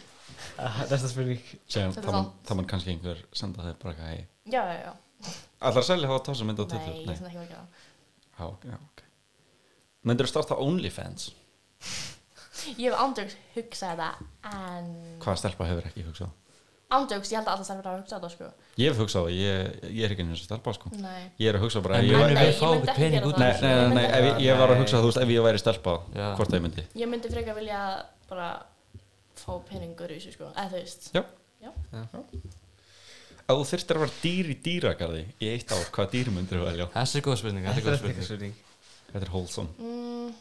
[SPEAKER 1] Ah, Næsta spurning
[SPEAKER 3] sem
[SPEAKER 2] Þetta er
[SPEAKER 3] það mun-
[SPEAKER 2] vont.
[SPEAKER 3] það mun kannski einhver senda þeir bara eitthvað hei
[SPEAKER 2] já, já, já,
[SPEAKER 3] Ætlar að selja þá tásamynd á
[SPEAKER 2] nei, ég
[SPEAKER 3] 20?
[SPEAKER 2] finnst ekki að gera það.
[SPEAKER 3] Já, ok, já, ok Myndir þú starta OnlyFans?
[SPEAKER 2] ég hef andjóks hugsað það en
[SPEAKER 3] Hvaða stelpa hefur ekki hugsað?
[SPEAKER 2] andjóks, ég held að alltaf sælfur að hugsa það sko
[SPEAKER 3] Ég hef hugsað, það, ég, ég er ekki eins og stelpa sko
[SPEAKER 2] nei,
[SPEAKER 3] Ég er að hugsa bara
[SPEAKER 4] En
[SPEAKER 3] ef ég
[SPEAKER 4] munum
[SPEAKER 3] væri-
[SPEAKER 2] Nei, ég
[SPEAKER 4] við fá
[SPEAKER 2] myndi
[SPEAKER 4] okkur
[SPEAKER 2] ekki
[SPEAKER 4] pening
[SPEAKER 2] gera það.
[SPEAKER 4] út úr
[SPEAKER 3] Nei,
[SPEAKER 4] þessu?
[SPEAKER 3] nei, nei, nei, ef ég, ég var að
[SPEAKER 4] Nei.
[SPEAKER 3] hugsa, þú veist, ef ég væri stelpa,
[SPEAKER 4] Já.
[SPEAKER 3] hvort það ég myndi
[SPEAKER 2] ég myndi frekar vilja bara fá peningur í þessu sko, eða þú veist
[SPEAKER 3] Já.
[SPEAKER 2] Já.
[SPEAKER 3] Ef þú þyrftir að vera dýr í dýragarði í eitt ár, hvaða dýr myndir þú velja?
[SPEAKER 4] Þessi er góð spurning, þetta er góð spurning
[SPEAKER 1] spurning
[SPEAKER 3] Þetta er wholesome
[SPEAKER 2] mm,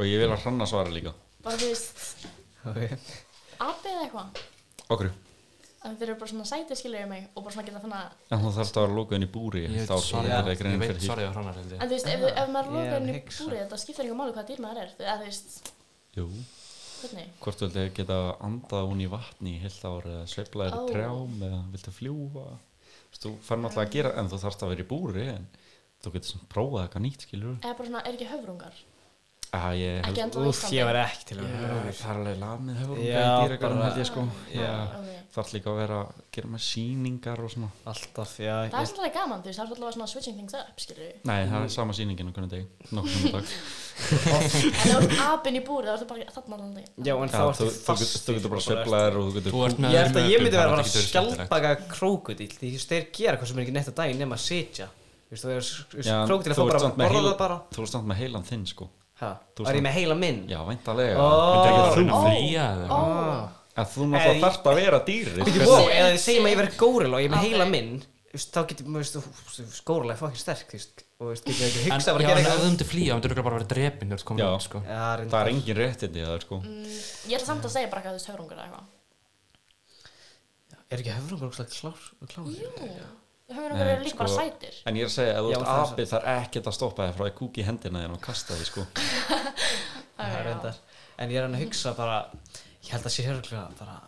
[SPEAKER 3] Og ég vil að hranna svara líka
[SPEAKER 2] bara þú veist,
[SPEAKER 1] Ok.
[SPEAKER 2] apið eða eitthvað
[SPEAKER 3] Okkur
[SPEAKER 2] en þeir eru bara svona sæti skilur ég mig og bara svona geta þannig að
[SPEAKER 3] En þú þarfst að vera lókuðin í búri í
[SPEAKER 4] Ég
[SPEAKER 3] eitt
[SPEAKER 4] veit
[SPEAKER 3] ár
[SPEAKER 4] svarið
[SPEAKER 3] Það er
[SPEAKER 4] ég
[SPEAKER 3] greinin
[SPEAKER 4] veit
[SPEAKER 3] fyrir því
[SPEAKER 4] svarið á hrannar held ég
[SPEAKER 2] en þú veist, ef, ef maður
[SPEAKER 1] Ég er
[SPEAKER 2] lokaði
[SPEAKER 1] að
[SPEAKER 2] henni í
[SPEAKER 1] hugsa.
[SPEAKER 2] búrið þetta skiptir ekki máli hvað dýr maður er eða þú veist,
[SPEAKER 3] Jú
[SPEAKER 2] hvernig
[SPEAKER 3] Hvort þú viltu geta andað hún í vatni í heilt ár eða sveifla þér
[SPEAKER 2] Ó.
[SPEAKER 3] oh. trjám eða viltu fljúa Þú veist, Þú fær náttúrulega að gera en þú þarfst að vera í búri en þú getur svona prófað eitthvað nýtt skilur
[SPEAKER 2] eða bara svona, er ekki höfrungar
[SPEAKER 3] ah, ég,
[SPEAKER 2] ekki
[SPEAKER 3] held,
[SPEAKER 2] enda á
[SPEAKER 1] Úf,
[SPEAKER 2] Íslandi
[SPEAKER 1] ég var ekki til að
[SPEAKER 3] ég, Það er alveg lamið hefur
[SPEAKER 1] Já, bara-
[SPEAKER 3] held ég sko
[SPEAKER 1] Já.
[SPEAKER 2] Ok.
[SPEAKER 3] Þarf líka að vera að gera með sýningar og svona
[SPEAKER 1] Alltaf, já
[SPEAKER 2] það er
[SPEAKER 1] ég-
[SPEAKER 2] svolítið gaman, þú veist, það er svolítið svona switching things up skilur við,
[SPEAKER 3] Nei, það er sama sýningin okkur en deg Nokkuð sem dag
[SPEAKER 2] en ef þú ert apinn í búrið þá er bara þarna allan daginn.
[SPEAKER 1] Já, en
[SPEAKER 3] Já,
[SPEAKER 1] þá ertu
[SPEAKER 3] þú, þú,
[SPEAKER 1] fast
[SPEAKER 3] getur- þú getur bara sveiflaðir og þú getur
[SPEAKER 4] Þú ert með
[SPEAKER 1] Ég held að ég myndi
[SPEAKER 4] þannig
[SPEAKER 1] vera bara
[SPEAKER 4] þetta getur verið skemmtilegt.
[SPEAKER 1] skjálpaka krókudill Því þú þeir gera hvað sem er ekki neitt á daginn nema að sitja Þú veist, þú veist,
[SPEAKER 3] Já, en
[SPEAKER 1] krókudill
[SPEAKER 3] þú
[SPEAKER 1] þá
[SPEAKER 3] ert
[SPEAKER 1] bara
[SPEAKER 3] samt með
[SPEAKER 1] borða
[SPEAKER 3] heila-
[SPEAKER 1] það bara
[SPEAKER 3] Þú ert samt með heilan þinn sko
[SPEAKER 1] Hæ,
[SPEAKER 3] Þú
[SPEAKER 1] var
[SPEAKER 3] ert-
[SPEAKER 1] ég með heila minn?
[SPEAKER 3] Já, væntalega
[SPEAKER 1] Ó.
[SPEAKER 4] Myndir ekki að
[SPEAKER 2] Ó.
[SPEAKER 4] runa fría eða
[SPEAKER 2] ó,
[SPEAKER 4] eitthvað?
[SPEAKER 3] En þú náttúrulega
[SPEAKER 1] Ei.
[SPEAKER 3] þarft að vera sko. dýri
[SPEAKER 1] Ah. Bíddu,
[SPEAKER 2] Hvernig-
[SPEAKER 1] wow, eða þið segjum að ég verið góril og ég er með
[SPEAKER 2] Ok.
[SPEAKER 1] heila minn þú veist, þá getur, þú veist, þú- þú veist, góril er fokkin sterk þú veist, og þú veist, getur ekki
[SPEAKER 4] En
[SPEAKER 1] hugsa bara
[SPEAKER 4] já,
[SPEAKER 1] að
[SPEAKER 4] en
[SPEAKER 1] gera
[SPEAKER 4] ef þú
[SPEAKER 1] eitthvað
[SPEAKER 4] myndir flýja, þú myndir örugglega bara verið drepin þegar þú komir
[SPEAKER 3] Já.
[SPEAKER 4] út, sko
[SPEAKER 1] Já,
[SPEAKER 3] Það er
[SPEAKER 1] reyndar.
[SPEAKER 3] engin réttindi það sko
[SPEAKER 2] mm, ég ætla samt að segja bara eitthvað, þú veist, höfrungar eða eitthvað
[SPEAKER 1] er ekki höfrungur ógeðslega klár, klár
[SPEAKER 2] jú, höfrungar eru
[SPEAKER 3] Nei,
[SPEAKER 2] líka bara
[SPEAKER 3] sko,
[SPEAKER 2] sætir
[SPEAKER 3] En ég er að segja, ef þú
[SPEAKER 1] Já,
[SPEAKER 3] ert
[SPEAKER 1] það er
[SPEAKER 3] apið þarf ekkert að stoppa þér frá að kúki í hendina þér og kasta þér sko
[SPEAKER 1] Það er reyndar. en ég er hann að hugsa bara ég held að sé höfrunglega bara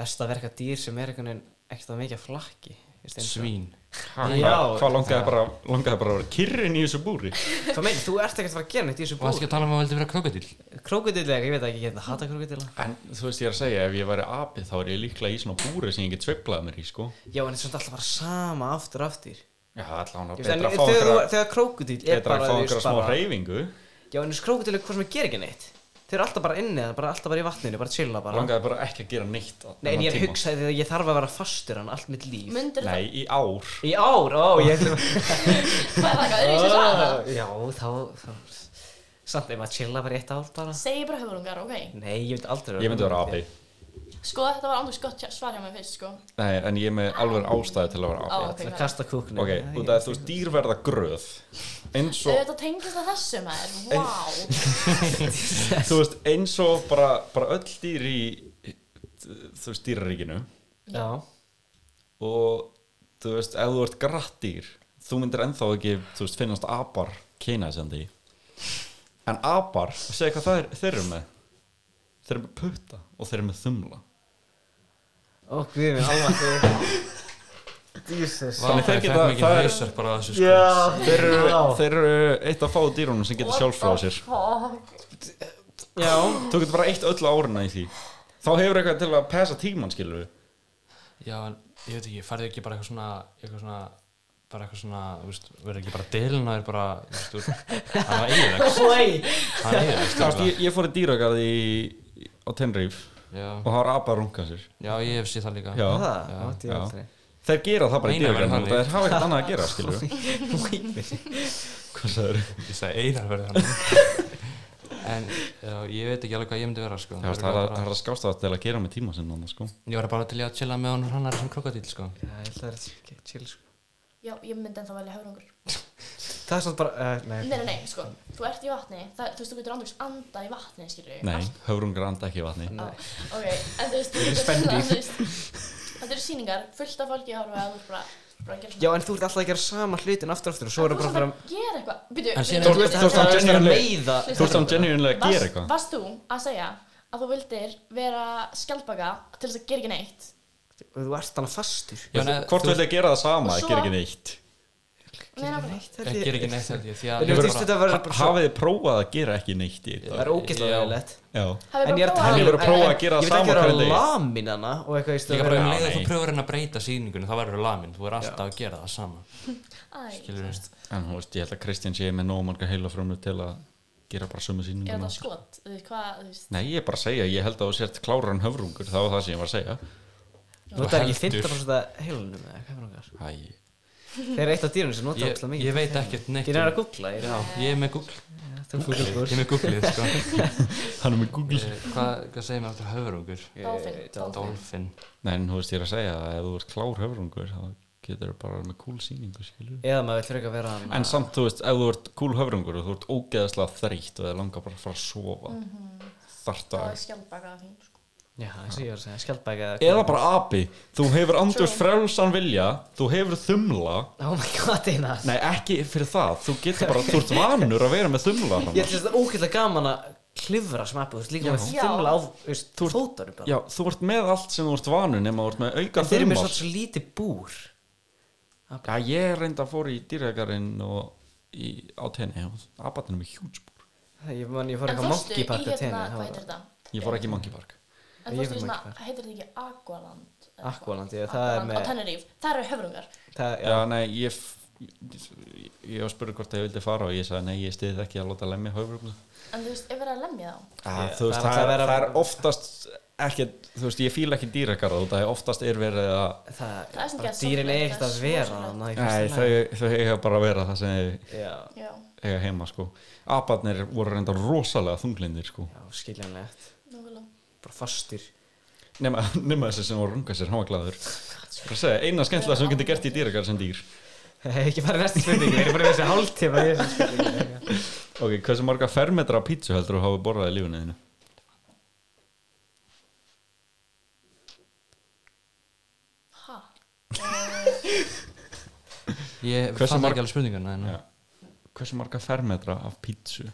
[SPEAKER 1] best að verka dýr sem er einhvern veginn ekkert að mikið af flakki þú veist, eins og-
[SPEAKER 4] Svín
[SPEAKER 1] Já.
[SPEAKER 3] Hvað hvað langaði bara, langaði bara að vera kyrrin í þessu búri
[SPEAKER 1] Hvað meina, þú ert ekkert að fara að gera neitt í þessu
[SPEAKER 4] Og það
[SPEAKER 1] búr
[SPEAKER 4] ekki að tala um að veldi vera krokodil
[SPEAKER 1] Krókudillega, ég hérna veit ekki, ég hefði hata krókudilla
[SPEAKER 3] En þú veist, ég er að segja, ef ég væri apið þá er ég líklega í svona búri sem ég get sveiflað mér í sko
[SPEAKER 1] Já, en þetta er samt alltaf bara sama aftur og aftur
[SPEAKER 3] Já, allan
[SPEAKER 1] Ég
[SPEAKER 3] að
[SPEAKER 1] veist, en
[SPEAKER 3] betra að fá
[SPEAKER 1] Þegar þú-
[SPEAKER 3] einhverja-
[SPEAKER 1] þegar krókudill er
[SPEAKER 3] betra
[SPEAKER 1] bara
[SPEAKER 3] að fá
[SPEAKER 1] þú veist,
[SPEAKER 3] einhverja smá
[SPEAKER 1] bara-
[SPEAKER 3] hreyfingu
[SPEAKER 1] Já, en skrókutil er hvað sem ger ekki neitt Þeir eru alltaf bara inni, eða bara alltaf bara í vatninu, bara chilla bara
[SPEAKER 3] langaði bara ekki að gera neitt
[SPEAKER 1] Nei,
[SPEAKER 3] á
[SPEAKER 1] en
[SPEAKER 3] þennan
[SPEAKER 1] ég
[SPEAKER 3] tíma.
[SPEAKER 1] hugsaði þegar ég þarf að vera fastur hann allt mitt líf
[SPEAKER 2] myndir
[SPEAKER 3] Nei, í ár
[SPEAKER 1] Í ár, ó, ég
[SPEAKER 2] það hvað er það eitthvað, er ég sér það
[SPEAKER 1] Já, þá, þá Samt ef maður chilla bara í eitt ár bara
[SPEAKER 2] segi bara höfrungar, ok
[SPEAKER 1] Nei, ég myndi aldrei
[SPEAKER 3] Ég myndi vera api
[SPEAKER 2] Sko þetta var andurs gott svar hjá mér fyrst sko
[SPEAKER 3] Nei, en ég er með alveg ástæði til að vera
[SPEAKER 2] Á,
[SPEAKER 3] api
[SPEAKER 2] ok,
[SPEAKER 1] Það
[SPEAKER 2] hvað
[SPEAKER 1] kasta kúknu
[SPEAKER 3] Ok, út af að þú veist, dýr verða gröð eins
[SPEAKER 1] Sko.
[SPEAKER 3] og,
[SPEAKER 2] Þetta tengist að þessu maður, wow
[SPEAKER 3] þú veist, eins og bara, bara öll dýr í þú veist, dýraríkinu
[SPEAKER 1] Já,
[SPEAKER 3] og þú veist, ef þú ert grattdýr þú myndir ennþá ekki, þú veist, finnast apar kynæsandi en apar, segja hvað það er, þeir eru með þeir eru með putta og þeir eru með þumla
[SPEAKER 1] Ó, guðið minn, alveg Jesus
[SPEAKER 4] Vá,
[SPEAKER 3] þeir
[SPEAKER 4] ég fekk
[SPEAKER 3] geta-
[SPEAKER 4] mikið
[SPEAKER 3] það er-
[SPEAKER 4] hausar bara að þessu sko
[SPEAKER 1] Já,
[SPEAKER 3] Þeir eru,
[SPEAKER 1] Já.
[SPEAKER 3] þeir eru eitt af fá dýrunum sem getur sjálfráð sér
[SPEAKER 1] Já,
[SPEAKER 3] Þú getur bara eitt öll á áruna í því Þá hefur eitthvað til að passa tíman skilur við
[SPEAKER 4] Já, en ég veit ekki, færðu ekki bara eitthvað svona eitthvað svona bara eitthvað svona, þú veist, verður ekki bara delin að þér bara, þú veist, úr- hann var eigið
[SPEAKER 1] play
[SPEAKER 4] hann var eigið,
[SPEAKER 3] Þú veist, ég, ég fór í dýragarð í, á Tenrýf og
[SPEAKER 4] já,
[SPEAKER 3] það var apa að runga sér
[SPEAKER 4] já, ég hef séð það líka
[SPEAKER 3] Já.
[SPEAKER 1] Það,
[SPEAKER 4] Já,
[SPEAKER 1] átti ég
[SPEAKER 3] já.
[SPEAKER 1] aldrei
[SPEAKER 3] Þeir gera það bara í
[SPEAKER 4] Einar
[SPEAKER 3] dýragarð
[SPEAKER 4] verður þannig.
[SPEAKER 3] Það er hafa eitthvað annað að gera skilur við Hvað sagður?
[SPEAKER 4] ég sagði einar verður hann en, já, ég veit ekki alveg hvað ég myndi vera, sko
[SPEAKER 3] Það er að- það er að skásta það til að gera með tíma sinna sko.
[SPEAKER 4] ég var bara til í að chilla með honum hann er sem krokodil, sko
[SPEAKER 1] Já, ég held að það er chill sko
[SPEAKER 2] Já, ég myndi ennþá velja höfrungur.
[SPEAKER 1] Það er svona bara, uh,
[SPEAKER 2] Nei,
[SPEAKER 1] nei
[SPEAKER 2] nei, nei, sko, þú ert í vatni, það, þú veist, þú getur andrúks anda í vatni, skilur við.
[SPEAKER 3] Nei, höfrungar anda ekki í vatni
[SPEAKER 2] Ok, en þú veist, þú
[SPEAKER 1] Ég er
[SPEAKER 2] getur
[SPEAKER 1] spendýr.
[SPEAKER 2] þú veist, þetta eru síningar, fullt af fólki að horfa að þú ert bara, bara að gera
[SPEAKER 1] Já, en þú ert alltaf að gera sama hlutin aftur og aftur og svo
[SPEAKER 2] En
[SPEAKER 1] eru
[SPEAKER 2] þú
[SPEAKER 1] bara bara
[SPEAKER 2] ert að gera eitthvað, byrju,
[SPEAKER 4] En síðan
[SPEAKER 1] Þú
[SPEAKER 4] er-
[SPEAKER 1] ert alltaf að gera að meiða
[SPEAKER 3] Þú ert samt genuinlega að gera
[SPEAKER 2] Varst,
[SPEAKER 3] eitthvað
[SPEAKER 2] varst þú að segja að þú vildir vera skjaldbaka til þess að gera ekki neitt?
[SPEAKER 1] og þú ert þannig fastur
[SPEAKER 4] Já, nei,
[SPEAKER 3] Hvort
[SPEAKER 4] þú-
[SPEAKER 3] vil þið gera það sama,
[SPEAKER 2] Og svo-
[SPEAKER 3] gera ekki neitt
[SPEAKER 2] Nei, nákvæmlega.
[SPEAKER 1] held
[SPEAKER 4] ég
[SPEAKER 1] ég.
[SPEAKER 4] ger ekki neitt held ég því að
[SPEAKER 1] En ég
[SPEAKER 4] ég
[SPEAKER 1] veist þetta verður bara svo-
[SPEAKER 3] Hafið þið prófað að gera ekki neitt í
[SPEAKER 1] Það
[SPEAKER 3] þetta?
[SPEAKER 1] er ógeðslega
[SPEAKER 4] Já.
[SPEAKER 1] leiðilegt
[SPEAKER 3] Já
[SPEAKER 2] Hafið
[SPEAKER 1] En ég er
[SPEAKER 2] bara
[SPEAKER 1] að
[SPEAKER 2] prófað
[SPEAKER 1] tala um
[SPEAKER 3] En ég verður að prófa að
[SPEAKER 1] Ég
[SPEAKER 3] gera
[SPEAKER 1] veit
[SPEAKER 3] sama
[SPEAKER 1] ekki að vera
[SPEAKER 3] hverju degi.
[SPEAKER 1] lamin hana og eitthvað í stöðu
[SPEAKER 4] líka bara um
[SPEAKER 3] Já,
[SPEAKER 4] leið að þú
[SPEAKER 3] nei.
[SPEAKER 4] pröfur henni að breyta sýningunni þá verður þú lamin, þú er alltaf að gera það sama
[SPEAKER 2] Æ,
[SPEAKER 4] skilur við,
[SPEAKER 3] En þú veist, ég held að Kristján sé með nóg marga heilafrömmur til að gera bara sömu
[SPEAKER 2] Er
[SPEAKER 3] sýninguna
[SPEAKER 2] þetta
[SPEAKER 1] sko-
[SPEAKER 2] skot? Þú veist, hvað, þú veist,
[SPEAKER 3] Nei, ég er bara að segja, ég held að þú sért kláran höfrungur Það var það sem ég var að segja
[SPEAKER 1] Notar ekki
[SPEAKER 4] heldur.
[SPEAKER 1] 50% af heilunum eða hvað er okkar
[SPEAKER 3] Æ,
[SPEAKER 1] Þeir eru eitt af dýrunum sem nota
[SPEAKER 4] ég,
[SPEAKER 1] alltaf
[SPEAKER 4] ég
[SPEAKER 1] mikið
[SPEAKER 4] veit ekkert neitt
[SPEAKER 1] Ég er að
[SPEAKER 4] um-
[SPEAKER 1] googla ég er
[SPEAKER 4] Já, ég er með Google
[SPEAKER 1] að- Þú fúkir
[SPEAKER 4] Ég er með Google-ið, sko
[SPEAKER 3] hann er með Google
[SPEAKER 4] Eh, Hvað hva segir mér aftur höfurungur?
[SPEAKER 2] dolfin, dolfin.
[SPEAKER 4] Dolphin
[SPEAKER 3] Nei, en þú veist, ég er að segja að ef þú ert klár höfrungur þá getur þú bara með cool sýningu, skilur
[SPEAKER 1] Eða maður vil freka vera hana
[SPEAKER 3] En samt, þú veist, ef þú ert cool höfrungur og þú ert ógeðaslega þreytt og þið langar bara að fara að sofa mm
[SPEAKER 1] Mhm.
[SPEAKER 2] Það
[SPEAKER 3] Þarta
[SPEAKER 2] er skjaldbaka af fín, sko.
[SPEAKER 1] Já, eins og ég var að segja Skjaldbæk
[SPEAKER 3] Eða bara api, þú hefur andjóðs frelsan vilja, þú hefur þumla
[SPEAKER 1] Oh my god, Einar
[SPEAKER 3] Nei, ekki fyrir það, þú getur bara, þú ert vanur að vera með þumla
[SPEAKER 1] Ég ætla þetta ógeðslega gaman að klifra smappu Þú veist líka með
[SPEAKER 2] Já.
[SPEAKER 1] þumla á þú veist, fótunum bara
[SPEAKER 3] Já, þú ert með allt sem þú ert vanur nema þú ert með auka
[SPEAKER 1] En þeir eru með
[SPEAKER 3] þumlar
[SPEAKER 1] svona svo lítið búr
[SPEAKER 3] Já, ég reynda að fóra í dýrækarinn og í, á tenni og abatinn með hjútsbúr
[SPEAKER 1] Ég man, ég fór
[SPEAKER 2] En
[SPEAKER 1] eitthvað
[SPEAKER 2] fórstu í
[SPEAKER 1] monkeypark að
[SPEAKER 2] hérna,
[SPEAKER 1] tenni
[SPEAKER 2] hvað heitir þetta?
[SPEAKER 3] Ég fór ekki í Monkey Park
[SPEAKER 1] Ég
[SPEAKER 2] En fórstu
[SPEAKER 1] veit
[SPEAKER 2] í svona,
[SPEAKER 1] ekki hvað.
[SPEAKER 2] heitir þetta ekki Aqualand? eða eitthvað?
[SPEAKER 1] Aqualand, ég, það er
[SPEAKER 2] Aqualand á
[SPEAKER 1] með
[SPEAKER 2] Tenerife, það eru höfrungar.
[SPEAKER 1] það,
[SPEAKER 3] Já,
[SPEAKER 1] já,
[SPEAKER 3] nei, ég, f- ég, ég var spurði hvort ég vildi fara og ég sagði nei, ég stiði ekki að láta lemja höfur
[SPEAKER 2] En þú veist, ef verið að lemja þá.
[SPEAKER 3] Ah,
[SPEAKER 1] Ég-
[SPEAKER 3] þú
[SPEAKER 1] það er alltaf
[SPEAKER 3] veist, það,
[SPEAKER 1] að
[SPEAKER 3] er, það
[SPEAKER 1] vera-
[SPEAKER 3] er oftast ekki, þú veist, ég fíla ekki dýragarða út af því oftast er verið að
[SPEAKER 1] það,
[SPEAKER 2] Það er sem
[SPEAKER 1] bara
[SPEAKER 2] gerð
[SPEAKER 1] dýrin
[SPEAKER 2] sorglegt,
[SPEAKER 1] er ekkert
[SPEAKER 2] það er
[SPEAKER 1] að
[SPEAKER 2] svo
[SPEAKER 1] vera
[SPEAKER 2] sorglegt.
[SPEAKER 1] þarna í
[SPEAKER 3] Nei,
[SPEAKER 1] fyrsta lagi.
[SPEAKER 3] þau, þau eiga bara að vera það sem þau
[SPEAKER 1] Já,
[SPEAKER 2] Já,
[SPEAKER 3] eiga heima sko Aparnir voru reynda rosalega þunglindir sko
[SPEAKER 1] já, skiljanlegt
[SPEAKER 2] nákvæmlega.
[SPEAKER 1] Bara fastir
[SPEAKER 3] nema, nema þessi sem voru runga sér, hann var glaður Bara að segja, eina skemmtilega sem þú getur gert í dýragarð sem dýr
[SPEAKER 1] Hef ekki farið næstu spurningu, við erum bara með þessi hálftíma í þessu spurningu
[SPEAKER 3] Ok, hversu marga fermetra af pítsu heldur þú hafa borðað í lífinu þínu?
[SPEAKER 2] Hæ?
[SPEAKER 4] Ég
[SPEAKER 3] Hversu
[SPEAKER 4] fann
[SPEAKER 3] marg-
[SPEAKER 4] ekki alveg spurninguna hérna. en,
[SPEAKER 3] Já. Hversu marga fermetra af pítsu?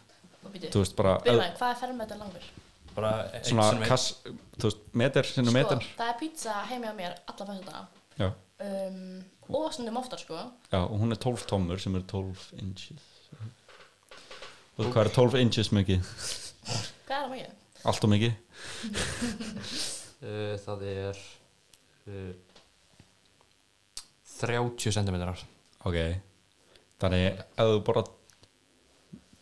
[SPEAKER 2] Og býtu,
[SPEAKER 3] Þú veist bara
[SPEAKER 2] byrjaði, hvað er fermetar langur?
[SPEAKER 4] bara eitt
[SPEAKER 3] svona
[SPEAKER 4] sem er-
[SPEAKER 3] kass, þú veist, meter sinni meter
[SPEAKER 2] Sko, það er pizza heimi á mér alla fyrstu dag
[SPEAKER 3] Já,
[SPEAKER 2] um, og stundum oftar sko
[SPEAKER 3] já, og hún er 12 tommur sem er 12 inches Og hvað er 12 inches mikið?
[SPEAKER 2] hvað er það mikið?
[SPEAKER 3] Allt og mikið?
[SPEAKER 4] uh, Það er uh, 30 cm
[SPEAKER 3] Ok Þannig ef þú bara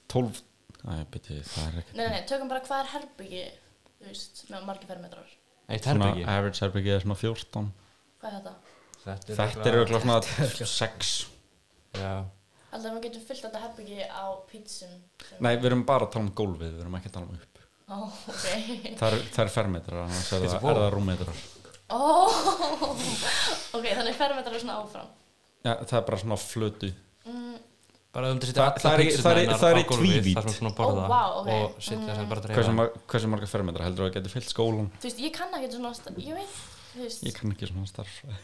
[SPEAKER 3] 12 Æ, beti, það er ekkert
[SPEAKER 2] Nei, nei, nei, tökum bara hvað er herbyggi þú veist, með margir fermetrar
[SPEAKER 4] Eitt
[SPEAKER 3] Svona
[SPEAKER 4] herbyggi
[SPEAKER 3] average herbyggi er svona 14
[SPEAKER 2] hvað er þetta?
[SPEAKER 3] Þetta er auðvitað svona 6
[SPEAKER 4] Já,
[SPEAKER 2] Alltaf maður getur fyllt þetta herbyggi á pizzum sem-
[SPEAKER 3] Nei, við erum bara að tala um gólfið, við erum ekki að tala um upp
[SPEAKER 2] Ó, ok
[SPEAKER 3] Það er- það er fermetrar, annars er
[SPEAKER 4] Þetta
[SPEAKER 3] það,
[SPEAKER 4] er
[SPEAKER 3] er það rúmmetrar
[SPEAKER 2] Ó, ok, þannig fermetrar er svona áfram
[SPEAKER 3] Já, það er bara svona flötu
[SPEAKER 4] bara um til að
[SPEAKER 3] Þa-
[SPEAKER 4] setja hérna
[SPEAKER 3] það er í- það er í- það er í tvívídd.
[SPEAKER 4] Það er svona
[SPEAKER 2] Ó,
[SPEAKER 4] borða
[SPEAKER 2] vá, ok.
[SPEAKER 4] og setja þess að bara
[SPEAKER 3] Hversu,
[SPEAKER 4] dreifa
[SPEAKER 3] mar hversu marga fermetrar heldur þú að geti fyllt skólan?
[SPEAKER 2] þú veist, ég kann ekki svona sta- ég veit, þú veist
[SPEAKER 3] Ég kann ekki svona starffræði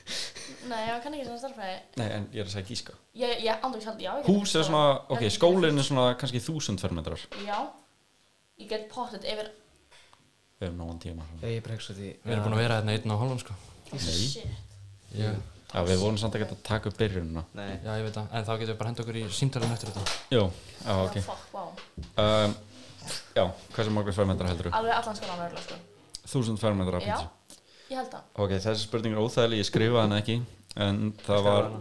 [SPEAKER 2] nei, ég kann ekki svona starfræði
[SPEAKER 3] Nei, en ég er að segja gíska
[SPEAKER 2] ég, ég andur ekki já, ég get
[SPEAKER 3] Hús er svona, ok, skólinn er svona kannski 1000 fermetrar
[SPEAKER 2] já, ég get pottet yfir
[SPEAKER 3] Við hefum nógan tíma
[SPEAKER 1] Ég er bara ekki svo því
[SPEAKER 4] Við erum búin að vera hérna einn og hálfan sko
[SPEAKER 2] Shit.
[SPEAKER 4] Já,
[SPEAKER 3] Já, við vorum samt ekkert að taka upp byrjununa
[SPEAKER 1] Nei,
[SPEAKER 4] já, ég veit það, en þá getum við bara henda okkur í símdalinn eftir þetta
[SPEAKER 3] Jú, já, ok
[SPEAKER 2] Já, fuck, wow.
[SPEAKER 3] um, Já, hversu margur fermetra heldur
[SPEAKER 2] Alveg allan skólan verður, sko.
[SPEAKER 3] þú? Þúsund fermetra
[SPEAKER 2] Já,
[SPEAKER 3] pítsu
[SPEAKER 2] ég held það.
[SPEAKER 3] Ok, þessi spurning er óþægileg, ég skrifaði hann ekki En það var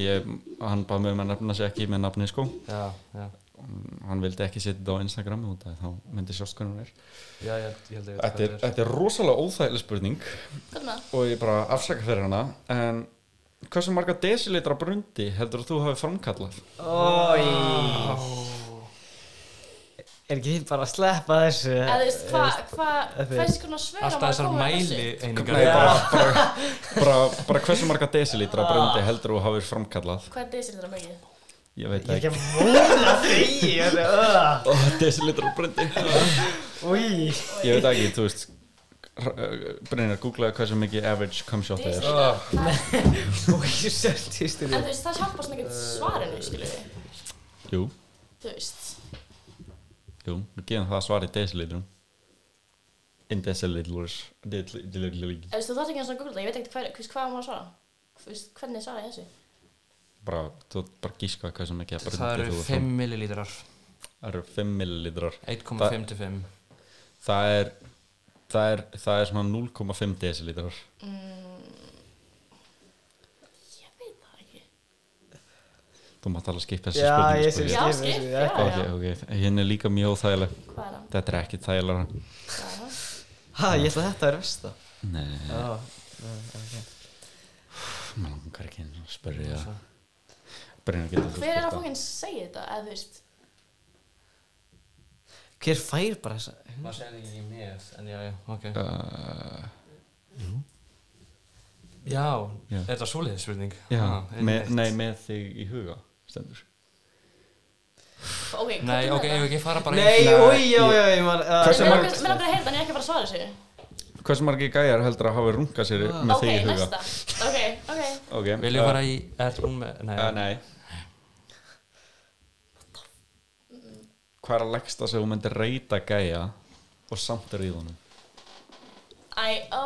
[SPEAKER 3] ég, Hann bað mig um að nefna sig ekki með nafni sko
[SPEAKER 4] Já, já,
[SPEAKER 3] Hann vildi ekki setja þetta á Instagram út af því Þá myndi sjást hvernig hún er
[SPEAKER 4] já, ég held- ég held að ég veit
[SPEAKER 3] Þetta er, þetta er rosalega óþægileg spurning
[SPEAKER 2] Hvað með það?
[SPEAKER 3] Og ég bara afsaka fyrir hana En hversu marga desilitra brundi heldur þú hafi framkallað?
[SPEAKER 1] Ói Er ekki þið bara að sleppa þessu?
[SPEAKER 4] Eh,
[SPEAKER 2] Eða þú veist, hvað, hvað,
[SPEAKER 1] Þetta er-
[SPEAKER 2] hvað er svona svör á
[SPEAKER 4] Alltaf
[SPEAKER 2] maður að
[SPEAKER 4] þessar
[SPEAKER 2] koma með þessu?
[SPEAKER 4] mæli einingar
[SPEAKER 3] Nei, bara, bara, bara, bara hversu marga desilitra brundi heldur þú hafið framkallað?
[SPEAKER 2] Hvað er desilitra mikið?
[SPEAKER 3] Ég veit
[SPEAKER 1] Ég er
[SPEAKER 3] ekki.
[SPEAKER 1] ekki að móla því Þetta er öða
[SPEAKER 3] Ó, desilitra brundi.
[SPEAKER 1] Úi
[SPEAKER 3] Ég veit ekki, þú veist, Brynjar, googlaði hversu mikið average cumshot er.
[SPEAKER 2] Desilitra, það-
[SPEAKER 1] Úi, sjöldist
[SPEAKER 2] en
[SPEAKER 1] þér
[SPEAKER 2] þú veist, það hjálpar svona
[SPEAKER 4] Eh.
[SPEAKER 2] ekkert svarinu, skilur við.
[SPEAKER 3] Jú,
[SPEAKER 2] Þú veist,
[SPEAKER 3] jú, við gefum það svar í desilitrum. In desiliters. desiliters.
[SPEAKER 2] eða þú veist, þú þarf ekki eins og að googla það, ég veit ekkert hver, þú veist, hvað á maður að svara? Þú veist, hvernig svara ég þessu?
[SPEAKER 3] Bara, þú ert bara gíska hversu mikið brundi
[SPEAKER 4] Það eru
[SPEAKER 3] þú
[SPEAKER 4] 5 millilítrar
[SPEAKER 3] Það eru 5 millilitrar.
[SPEAKER 4] 1,5 til 5
[SPEAKER 3] Það er, það er, það er svona 0,5 desilitrar.
[SPEAKER 2] Ég veit það ekki.
[SPEAKER 3] Þú mátt alveg skipa þessi
[SPEAKER 1] Já,
[SPEAKER 3] spurningu.
[SPEAKER 1] ég sé
[SPEAKER 3] sko.
[SPEAKER 2] Já,
[SPEAKER 1] skip
[SPEAKER 2] skip,
[SPEAKER 1] þessu,
[SPEAKER 2] já,
[SPEAKER 1] já.
[SPEAKER 3] Ok,
[SPEAKER 2] já.
[SPEAKER 3] ok, hérna er líka mjög óþægileg
[SPEAKER 2] Hvað er það?
[SPEAKER 3] Þetta er ekki þægilega
[SPEAKER 2] Hvað er það?
[SPEAKER 1] Ha, ég ætla að þetta er versta
[SPEAKER 3] Nei,
[SPEAKER 1] Já, ok
[SPEAKER 3] maður langar ekki einu sinni að spyrja Brynjar getur þú
[SPEAKER 2] Hver er að hérna?
[SPEAKER 3] spurt
[SPEAKER 2] fókinn segja þetta, eða þú veist,
[SPEAKER 1] Hver fær bara þessa?
[SPEAKER 4] Maður segir ekki í með, en já, já, ok
[SPEAKER 3] það?
[SPEAKER 4] Já,
[SPEAKER 3] Já.
[SPEAKER 4] er þetta svoleiðið spurning?
[SPEAKER 3] Já,
[SPEAKER 4] Ah,
[SPEAKER 3] með,
[SPEAKER 4] einmitt.
[SPEAKER 3] nei, með þig í huga stendur
[SPEAKER 2] ok, hvað
[SPEAKER 4] Nei,
[SPEAKER 2] er
[SPEAKER 4] ok, ef ekki fara bara
[SPEAKER 1] Nei,
[SPEAKER 3] Nei,
[SPEAKER 1] úi, já,
[SPEAKER 3] ég-
[SPEAKER 1] já, ég man
[SPEAKER 3] Hversu
[SPEAKER 1] að-
[SPEAKER 2] Mér langar
[SPEAKER 3] marg-
[SPEAKER 2] mér langar að heyra það, en ég er ekki að fara að svara þessu.
[SPEAKER 3] Hversu margir gæjar heldur að hafa runga sér með
[SPEAKER 2] Ok,
[SPEAKER 3] þig í huga?
[SPEAKER 2] næsta. Ok, ok.
[SPEAKER 3] Ok,
[SPEAKER 4] Ah. Viljum fara í, er hún með, nei,
[SPEAKER 3] Uh, nei Hvað er að leggsta sem þú myndir reyta gæja og samt er í honum?
[SPEAKER 2] Æ, ó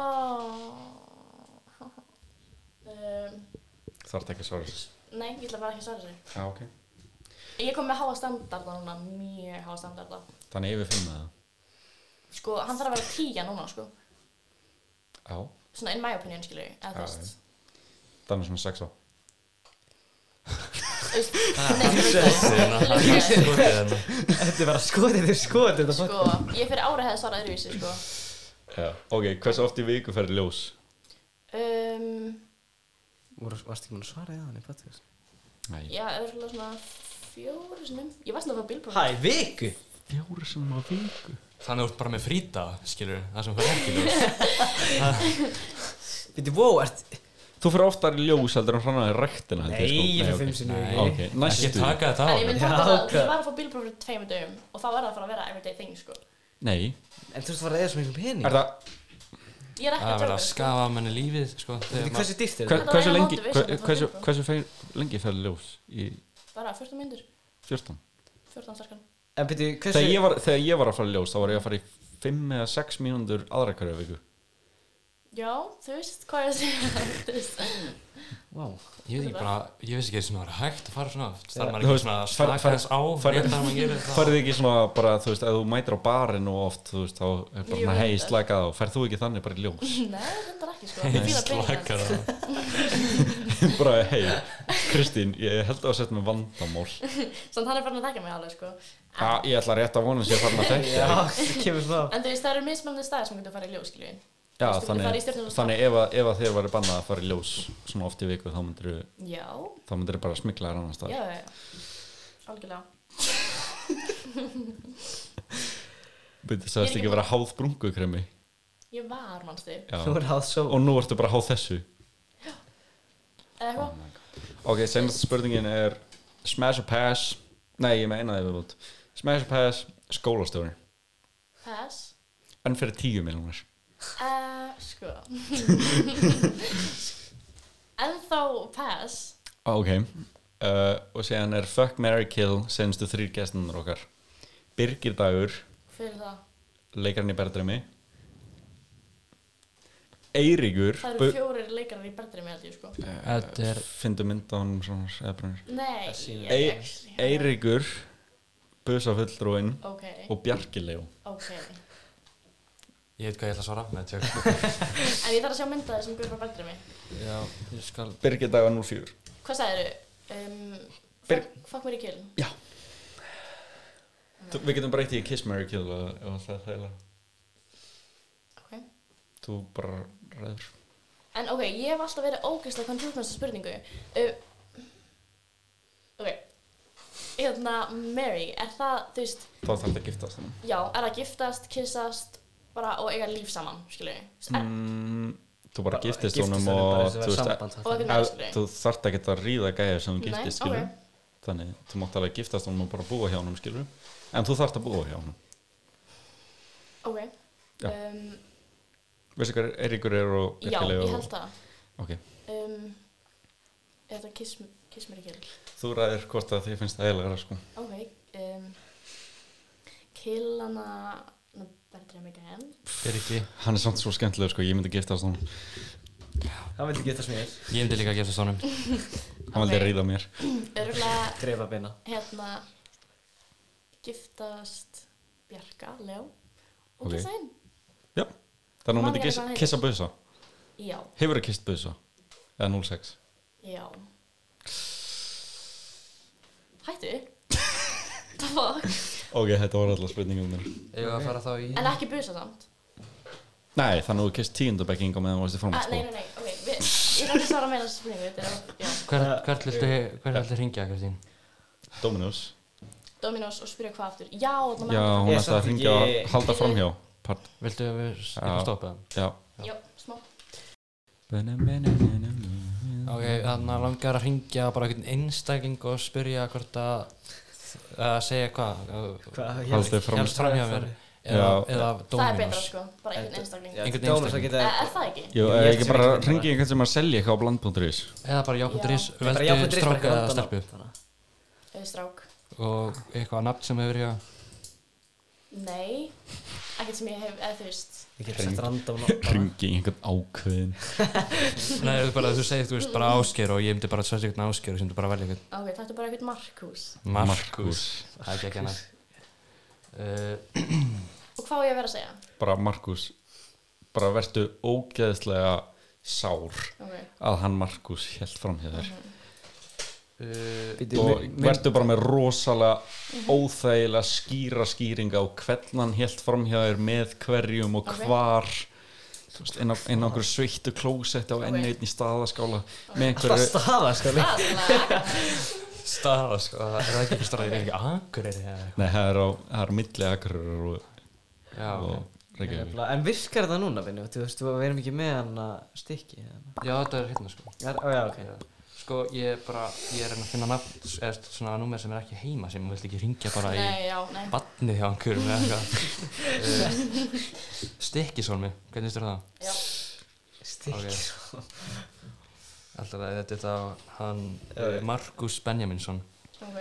[SPEAKER 2] um,
[SPEAKER 3] Þarf ekki að svara þessu
[SPEAKER 2] Nei, ég ætla bara ekki að svara þessu
[SPEAKER 3] Já, ok
[SPEAKER 2] Ég kom með háa standarda núna, mjög háa standarda
[SPEAKER 3] Þannig yfir fimm eða?
[SPEAKER 2] Sko, hann þarf að vera tíja núna, sko
[SPEAKER 3] Já
[SPEAKER 2] Svona in my opinion, skilur ég, eða
[SPEAKER 3] Já,
[SPEAKER 2] þú veist
[SPEAKER 3] Þannig svona sex á
[SPEAKER 2] Þú veist, Nei, ég veit það.
[SPEAKER 4] Hérna, skotið hérna.
[SPEAKER 1] Þetta er bara skotið, þetta er skotið þetta fólk.
[SPEAKER 2] Sko, ég fyrir ári hefði svarað öðruvísi, sko
[SPEAKER 3] Já Ok, hversu oft í viku ferði ljós?
[SPEAKER 2] um,
[SPEAKER 1] Voru- Varstu ekki múin að svara í það í podcast?
[SPEAKER 3] Nei,
[SPEAKER 2] Já, öðrulega svona fjóru sinum Ég var svona að fá bílbróð
[SPEAKER 1] Hæ, viku?
[SPEAKER 3] fjóru sem á viku
[SPEAKER 4] Þannig þú ert bara með fríta, skilur Það sem fyrir ekki ljós
[SPEAKER 1] Viti, wow, ert
[SPEAKER 3] Þú fyrir oftar í ljós heldur en hrannar í rektina heldur,
[SPEAKER 1] Nei, ég fyrir fimm
[SPEAKER 3] sko. ok.
[SPEAKER 1] sinni
[SPEAKER 3] Ah,
[SPEAKER 4] Nei,
[SPEAKER 1] viku
[SPEAKER 3] Ok, næstu.
[SPEAKER 4] Ekki taka þetta á
[SPEAKER 2] En ég myndi
[SPEAKER 1] Já,
[SPEAKER 2] fatta það,
[SPEAKER 1] ok.
[SPEAKER 2] ég var að fá bílbróð fyrir tveimur dögum Og þá var það að fara að vera everyday thing, sko
[SPEAKER 3] Nei
[SPEAKER 1] En þú veist að fara að eða svo miklu pening
[SPEAKER 3] Er það,
[SPEAKER 2] Ég er ekki
[SPEAKER 4] Það
[SPEAKER 2] að tjóka,
[SPEAKER 4] verður að
[SPEAKER 2] sko.
[SPEAKER 4] skafa manni lífið, sko
[SPEAKER 1] Viti,
[SPEAKER 4] þegar maður-
[SPEAKER 1] hversu dýrt er
[SPEAKER 3] hver,
[SPEAKER 1] þetta?
[SPEAKER 2] Þetta var
[SPEAKER 3] hversu
[SPEAKER 2] eina
[SPEAKER 3] lengi
[SPEAKER 2] mótivation
[SPEAKER 3] hver,
[SPEAKER 2] að fá tilboð. Bara
[SPEAKER 3] hversu, hversu fer, lengi ferði ljós í
[SPEAKER 2] 14 myndur,
[SPEAKER 3] 14?
[SPEAKER 2] 14 starkan
[SPEAKER 1] En viti, hversu
[SPEAKER 3] Þegar ég, var, þegar ég var að fara í ljós þá var ég að fara í 5 eða 6 mínúndur aðra hverja viku
[SPEAKER 2] Já, þú veist hvað ég að segja Þú veist,
[SPEAKER 1] Wow
[SPEAKER 4] Ég veit ekki bara, ég veist ekki eins og það er hægt að fara svona oft Það er maður
[SPEAKER 3] Þú
[SPEAKER 4] ekki
[SPEAKER 3] veist,
[SPEAKER 4] svona að
[SPEAKER 3] far-
[SPEAKER 4] slaka
[SPEAKER 3] far-
[SPEAKER 4] þess á
[SPEAKER 3] far-
[SPEAKER 4] Rétt að maður gerir það
[SPEAKER 3] Farið þið ekki svona bara, þú veist, ef þú mætir á barinn og oft, þú veist, þá er bara
[SPEAKER 2] Jú,
[SPEAKER 3] svona hei,
[SPEAKER 2] reyndar.
[SPEAKER 3] slakað á, ferð þú ekki þannig bara í ljós
[SPEAKER 2] nei, þetta er ekki sko Ég fíla
[SPEAKER 4] Slaka
[SPEAKER 2] peningar
[SPEAKER 4] það
[SPEAKER 3] bara hei, Kristín, ég held að það sett með vandamál
[SPEAKER 2] Samt hann er farin að taka mig alveg sko
[SPEAKER 3] Ha, ég ætla rétt að vona sér farin að þekka
[SPEAKER 1] Já, það kemur það
[SPEAKER 2] En þú veist, það eru mismöndi staðir sem getur að fara í ljós, skiljum
[SPEAKER 3] Já,
[SPEAKER 2] Þú veist, þú getur farið í
[SPEAKER 3] þannig,
[SPEAKER 2] stjörnur og
[SPEAKER 3] þannig ef, að- ef að þér væri bannað að fara í ljós svona oft í viku þá myndir
[SPEAKER 2] Já,
[SPEAKER 3] þá myndir bara smikla þér annars
[SPEAKER 2] já,
[SPEAKER 3] staðar.
[SPEAKER 2] já, já Algjörlega
[SPEAKER 3] Byrði
[SPEAKER 2] Ég
[SPEAKER 3] sagðist
[SPEAKER 2] er
[SPEAKER 3] ekki
[SPEAKER 2] ekki
[SPEAKER 3] að vera háð brungukremi.
[SPEAKER 2] Ég var, mannstu Eða
[SPEAKER 3] Já.
[SPEAKER 1] Nú er það svo
[SPEAKER 3] Og nú ertu bara háð þessu.
[SPEAKER 2] eitthvað
[SPEAKER 3] Ok, senast spurningin er smash or pass. Nei, ég meina það viðbútt. Smash or pass, skólastjóri.
[SPEAKER 2] Pass
[SPEAKER 3] En fyrir tíu miljónir.
[SPEAKER 2] Eh, Sko En þá pass
[SPEAKER 3] Ok. Uh, og séðan er fuck, marry, kill senstu þrýr gestunum okkar. Birgir Dagur,
[SPEAKER 2] Fyrir það
[SPEAKER 3] leikarinn í Berðremi. Eiríkur
[SPEAKER 2] Það eru fjórir leikarar í berðri með held ég sko
[SPEAKER 4] Þetta er
[SPEAKER 3] Fyndu mynda honum svona sæðbrunir
[SPEAKER 2] Nei,
[SPEAKER 1] sýnir-
[SPEAKER 2] ég-
[SPEAKER 3] Ei- Eiríkur Busafulltrúin
[SPEAKER 2] Ok,
[SPEAKER 3] og Bjarkilegjó
[SPEAKER 2] ok
[SPEAKER 4] Ég veit hvað ég ætla að svara Nei, tjók
[SPEAKER 2] En ég þarf að sjá mynda þessum guður frá berðri mig
[SPEAKER 4] Já, ég skal
[SPEAKER 3] Birgir daga 04
[SPEAKER 2] Hvað sagðið eru? Um,
[SPEAKER 3] Ber-
[SPEAKER 2] fuck mér í kill
[SPEAKER 3] Já Þú- Við getum breytið í Kiss Mary Kill og og það þægilega
[SPEAKER 2] Ok
[SPEAKER 3] Þú bara ræður
[SPEAKER 2] En ok, ég hef alltaf verið ógeðslega confused með þessa spurningu. Uh, ok, hérna, Mary, er það, þú veist,
[SPEAKER 3] Þá þarf þetta að giftast þannig
[SPEAKER 2] já, er það giftast, kyssast, bara og eiga líf saman, skilur ég? Mm.
[SPEAKER 3] mm, Þú bara
[SPEAKER 1] Bara
[SPEAKER 3] giftist
[SPEAKER 1] giftist
[SPEAKER 3] honum
[SPEAKER 1] honum, bara
[SPEAKER 3] og
[SPEAKER 1] þessi
[SPEAKER 3] þú
[SPEAKER 1] var
[SPEAKER 3] veist,
[SPEAKER 1] samband
[SPEAKER 2] Og
[SPEAKER 1] þarna.
[SPEAKER 2] eitthvað
[SPEAKER 4] hérna-
[SPEAKER 3] að-
[SPEAKER 2] með, skilur ég?
[SPEAKER 3] þú þarft ekki að ríða gæja sem þú
[SPEAKER 2] Eh, Nei,
[SPEAKER 3] giftist skilur
[SPEAKER 2] ok.
[SPEAKER 3] Þannig, þú mátt alveg giftast honum og bara búa hjá honum skilur En þú þarft að búa hjá honum
[SPEAKER 2] Ok,
[SPEAKER 3] Já.
[SPEAKER 2] um,
[SPEAKER 3] Veistu hvað Eiríkur er og
[SPEAKER 2] já,
[SPEAKER 3] Bjarkilegjó
[SPEAKER 2] ég held það.
[SPEAKER 3] Ok
[SPEAKER 2] Um, er það kiss, kiss mér ekki?
[SPEAKER 3] Þú ræðir hvort að þið finnst það eiginlega sko.
[SPEAKER 2] Ok, um, kill hana, nú berður ég mig ekki enn.
[SPEAKER 4] Birgi
[SPEAKER 3] Hann er samt svo skemmtilegur sko, ég myndi giftast honum
[SPEAKER 1] hann vildi geta smér
[SPEAKER 4] Ég myndi líka að gefa þessu honum
[SPEAKER 3] Hann vildi ríða mér
[SPEAKER 2] Örgulega
[SPEAKER 1] grefa beina
[SPEAKER 2] hérna giftast Bjarka, Leo og
[SPEAKER 3] Ok.
[SPEAKER 2] okay. kissa hinn
[SPEAKER 3] Já, þannig að hún
[SPEAKER 2] Man
[SPEAKER 3] myndi
[SPEAKER 2] ekki
[SPEAKER 3] kissa,
[SPEAKER 2] hvað hann
[SPEAKER 3] kissa busa
[SPEAKER 2] já,
[SPEAKER 3] Hefur það kist busa? Eða 06
[SPEAKER 2] já hættu the fuck
[SPEAKER 3] Ok, þetta voru alltaf spurningum mér
[SPEAKER 4] Ég var að fara þá í
[SPEAKER 2] en ekki busa samt
[SPEAKER 3] Nei, þannig að þú kist tíundabekking á meðan þú varst í fram
[SPEAKER 2] ah, nei,
[SPEAKER 3] sko.
[SPEAKER 2] nei, nei, ok Vi, ég þarf ekki að svara meira þessu spurningu þetta er- já.
[SPEAKER 4] Hvert hvert viltu Hvert viltu hringja, Kristín?
[SPEAKER 3] Dominus
[SPEAKER 2] Dominos og spyrja hvað aftur já, þarna
[SPEAKER 3] Já,
[SPEAKER 2] með-
[SPEAKER 3] hún
[SPEAKER 1] Ég
[SPEAKER 3] ætti að
[SPEAKER 1] samt
[SPEAKER 3] hringja og
[SPEAKER 1] ekki-
[SPEAKER 3] halda framhjá Part,
[SPEAKER 4] Viltu að við
[SPEAKER 3] Já.
[SPEAKER 4] stoppa það?
[SPEAKER 3] já
[SPEAKER 2] já, smá
[SPEAKER 4] Ok, þannig að langar að hringja bara einhvern einstakling og spyrja hvort að að segja hvað
[SPEAKER 1] Hvað- ég-
[SPEAKER 3] Haldið fram-
[SPEAKER 4] Hjálst fram hjá mér eða,
[SPEAKER 3] Já.
[SPEAKER 4] eða
[SPEAKER 2] það er betra
[SPEAKER 4] Dominos
[SPEAKER 2] sko, bara einhvern einstakling
[SPEAKER 1] Já,
[SPEAKER 2] er,
[SPEAKER 4] Einhvern
[SPEAKER 1] Dóminus það
[SPEAKER 4] einstakling.
[SPEAKER 1] geta
[SPEAKER 2] er það ekki?
[SPEAKER 3] Jú,
[SPEAKER 1] Ég
[SPEAKER 3] er
[SPEAKER 1] held
[SPEAKER 3] ekki
[SPEAKER 1] sem
[SPEAKER 3] bara
[SPEAKER 1] ekki-
[SPEAKER 3] hringi einhvern sem að selja eitthvað á bland.is
[SPEAKER 4] eða bara
[SPEAKER 2] Já.
[SPEAKER 4] jákvæðuris
[SPEAKER 1] Ég bara, já, fyrir
[SPEAKER 4] veldu
[SPEAKER 1] drifta
[SPEAKER 4] stráka
[SPEAKER 1] eitthvað
[SPEAKER 4] eða
[SPEAKER 1] andan á.
[SPEAKER 4] stelpu
[SPEAKER 1] Þannig að-
[SPEAKER 2] Eh, strák
[SPEAKER 4] og eitthvað nafn sem hefur hjá
[SPEAKER 2] nei, ekkert sem ég hef eða þú veist
[SPEAKER 1] Ég get sett random á-
[SPEAKER 3] Hringi einhvern ákveðin
[SPEAKER 4] Nei, þú bara, þú segir, þú veist, bara ásker og ég myndi bara að svelta einhvern ásker og ég myndi bara að velja einhvern
[SPEAKER 2] ok, þetta er bara einhvern Markus
[SPEAKER 4] Markus Það er ekki ekki hennar uh,
[SPEAKER 2] og hvað á ég að vera að segja?
[SPEAKER 3] bara Markus bara vertu ógeðslega sár
[SPEAKER 2] ok
[SPEAKER 3] að hann Markus held fram hjá þér
[SPEAKER 4] uh,
[SPEAKER 1] Bíddu,
[SPEAKER 3] og
[SPEAKER 1] mynd-
[SPEAKER 3] vertu bara með rosalega óþægilega skýra skýringa á hvernig hann held fram hjá þér með hverjum og
[SPEAKER 2] Ok.
[SPEAKER 3] hvar þú veist, inn á, inn á einhverju sveittu klósetti á enn
[SPEAKER 2] Ok.
[SPEAKER 3] einn í staðaskála með
[SPEAKER 1] Það
[SPEAKER 3] einhverju
[SPEAKER 1] staða sko líka.
[SPEAKER 4] Staða, sko, það er ekki ekki staða, er ekki akureyri eða eitthvað
[SPEAKER 3] Nei, það er á, það er á milli akrur og,
[SPEAKER 4] Já,
[SPEAKER 3] og
[SPEAKER 4] ok.
[SPEAKER 3] Reykjavík
[SPEAKER 1] Hérna, En virkar það núna, Benni? Þú veist, við erum ekki með hann að stikki eða-
[SPEAKER 4] já þetta er hérna, sko
[SPEAKER 1] Já, ó, já, ok
[SPEAKER 4] Já. Sko, ég er bara, ég er að reyna að finna nafn, eða svona númer sem er ekki heima sem þú vilt ekki ringja bara í
[SPEAKER 2] Nei, já, nei
[SPEAKER 4] badnið hjá einhverjum eða eitthvað uh, Stikkisólmi, hvernig styrir það?
[SPEAKER 2] já.
[SPEAKER 1] Stikki
[SPEAKER 4] Ok.
[SPEAKER 1] svo
[SPEAKER 4] Alltaf að þetta er þá hann
[SPEAKER 1] Já,
[SPEAKER 4] uh,
[SPEAKER 1] já.
[SPEAKER 4] Markus Benjaminsson
[SPEAKER 2] Ok,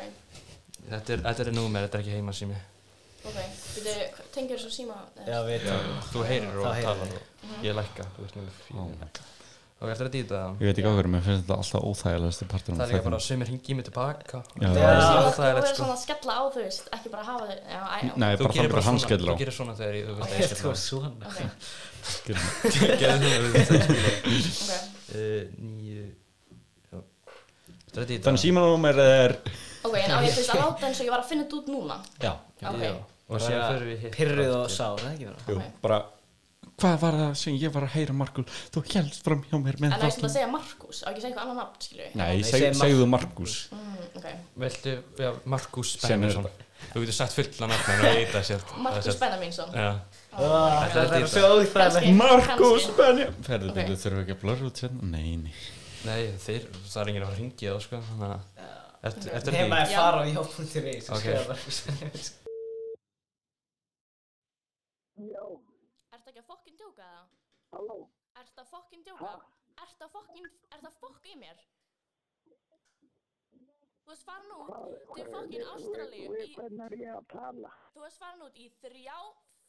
[SPEAKER 4] Þetta er, þetta er númer, þetta er ekki heima sem
[SPEAKER 2] ok Býtu, tengir þessu síma
[SPEAKER 1] Já, við veitum
[SPEAKER 4] Þú heyrir
[SPEAKER 1] Það
[SPEAKER 4] og
[SPEAKER 1] heyrir
[SPEAKER 4] talar og ég lækka Þú ert númer
[SPEAKER 3] Oh
[SPEAKER 4] fyrir
[SPEAKER 3] my God.
[SPEAKER 4] Ok, eftir að dýta það
[SPEAKER 3] Ég veit ekki áhverjum, mér finnst þetta alltaf óþægilegasti partur
[SPEAKER 4] Það er líka bara sömur hingi mig tilbaka
[SPEAKER 3] Já.
[SPEAKER 4] Það
[SPEAKER 1] Já.
[SPEAKER 4] er
[SPEAKER 2] Það
[SPEAKER 4] svo
[SPEAKER 2] er
[SPEAKER 4] óþægilegt,
[SPEAKER 2] verið
[SPEAKER 4] sko.
[SPEAKER 2] svona að skella á, þú veist Ekki bara hafa þau Já, æ, já
[SPEAKER 3] Nei,
[SPEAKER 4] Þú
[SPEAKER 3] bara
[SPEAKER 4] gerir
[SPEAKER 3] þannig bara hann
[SPEAKER 4] svona-
[SPEAKER 3] skellur á
[SPEAKER 4] Þú gerir svona þegar ég- þú vilt
[SPEAKER 1] Þetta var
[SPEAKER 4] ekki
[SPEAKER 1] svona
[SPEAKER 2] Ok,
[SPEAKER 4] skella Gerðu svona þegar ég-
[SPEAKER 2] ok
[SPEAKER 4] Eh, Níu já. Eftir að dýta
[SPEAKER 3] Þannig símanúmer er
[SPEAKER 2] Ok, en á ég þú veist að láta eins og ég var að finna þetta út núna
[SPEAKER 3] Já,
[SPEAKER 2] Ok,
[SPEAKER 4] Og síðan förum við hitt
[SPEAKER 1] Pyrruð og sár, eða ekki vera?
[SPEAKER 3] Jú,
[SPEAKER 2] Ok.
[SPEAKER 3] bara Hvað var það sem ég var að heyra Markus Þú helst fram hjá mér
[SPEAKER 2] en
[SPEAKER 3] með
[SPEAKER 2] á ég sem að segja Markus Á ekki að segja eitthvað annað nafn, skilju
[SPEAKER 3] Nei,
[SPEAKER 1] Nei,
[SPEAKER 3] seg,
[SPEAKER 1] segðu
[SPEAKER 3] segðu Markus
[SPEAKER 2] mm, Ok,
[SPEAKER 4] Veltu, já, Markus
[SPEAKER 3] Sem er
[SPEAKER 4] Benjaminsson Þú getur sagt fulla nafnum og veit að sér
[SPEAKER 2] Markus Benjaminsson
[SPEAKER 4] Já,
[SPEAKER 1] Það
[SPEAKER 4] er
[SPEAKER 1] Ah. er
[SPEAKER 4] dýrt.
[SPEAKER 1] svo óþægilegt
[SPEAKER 2] Kannski.
[SPEAKER 3] Markus
[SPEAKER 2] kannski.
[SPEAKER 3] Benja Ferðu
[SPEAKER 2] Ok.
[SPEAKER 3] okay. þau þurfum ekki að blörra út hérna Nei, nei
[SPEAKER 4] nei, þeir, það er enginn að fara að ringja þá, sko Þannig að, eftir, eftir
[SPEAKER 1] Nei,
[SPEAKER 4] því
[SPEAKER 1] maður
[SPEAKER 2] Já.
[SPEAKER 1] fara á hjá.is
[SPEAKER 4] Ok.
[SPEAKER 1] og skrifa Markus Benjamins.
[SPEAKER 2] Ertu ekki að fokkin djóka það? Halló Ertu að fokkin djóka? Ertu að fokkin, ertu að fokka í mér? Þú veist farin út til fokkin Ástralíu í
[SPEAKER 5] Hvernig er ég að tala?
[SPEAKER 2] Þú varst farin út í þrjá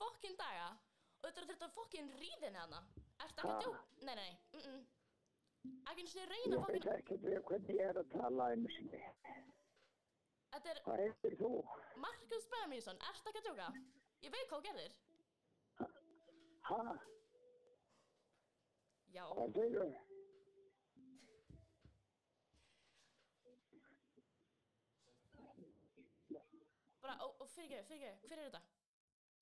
[SPEAKER 2] fokkin daga og þetta er þetta fokkin ríðin hana. Ertu ekki að djóka? Nei, nei, nei, mm -mm. Ekki eins og reyna
[SPEAKER 5] Ég veit
[SPEAKER 2] fokkin
[SPEAKER 5] ekki við hvernig ég er að tala einu sinni.
[SPEAKER 2] Þetta er
[SPEAKER 5] Hvað heitir þú?
[SPEAKER 2] Markus Benjaminsson, ertu ekki að djóka? Ég veit hvað þú gerðir
[SPEAKER 5] Ha?
[SPEAKER 2] Já,
[SPEAKER 5] Hvað segir
[SPEAKER 2] bara, og, og fyrirgeðu, fyrirgeðu, hver er þetta?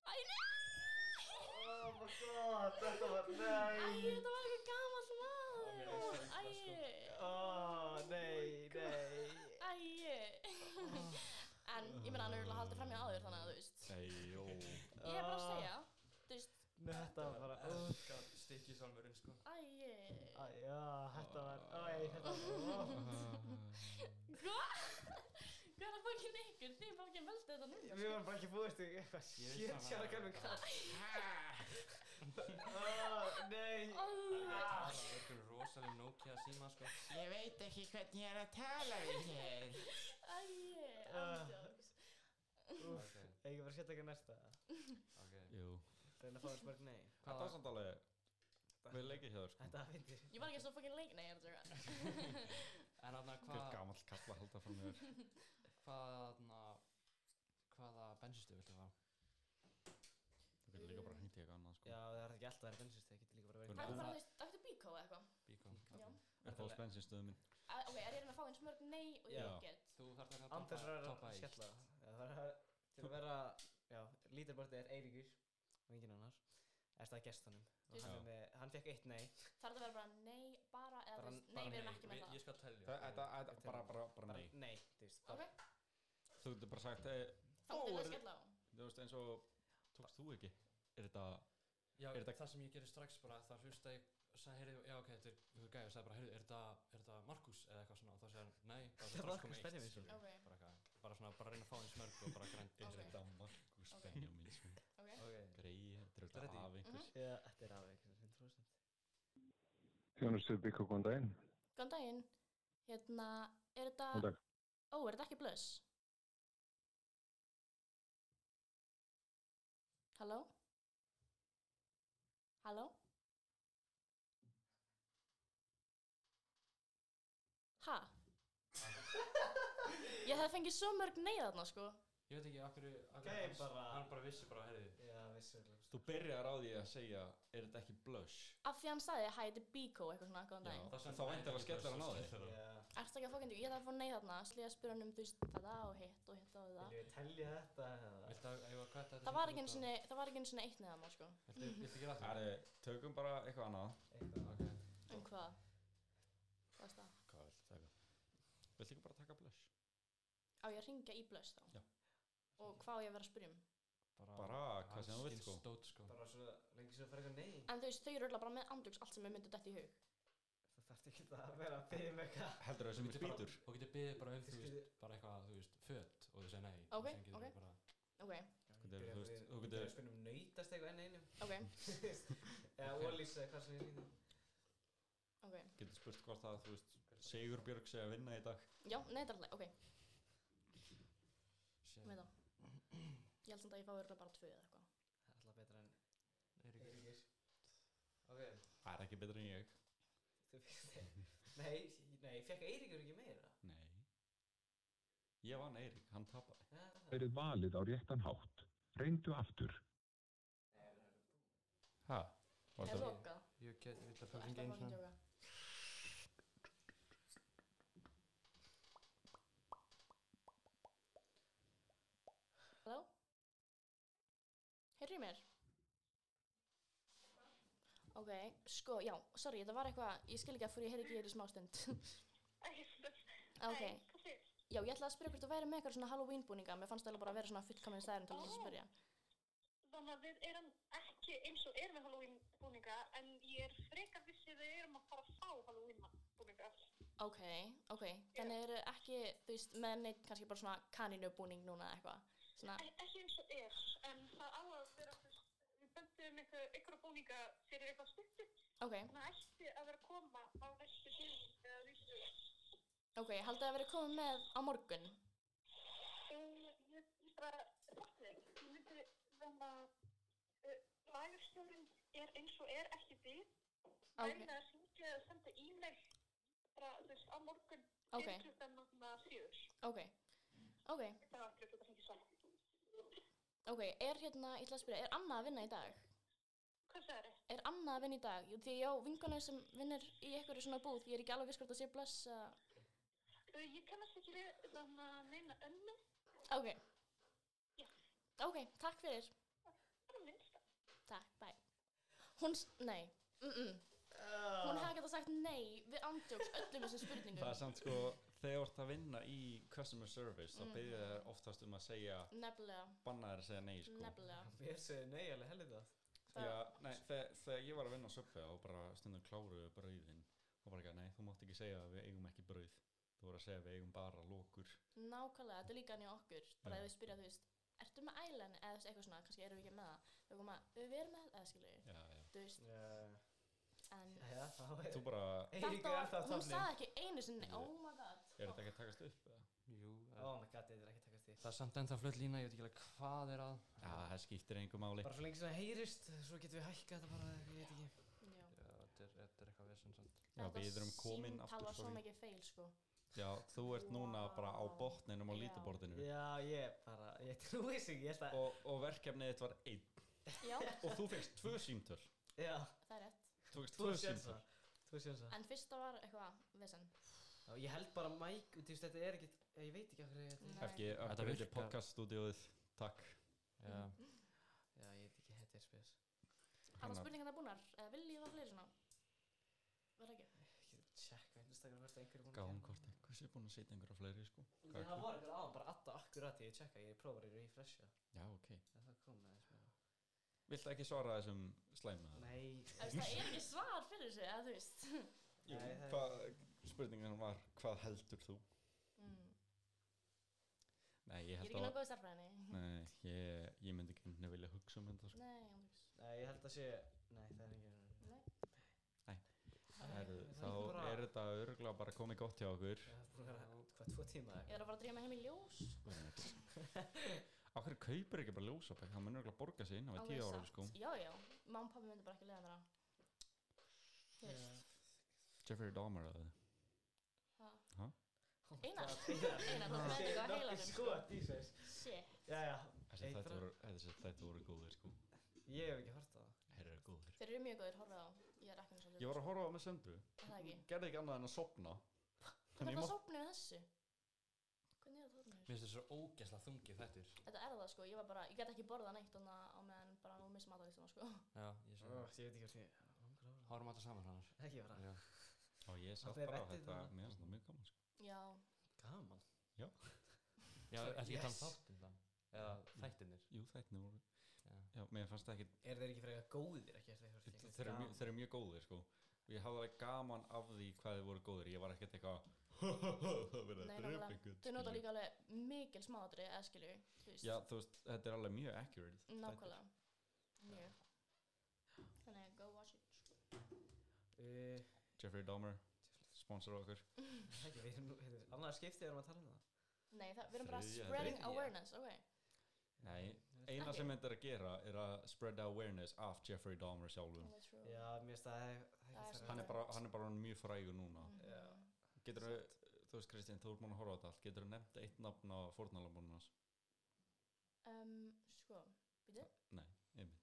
[SPEAKER 2] Æ, nei! Oh my god, þetta var, nei! Æ, þetta var eitthvað gamall maður!
[SPEAKER 1] Oh,
[SPEAKER 2] Æ,
[SPEAKER 1] Ó, nei, nei
[SPEAKER 2] æ, en ég meina hann er örugglega haldið fram í aður þannig að þú veist.
[SPEAKER 3] Eyjó
[SPEAKER 2] Ég er bara að segja, þú veist,
[SPEAKER 1] Þetta var bara, ó,
[SPEAKER 4] Stikki salmurinn sko
[SPEAKER 2] æ,
[SPEAKER 1] æ, já, þetta var, æ, þetta var ó.
[SPEAKER 2] hva? Hvað er að fokkin ykkur? Þið fokkin veldið þetta núna. sko.
[SPEAKER 1] Við varum bara ekki búist í eitthvað Shit, sér að gæmum kall Ó, Ah, nei
[SPEAKER 2] Ó,
[SPEAKER 4] Það er einhver rosaleg Nokia síma sko
[SPEAKER 6] Ég veit ekki hvernig ég er að tala við hér.
[SPEAKER 2] Æ, andjóks.
[SPEAKER 1] Úff, Ekki bara setja ekki næsta
[SPEAKER 4] Ok
[SPEAKER 3] Jú
[SPEAKER 1] Reyna að fá þess mörg nei
[SPEAKER 3] Þetta var samt alveg Við leikið hér sko
[SPEAKER 1] Þetta finnir
[SPEAKER 2] Ég var ekki svo fokkin leik, nei, ég er að segja.
[SPEAKER 4] En þarna
[SPEAKER 3] Hver
[SPEAKER 4] hvað
[SPEAKER 3] gamall kall að halda fram mér
[SPEAKER 4] Hvað þarna Hvaða bensistu viltu fá?
[SPEAKER 3] Þú getur líka bara hengt í eitthvað annað
[SPEAKER 1] Já,
[SPEAKER 3] sko
[SPEAKER 1] það er ekki alltaf að vera bensist Það getur líka bara verið
[SPEAKER 2] Það er bara, þú veist, dættu bíkó eða eitthvað.
[SPEAKER 4] Bíkó
[SPEAKER 2] Já.
[SPEAKER 3] Er það á spensinstöðum minn
[SPEAKER 2] Að- Ok, er ég að reyna að fá eins mörg nei og ég
[SPEAKER 3] Já.
[SPEAKER 2] get?
[SPEAKER 4] Þú þarf að
[SPEAKER 1] Án þess að
[SPEAKER 4] toppa-
[SPEAKER 1] vera
[SPEAKER 4] toppa
[SPEAKER 1] að
[SPEAKER 4] í
[SPEAKER 1] skella Já, Það er að- til að vera Já, lítarbortið er Eiríkur Og enginn annar Erst að gestunum Og hann,
[SPEAKER 3] Já.
[SPEAKER 1] er með, hann fekk eitt nei
[SPEAKER 2] Þarf það að vera bara nei, bara, eða
[SPEAKER 1] Bara-
[SPEAKER 2] þú veist, nei,
[SPEAKER 4] Bara
[SPEAKER 2] við erum
[SPEAKER 4] nei,
[SPEAKER 2] ekki með
[SPEAKER 4] við-
[SPEAKER 2] það.
[SPEAKER 4] Ég skal telja
[SPEAKER 3] Það- Þetta þetta- bara, bara, bara
[SPEAKER 1] Bara
[SPEAKER 3] nei
[SPEAKER 1] Nei, þú veist bara-
[SPEAKER 2] Ok,
[SPEAKER 3] Þú getur bara sagt hey,
[SPEAKER 2] þá erum við að
[SPEAKER 3] er-
[SPEAKER 2] skella á.
[SPEAKER 3] Þú veist eins og Tókst þú ekki Er þetta
[SPEAKER 4] Já,
[SPEAKER 3] Er þetta-
[SPEAKER 4] það sem ég gerir strax bara, það hlusta ég sagði, heyrðu, já ok, þetta er, þú gæði, sagði bara, heyrðu, er þetta, er þetta Markus eða eitthvað svona, og þá segir hann, nei, þá er þetta strax
[SPEAKER 1] Markus
[SPEAKER 4] komið eitt,
[SPEAKER 1] Benjaminsson.
[SPEAKER 4] skilur
[SPEAKER 2] Ok.
[SPEAKER 4] við, bara eitthvað, bara svona, bara reyna að fá eins mörg og bara grænt
[SPEAKER 2] Ok.
[SPEAKER 4] eins
[SPEAKER 3] Þetta Markus Benjamin sko.
[SPEAKER 2] Ok,
[SPEAKER 1] Ok
[SPEAKER 3] Greið Þetta er auðvitað
[SPEAKER 4] Ready?
[SPEAKER 3] af einhvers
[SPEAKER 1] Já, Þetta er af einhverjum 100%
[SPEAKER 7] Þjónustuð byggur, góðan daginn.
[SPEAKER 2] góðan daginn. Hérna, er
[SPEAKER 7] Góðan
[SPEAKER 2] þetta,
[SPEAKER 7] dag.
[SPEAKER 2] ó, er þetta ekki blöss? Halló? Halló? Ha? Ég hef fengið svo mörg nei þarna, sko.
[SPEAKER 4] Ég veit ekki, akkur, akkur,
[SPEAKER 1] Gæi
[SPEAKER 4] hans,
[SPEAKER 1] bara-
[SPEAKER 4] hann bara vissi bara, heyrðu,
[SPEAKER 1] Já, vissulega
[SPEAKER 3] Þú byrjar á því að segja Er þetta ekki blush
[SPEAKER 2] Af því hann sagði, hæ, þetta er bíkó, eitthvað svona, góðan daginn.
[SPEAKER 3] Það sem þá væntanlega skellir hann á
[SPEAKER 1] Já
[SPEAKER 3] þig.
[SPEAKER 2] Ertu ekki að fokkandi, ég þarf að fá nei þarna, slíða að spyrja hann um þú veist þetta og hitt og hitt og það.
[SPEAKER 1] Viljum við telja þetta eða?
[SPEAKER 4] Viltu að, ég var hvað þetta
[SPEAKER 2] Það var ekki einu sinni, það var ekki einu sinni eitt neða maður sko.
[SPEAKER 4] Viltu, viltu gera það?
[SPEAKER 3] Herri, tökum bara eitthvað annað
[SPEAKER 1] Eitthvað
[SPEAKER 4] Ok,
[SPEAKER 2] En Um hvað? Hvað er það?
[SPEAKER 3] Hvað viltu taka? Viltu ekki bara taka blush?
[SPEAKER 2] Á ég að ringja í blöss þá?
[SPEAKER 3] Já.
[SPEAKER 2] Og hvað á ég að vera að spyrja um?
[SPEAKER 3] Bara hvað sem þú vilt, sko.
[SPEAKER 4] Stótt, sko
[SPEAKER 1] Bara svo lengi sem það fer eitthvað nei
[SPEAKER 2] En þú veist, þau eru öll bara með andjóks allt sem er myndið dætt í hug.
[SPEAKER 1] Það þarf ekki að vera að byrja með eitthvað
[SPEAKER 3] Heldur það sem er
[SPEAKER 4] Þú getur bara-
[SPEAKER 3] spýtur?
[SPEAKER 4] Þú getur beðið bara um, þú veist,
[SPEAKER 1] Skilur-
[SPEAKER 4] bara eitthvað, þú veist, föt og þú segir nei
[SPEAKER 2] Ok,
[SPEAKER 4] Síðan getur
[SPEAKER 2] ok.
[SPEAKER 4] þú bara-
[SPEAKER 2] Ok,
[SPEAKER 3] Hvernig er- þú veist, þú
[SPEAKER 1] Þú
[SPEAKER 3] getur-
[SPEAKER 1] getur að spynna um nöytast eitthvað enn einum
[SPEAKER 2] ok,
[SPEAKER 1] Eða ólýsa eða hvað sem ég lítið
[SPEAKER 2] ok.
[SPEAKER 3] Getur spurt hvort það, þú veist Sigurbjörg segja að vinna í dag
[SPEAKER 2] Já, nei, þetta er alltaf, ok, ég
[SPEAKER 4] Shit.
[SPEAKER 2] veit það. Ég held samt að ég fá öll bara tvö eða eitthvað.
[SPEAKER 1] Það er alltaf betra en
[SPEAKER 4] Eiríkur.
[SPEAKER 1] Eiríkir
[SPEAKER 4] Ok,
[SPEAKER 3] Það er ekki betur en ég
[SPEAKER 1] Þú fyrst Nei, nei, fekk Eiríkur ekki meira
[SPEAKER 3] Nei Ég vann Eirík, hann tapaði
[SPEAKER 1] Já, það
[SPEAKER 7] Verið valið á réttan hátt. Reyndu aftur.
[SPEAKER 3] Hæ? Var
[SPEAKER 2] Er
[SPEAKER 3] það?
[SPEAKER 2] lokað?
[SPEAKER 4] ég get, ég ætla að
[SPEAKER 2] Það er
[SPEAKER 4] fara
[SPEAKER 2] ekki
[SPEAKER 4] ekki
[SPEAKER 2] að
[SPEAKER 4] eins
[SPEAKER 2] fokkin
[SPEAKER 4] og
[SPEAKER 2] djóka. Halló? Heyrðu í mér? Ok, sko, já, sorry, þetta var eitthvað, ég skil ekki að fyrir ég heyri ekki í þér í smá stund. ok, já, ég ætlaði að spyrja hvort þú væri með eitthvað svona Halloween búninga, mér fannst það bara að vera svona fullkominn stæðin til þess að spyrja.
[SPEAKER 8] Þannig að við erum ekki eins og erum með Halloween búninga en ég er frekar vissið að við erum að fara að fá Halloween búninga.
[SPEAKER 2] Ok, ok, þannig eru ekki, þú veist, með neitt kannski bara svona kanínubúning núna eða eitthvað, svona...
[SPEAKER 8] En E-, ekki eins og er, en það á að vera fyrst, við böndum eitthvað, eitthvað búninga fyrir eitthvað stuttu.
[SPEAKER 2] Ok,
[SPEAKER 8] Þannig að ætti að vera að koma á næstu tíðin eða vísu.
[SPEAKER 2] ok, haldið þið að vera komið með á morgun?
[SPEAKER 8] Um, ég ég bara, þetta er, e, ég myndi þannig að uh, lagarstjórin er eins og er ekki við okay. menn að syngja eða senda e-mail bara, þú veist, á morgun
[SPEAKER 2] Ok.
[SPEAKER 8] fyrir klukkan náttúrulega fjögur
[SPEAKER 2] ok, ok,
[SPEAKER 8] það var aftur klukkan fengið saman
[SPEAKER 2] ok, er hérna, ég ætla að spyrja, er Anna að vinna í dag?
[SPEAKER 8] hvað sagði þið?
[SPEAKER 2] Er Anna að vinna í dag? Jú, því ég á vingunar sem vinnur í einhverju svona búð, ég er ekki alveg viss hvort að sé bless að...
[SPEAKER 8] ég kannast ekki við þannig að neina önnu
[SPEAKER 2] Ok,
[SPEAKER 8] já,
[SPEAKER 2] ok, takk fyrir,
[SPEAKER 8] það er minnst
[SPEAKER 2] takk, bye. Hún, s- nei, mm-mm. Hún hefði geta sagt nei við andjóks öllum þessum spurningum.
[SPEAKER 3] Það er samt sko, þegar þú ert að vinna í customer service, þá byrðir þér oftast um að segja,
[SPEAKER 2] Nefnilega,
[SPEAKER 3] banna þér að segja nei, sko.
[SPEAKER 2] nefnilega.
[SPEAKER 1] Mér segir nei alveg helið það
[SPEAKER 2] Það-
[SPEAKER 3] Já, nei, þegar, þegar ég var að vinna á söpvega og bara stundum kláruðu brauðin og bara ekki að nei, þú mátt ekki segja að við eigum ekki brauð. Þú voru að segja að við eigum bara lókur.
[SPEAKER 2] Nákvæmlega, þetta er líka hann í okkur bara
[SPEAKER 3] Já.
[SPEAKER 2] ef við spyrja, þú veist, ertu með ælan eða þú veist, eitthvað svona, kannski erum við ekki með það við koma, við erum með það, skilur við
[SPEAKER 3] Já, já.
[SPEAKER 2] þú veist,
[SPEAKER 1] Já,
[SPEAKER 2] en
[SPEAKER 1] þá er
[SPEAKER 3] Þú bara,
[SPEAKER 2] þetta
[SPEAKER 1] Eiríkur er
[SPEAKER 2] var,
[SPEAKER 1] það
[SPEAKER 2] hún
[SPEAKER 1] þannig
[SPEAKER 2] sagði ekki einu sinni oh my god,
[SPEAKER 3] er þetta ekki að takast upp? eða?
[SPEAKER 4] Jú, eh,
[SPEAKER 1] Ó, my god, þetta er ekki að takast í
[SPEAKER 4] það er samt ennþá flöð lína, ég veit ekki alveg hvað er að
[SPEAKER 3] Já, það skiptir engum máli.
[SPEAKER 1] Bara svo lengi sem það heyrist, svo getum við hækkað þetta bara, ég veit ekki
[SPEAKER 2] já
[SPEAKER 4] Já, þetta er, þetta er eitthvað vesen samt
[SPEAKER 3] Já, við erum komin
[SPEAKER 2] aftur
[SPEAKER 3] aftur,
[SPEAKER 2] var svo
[SPEAKER 3] sorry.
[SPEAKER 2] mikið feil, sko
[SPEAKER 3] Já, þú ert núna bara á botninum á
[SPEAKER 2] Já.
[SPEAKER 3] lítaborðinu.
[SPEAKER 1] Já, ég bara, ég trúi sig, ég held að
[SPEAKER 3] Mm. Og, og verkefnið þitt var einn.
[SPEAKER 2] já,
[SPEAKER 3] Og þú fegst tvö símtöl.
[SPEAKER 1] Já,
[SPEAKER 2] það er rétt,
[SPEAKER 3] Þú fegst
[SPEAKER 1] þú
[SPEAKER 3] tvö
[SPEAKER 1] séns
[SPEAKER 3] símtöl.
[SPEAKER 1] það Þú séns það
[SPEAKER 2] en fyrsta var eitthvað vesen,
[SPEAKER 1] Já, Ég held bara mæk, þú veist, þetta er ekki Ég veit ekki okkur þetta er
[SPEAKER 2] Nei.
[SPEAKER 3] Ekki,
[SPEAKER 4] Þetta
[SPEAKER 3] þetta verður
[SPEAKER 4] virkar.
[SPEAKER 3] podcaststúdíóið. Takk.
[SPEAKER 4] Já,
[SPEAKER 1] Já, ég veit ekki, þetta er spes
[SPEAKER 2] alla
[SPEAKER 3] Hanna-
[SPEAKER 2] spurningarna búnar eða viljið það fleiri svona var ekki,
[SPEAKER 1] Ég get tjekka, Instagram verður einhverjum
[SPEAKER 3] Gáum hvort einhvers er búin að setja einhverja fleiri, sko. Hvað er
[SPEAKER 1] Það voru einhver aðan, bara alltaf akkurat ég tjekka, ég prófa að refresha
[SPEAKER 3] Já, ok.
[SPEAKER 1] En það kom aðeins meira.
[SPEAKER 3] Ah. Viltu ekki svara þessum slæma?
[SPEAKER 1] Nei,
[SPEAKER 2] Þú veist, það er ekki svar fyrir sig, eða þú veist
[SPEAKER 3] Jú,
[SPEAKER 1] Nei, það-
[SPEAKER 3] hvað, spurningin var, hvað heldur þú? Nei,
[SPEAKER 2] ég
[SPEAKER 3] ég
[SPEAKER 2] er
[SPEAKER 3] held
[SPEAKER 2] ekki
[SPEAKER 3] að,
[SPEAKER 2] nokkuð starfræðinni
[SPEAKER 3] nei, ég, ég myndi ekki henni vilja hugsa um þetta, sko.
[SPEAKER 2] nei, andjóks,
[SPEAKER 1] Nei, ég held að sé Nei, það er ekki
[SPEAKER 2] nei
[SPEAKER 3] Heru, þá
[SPEAKER 1] það er bara-
[SPEAKER 3] er þetta örgulega bara komið gott hjá okkur.
[SPEAKER 1] Það er búin að vera hvað tvo tíma
[SPEAKER 2] Ég
[SPEAKER 1] eða
[SPEAKER 2] er að fara að drífa mig heim í ljós
[SPEAKER 3] Akkur kaupir ekki bara ljósabæk, það mun örgulega borga sig inn á
[SPEAKER 2] Alveg
[SPEAKER 3] tíu ára,
[SPEAKER 2] satt.
[SPEAKER 3] sko.
[SPEAKER 2] Já, já, mamma og pappi myndi bara ekki leiða mér á Þú veist,
[SPEAKER 3] Jeffrey Dahmer að það.
[SPEAKER 2] það
[SPEAKER 3] Ha?
[SPEAKER 2] Einar, Einar, þú með eitthvað á heilanum
[SPEAKER 1] Sko, dísveis
[SPEAKER 2] Shit,
[SPEAKER 1] Jæja,
[SPEAKER 3] Þessi
[SPEAKER 1] Eitt
[SPEAKER 3] þetta
[SPEAKER 1] frá-
[SPEAKER 3] voru, þessi þetta voru góðir, sko.
[SPEAKER 1] ég hef ekki hort á það
[SPEAKER 3] Þeir eru góðir.
[SPEAKER 2] þeir eru mjög góðir, horfið á Ég er ekki eins og
[SPEAKER 3] Ég var að horfa á það með Söndru.
[SPEAKER 2] Er það ekki?
[SPEAKER 3] Gerði ekki annað en að sopna.
[SPEAKER 2] Hvað
[SPEAKER 3] ég
[SPEAKER 2] er það
[SPEAKER 3] mátt-
[SPEAKER 2] sopnið með þessu? Hvernig er það sopnið?
[SPEAKER 4] mér finnst þessu ógæsla þungi þettir
[SPEAKER 2] Þetta er það sko, ég var bara, ég gæti ekki borðað neitt Þannig að á meðan bara nú missa matalistuna sko
[SPEAKER 4] Já, ég sé það
[SPEAKER 1] Ég veit ekki hvort ég langar að
[SPEAKER 4] Hárum þetta saman hannar
[SPEAKER 1] horfa Ekki bara
[SPEAKER 4] Já,
[SPEAKER 3] Og ég sá
[SPEAKER 1] Það fer
[SPEAKER 3] bara
[SPEAKER 1] vettið
[SPEAKER 3] þetta,
[SPEAKER 1] þarna.
[SPEAKER 3] mér finnst það mjög gaman, sko.
[SPEAKER 2] Já,
[SPEAKER 1] Gaman
[SPEAKER 3] Já.
[SPEAKER 4] Já
[SPEAKER 1] Svo-
[SPEAKER 4] ertu ekki að tala um
[SPEAKER 1] yes. Mm.
[SPEAKER 4] þáttinn það? Eða þættinir
[SPEAKER 3] Jú, þættinni voru
[SPEAKER 4] Já.
[SPEAKER 3] Já, mér fannst það ekki
[SPEAKER 1] Er þeir ekki fyrir eitthvað góðir ekki eftir eitthvað
[SPEAKER 3] þeir, eru mjög, þeir eru mjög góðir sko og ég hafði alveg gaman af því hvað þeir voru góðir ég var ekkert eitthvað það verið að
[SPEAKER 2] nei,
[SPEAKER 3] drepa
[SPEAKER 2] nákvæmlega
[SPEAKER 3] einhvern
[SPEAKER 2] Þau nota
[SPEAKER 3] skilur.
[SPEAKER 2] líka alveg mikil smáðri, eða skilju Þú veist,
[SPEAKER 3] Já, þú veist, þetta er alveg mjög accurate þættir.
[SPEAKER 2] nákvæmlega Mjög Þannig að go watch it sko
[SPEAKER 1] Uh,
[SPEAKER 3] Jeffrey Dahmer, sponsor okkur
[SPEAKER 1] ekki, við erum nú, þetta er annars skiptið erum að tala um það
[SPEAKER 2] Nei, það, við erum bara
[SPEAKER 3] Þriðja-
[SPEAKER 2] spreading
[SPEAKER 1] þriðja.
[SPEAKER 2] awareness, ok.
[SPEAKER 3] Nei, eina
[SPEAKER 2] Ekki.
[SPEAKER 3] sem þetta er að gera er að spread awareness af Jeffrey Dahmer sjálfum
[SPEAKER 2] Alveg true.
[SPEAKER 1] Já, mér finnst það ekki
[SPEAKER 2] Það er
[SPEAKER 1] þarf
[SPEAKER 3] hann
[SPEAKER 1] að
[SPEAKER 3] er bara, hann er bara orðinn mjög frægur núna
[SPEAKER 2] Mm. Mhm.
[SPEAKER 1] Já,
[SPEAKER 3] getur þú veist Kristján, þú ert múin að horfa á þetta allt getur þú nefnt eitt nafn á fórnalambunum hans
[SPEAKER 2] Um, sko, býtu.
[SPEAKER 3] nei, einmitt,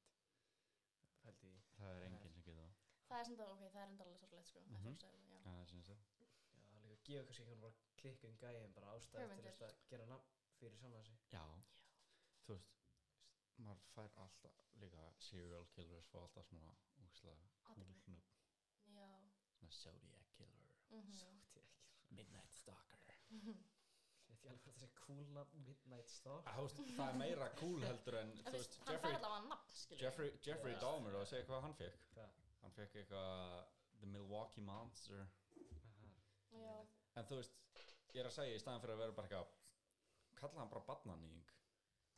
[SPEAKER 1] held ég
[SPEAKER 3] það er enginn sem getur það
[SPEAKER 2] Það er senda, ok, það er enda alveg sorglegt, sko.
[SPEAKER 3] Mhm.
[SPEAKER 2] Mm -hmm. segja, það, já.
[SPEAKER 3] Já, það er sem sagt.
[SPEAKER 1] Já, líka að gefa kannski einhvern bara klikkun gæðin bara ástæði til
[SPEAKER 2] Hugmyndir.
[SPEAKER 1] þess að gera nafn fyrir sjálfan sig
[SPEAKER 3] Já. Þú veist, maður fær alltaf líka serial killers fá alltaf svona úkslega
[SPEAKER 2] Athygli.
[SPEAKER 3] húsnöfn.
[SPEAKER 2] Já, mhm.
[SPEAKER 3] Svona Zodiac killer,
[SPEAKER 1] Sátti ekki
[SPEAKER 3] midnight stalker.
[SPEAKER 1] Ég veit ekki alveg hvað það sé kúla Midnight Star
[SPEAKER 3] Ah, Þú veist, það er meira cool heldur en,
[SPEAKER 2] en
[SPEAKER 3] þú
[SPEAKER 2] þú
[SPEAKER 3] veist,
[SPEAKER 2] veist, hann fær
[SPEAKER 3] Jeffrey,
[SPEAKER 2] allavega nafn, skilju.
[SPEAKER 3] Jeffrey, Jeffrey Dahmer og að segja hvað hann fekk.
[SPEAKER 1] Hvað?
[SPEAKER 3] Hann fekk eitthvað The Milwaukee Monster.
[SPEAKER 2] Já,
[SPEAKER 3] En þú veist, ég er að segja í staðan fyrir að vera bara eitthvað, kalla hann bara badnanýing.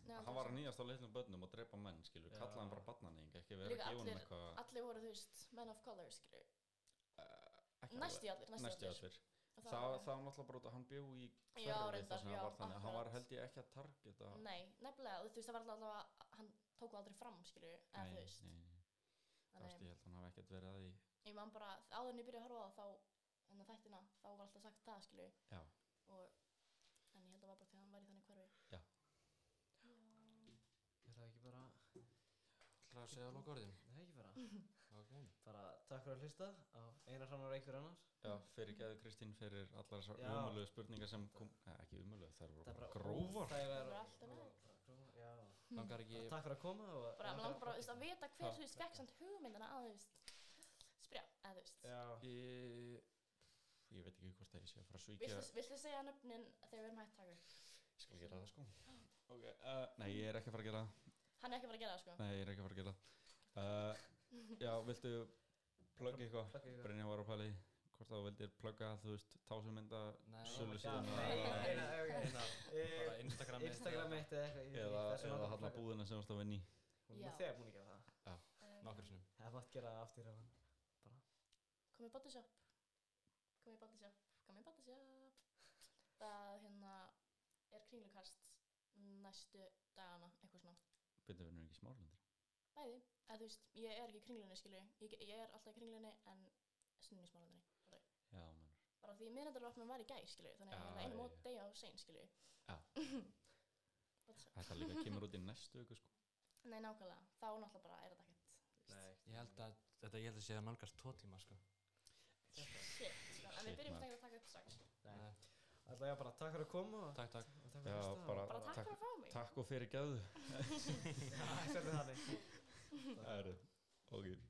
[SPEAKER 2] Nei,
[SPEAKER 3] Hann var að nýjast á litlum börnum og drepa menn, skilur, kalla hann bara badnanýing, ekki vera að
[SPEAKER 2] Líka
[SPEAKER 3] gefa hann
[SPEAKER 2] allir,
[SPEAKER 3] eitthvað.
[SPEAKER 2] allir voru, þú veist, men of color, skilju.
[SPEAKER 3] eh, Ekki
[SPEAKER 2] Næstu í
[SPEAKER 3] alveg.
[SPEAKER 2] allir, næstu í
[SPEAKER 3] næstu í
[SPEAKER 2] allir.
[SPEAKER 3] allir
[SPEAKER 2] Og
[SPEAKER 3] það,
[SPEAKER 2] það
[SPEAKER 3] það
[SPEAKER 2] var-
[SPEAKER 3] var náttúrulega bara út að hann bjó í
[SPEAKER 2] Já,
[SPEAKER 3] hverfið
[SPEAKER 2] reyndar,
[SPEAKER 3] þess að
[SPEAKER 2] já,
[SPEAKER 3] hann var þannig að hann var
[SPEAKER 2] akkurat.
[SPEAKER 3] held ég ekki að targeta
[SPEAKER 2] Nei, nefnilega, þú veist, það var allavega, hann tóku aldrei fram, skilju, eða þú
[SPEAKER 3] nei,
[SPEAKER 2] veist.
[SPEAKER 3] nei, nei.
[SPEAKER 2] Þannig-
[SPEAKER 3] Þú veist, ég held að hann hafi ekkert verið að því
[SPEAKER 2] ég man bara, áður en ég byrjaði að horfa á það þá en þættina, þá var alltaf sagt það skilju
[SPEAKER 3] já,
[SPEAKER 2] og en ég held að það var bara þegar hann var í þannig hverfi
[SPEAKER 3] já
[SPEAKER 1] Ég ætla ekki bara,
[SPEAKER 4] Það er að segja lokaorðin.
[SPEAKER 1] það er ekki bara.
[SPEAKER 4] Ok.
[SPEAKER 1] Bara takk fyrir að hlusta á einar hrannar og einhver annar.
[SPEAKER 3] Já, fyrir geðu Kristín fyrir allar þessar
[SPEAKER 1] Já.
[SPEAKER 3] umöluðu spurningar sem kom, neða ekki umöluðu,
[SPEAKER 1] Það er
[SPEAKER 3] það eru
[SPEAKER 1] bara
[SPEAKER 3] grófar
[SPEAKER 2] það var
[SPEAKER 1] óþægilegar-
[SPEAKER 2] alltaf næg
[SPEAKER 1] bara grófar. Já.
[SPEAKER 4] Langar ekki,
[SPEAKER 1] Takk fyrir að koma og...
[SPEAKER 2] bara, maður langar bara þú veist, að vita hver þú veist fekk samt hugmyndina að þú veist spyrja, eða þú veist
[SPEAKER 1] Já.
[SPEAKER 3] ég, ég veit ekki hvort að ég sé að fara að svíkja
[SPEAKER 2] Viltu, viltu segja nöfnin þegar við erum hægt takur?
[SPEAKER 3] Ég skal gera það sko Ok, uh, nei, ég er ekki að fara að gera það
[SPEAKER 2] Hann er ekki að fara að gera það sko
[SPEAKER 3] Nei, ég er ekki að fara að gera það uh, Já, viltu plugga eitthvað?
[SPEAKER 1] Plugga eitthvað.
[SPEAKER 3] Brynja var að pæli hvort að þú vildir plugga, þú veist, tásumynda
[SPEAKER 4] Nei.
[SPEAKER 3] sölusíðuna
[SPEAKER 1] Nei,
[SPEAKER 3] eða,
[SPEAKER 1] nei, nei, ok, hérna.
[SPEAKER 4] bara
[SPEAKER 1] Eh,
[SPEAKER 4] Instagram
[SPEAKER 1] Instagram mitt eða eitthvað. ég-
[SPEAKER 3] eða,
[SPEAKER 1] það sem
[SPEAKER 3] eða
[SPEAKER 1] var-
[SPEAKER 3] halla búðina sem þú varst að vinna í
[SPEAKER 1] Hún
[SPEAKER 2] Já.
[SPEAKER 1] er þegar búin að gera það.
[SPEAKER 3] Já,
[SPEAKER 2] Ehm,
[SPEAKER 4] Nokkur sinnum.
[SPEAKER 1] Það mátt gera það aftur hérna. Bara.
[SPEAKER 2] Komið bodyshop Komið bodyshop Komið bodyshop Það hérna er kringlukast næstu dagana eitthvað svona
[SPEAKER 3] byrjuðu vinnur ekki í smárlundir
[SPEAKER 2] Bæði, eða þú veist, ég er ekki í kringlunni skilur ég, ég er alltaf í kringlunni en stundum í smálundinni
[SPEAKER 3] Já, mennur
[SPEAKER 2] Bara því miðnættarvapnum var í gær skilur þannig
[SPEAKER 3] Já,
[SPEAKER 2] að ég einu mót
[SPEAKER 3] já, já.
[SPEAKER 2] degja á sein skilur
[SPEAKER 3] Já,
[SPEAKER 2] Bodyshop
[SPEAKER 3] þetta líka kemur út í næstu ykkur sko
[SPEAKER 2] Nei, nákvæmlega, þá náttúrulega bara er þetta ekkert þú veist.
[SPEAKER 1] Nei.
[SPEAKER 4] Ég held að, þetta ég held að sé að nálgast tvo tíma, sko.
[SPEAKER 2] Shit, sko, en
[SPEAKER 3] Shit,
[SPEAKER 2] við byrjum
[SPEAKER 3] maður.
[SPEAKER 2] þegar að taka upp strax
[SPEAKER 1] Nei. Alltaf já, bara takk fyrir að koma og
[SPEAKER 4] Takk, takk.
[SPEAKER 1] og takk fyrir
[SPEAKER 3] Já,
[SPEAKER 1] að hlusta.
[SPEAKER 3] bara,
[SPEAKER 2] Bara takk fyrir að fá mig
[SPEAKER 3] Takk og fyrir gæðu
[SPEAKER 1] Já, sérðu þannig.
[SPEAKER 3] Það eru, ok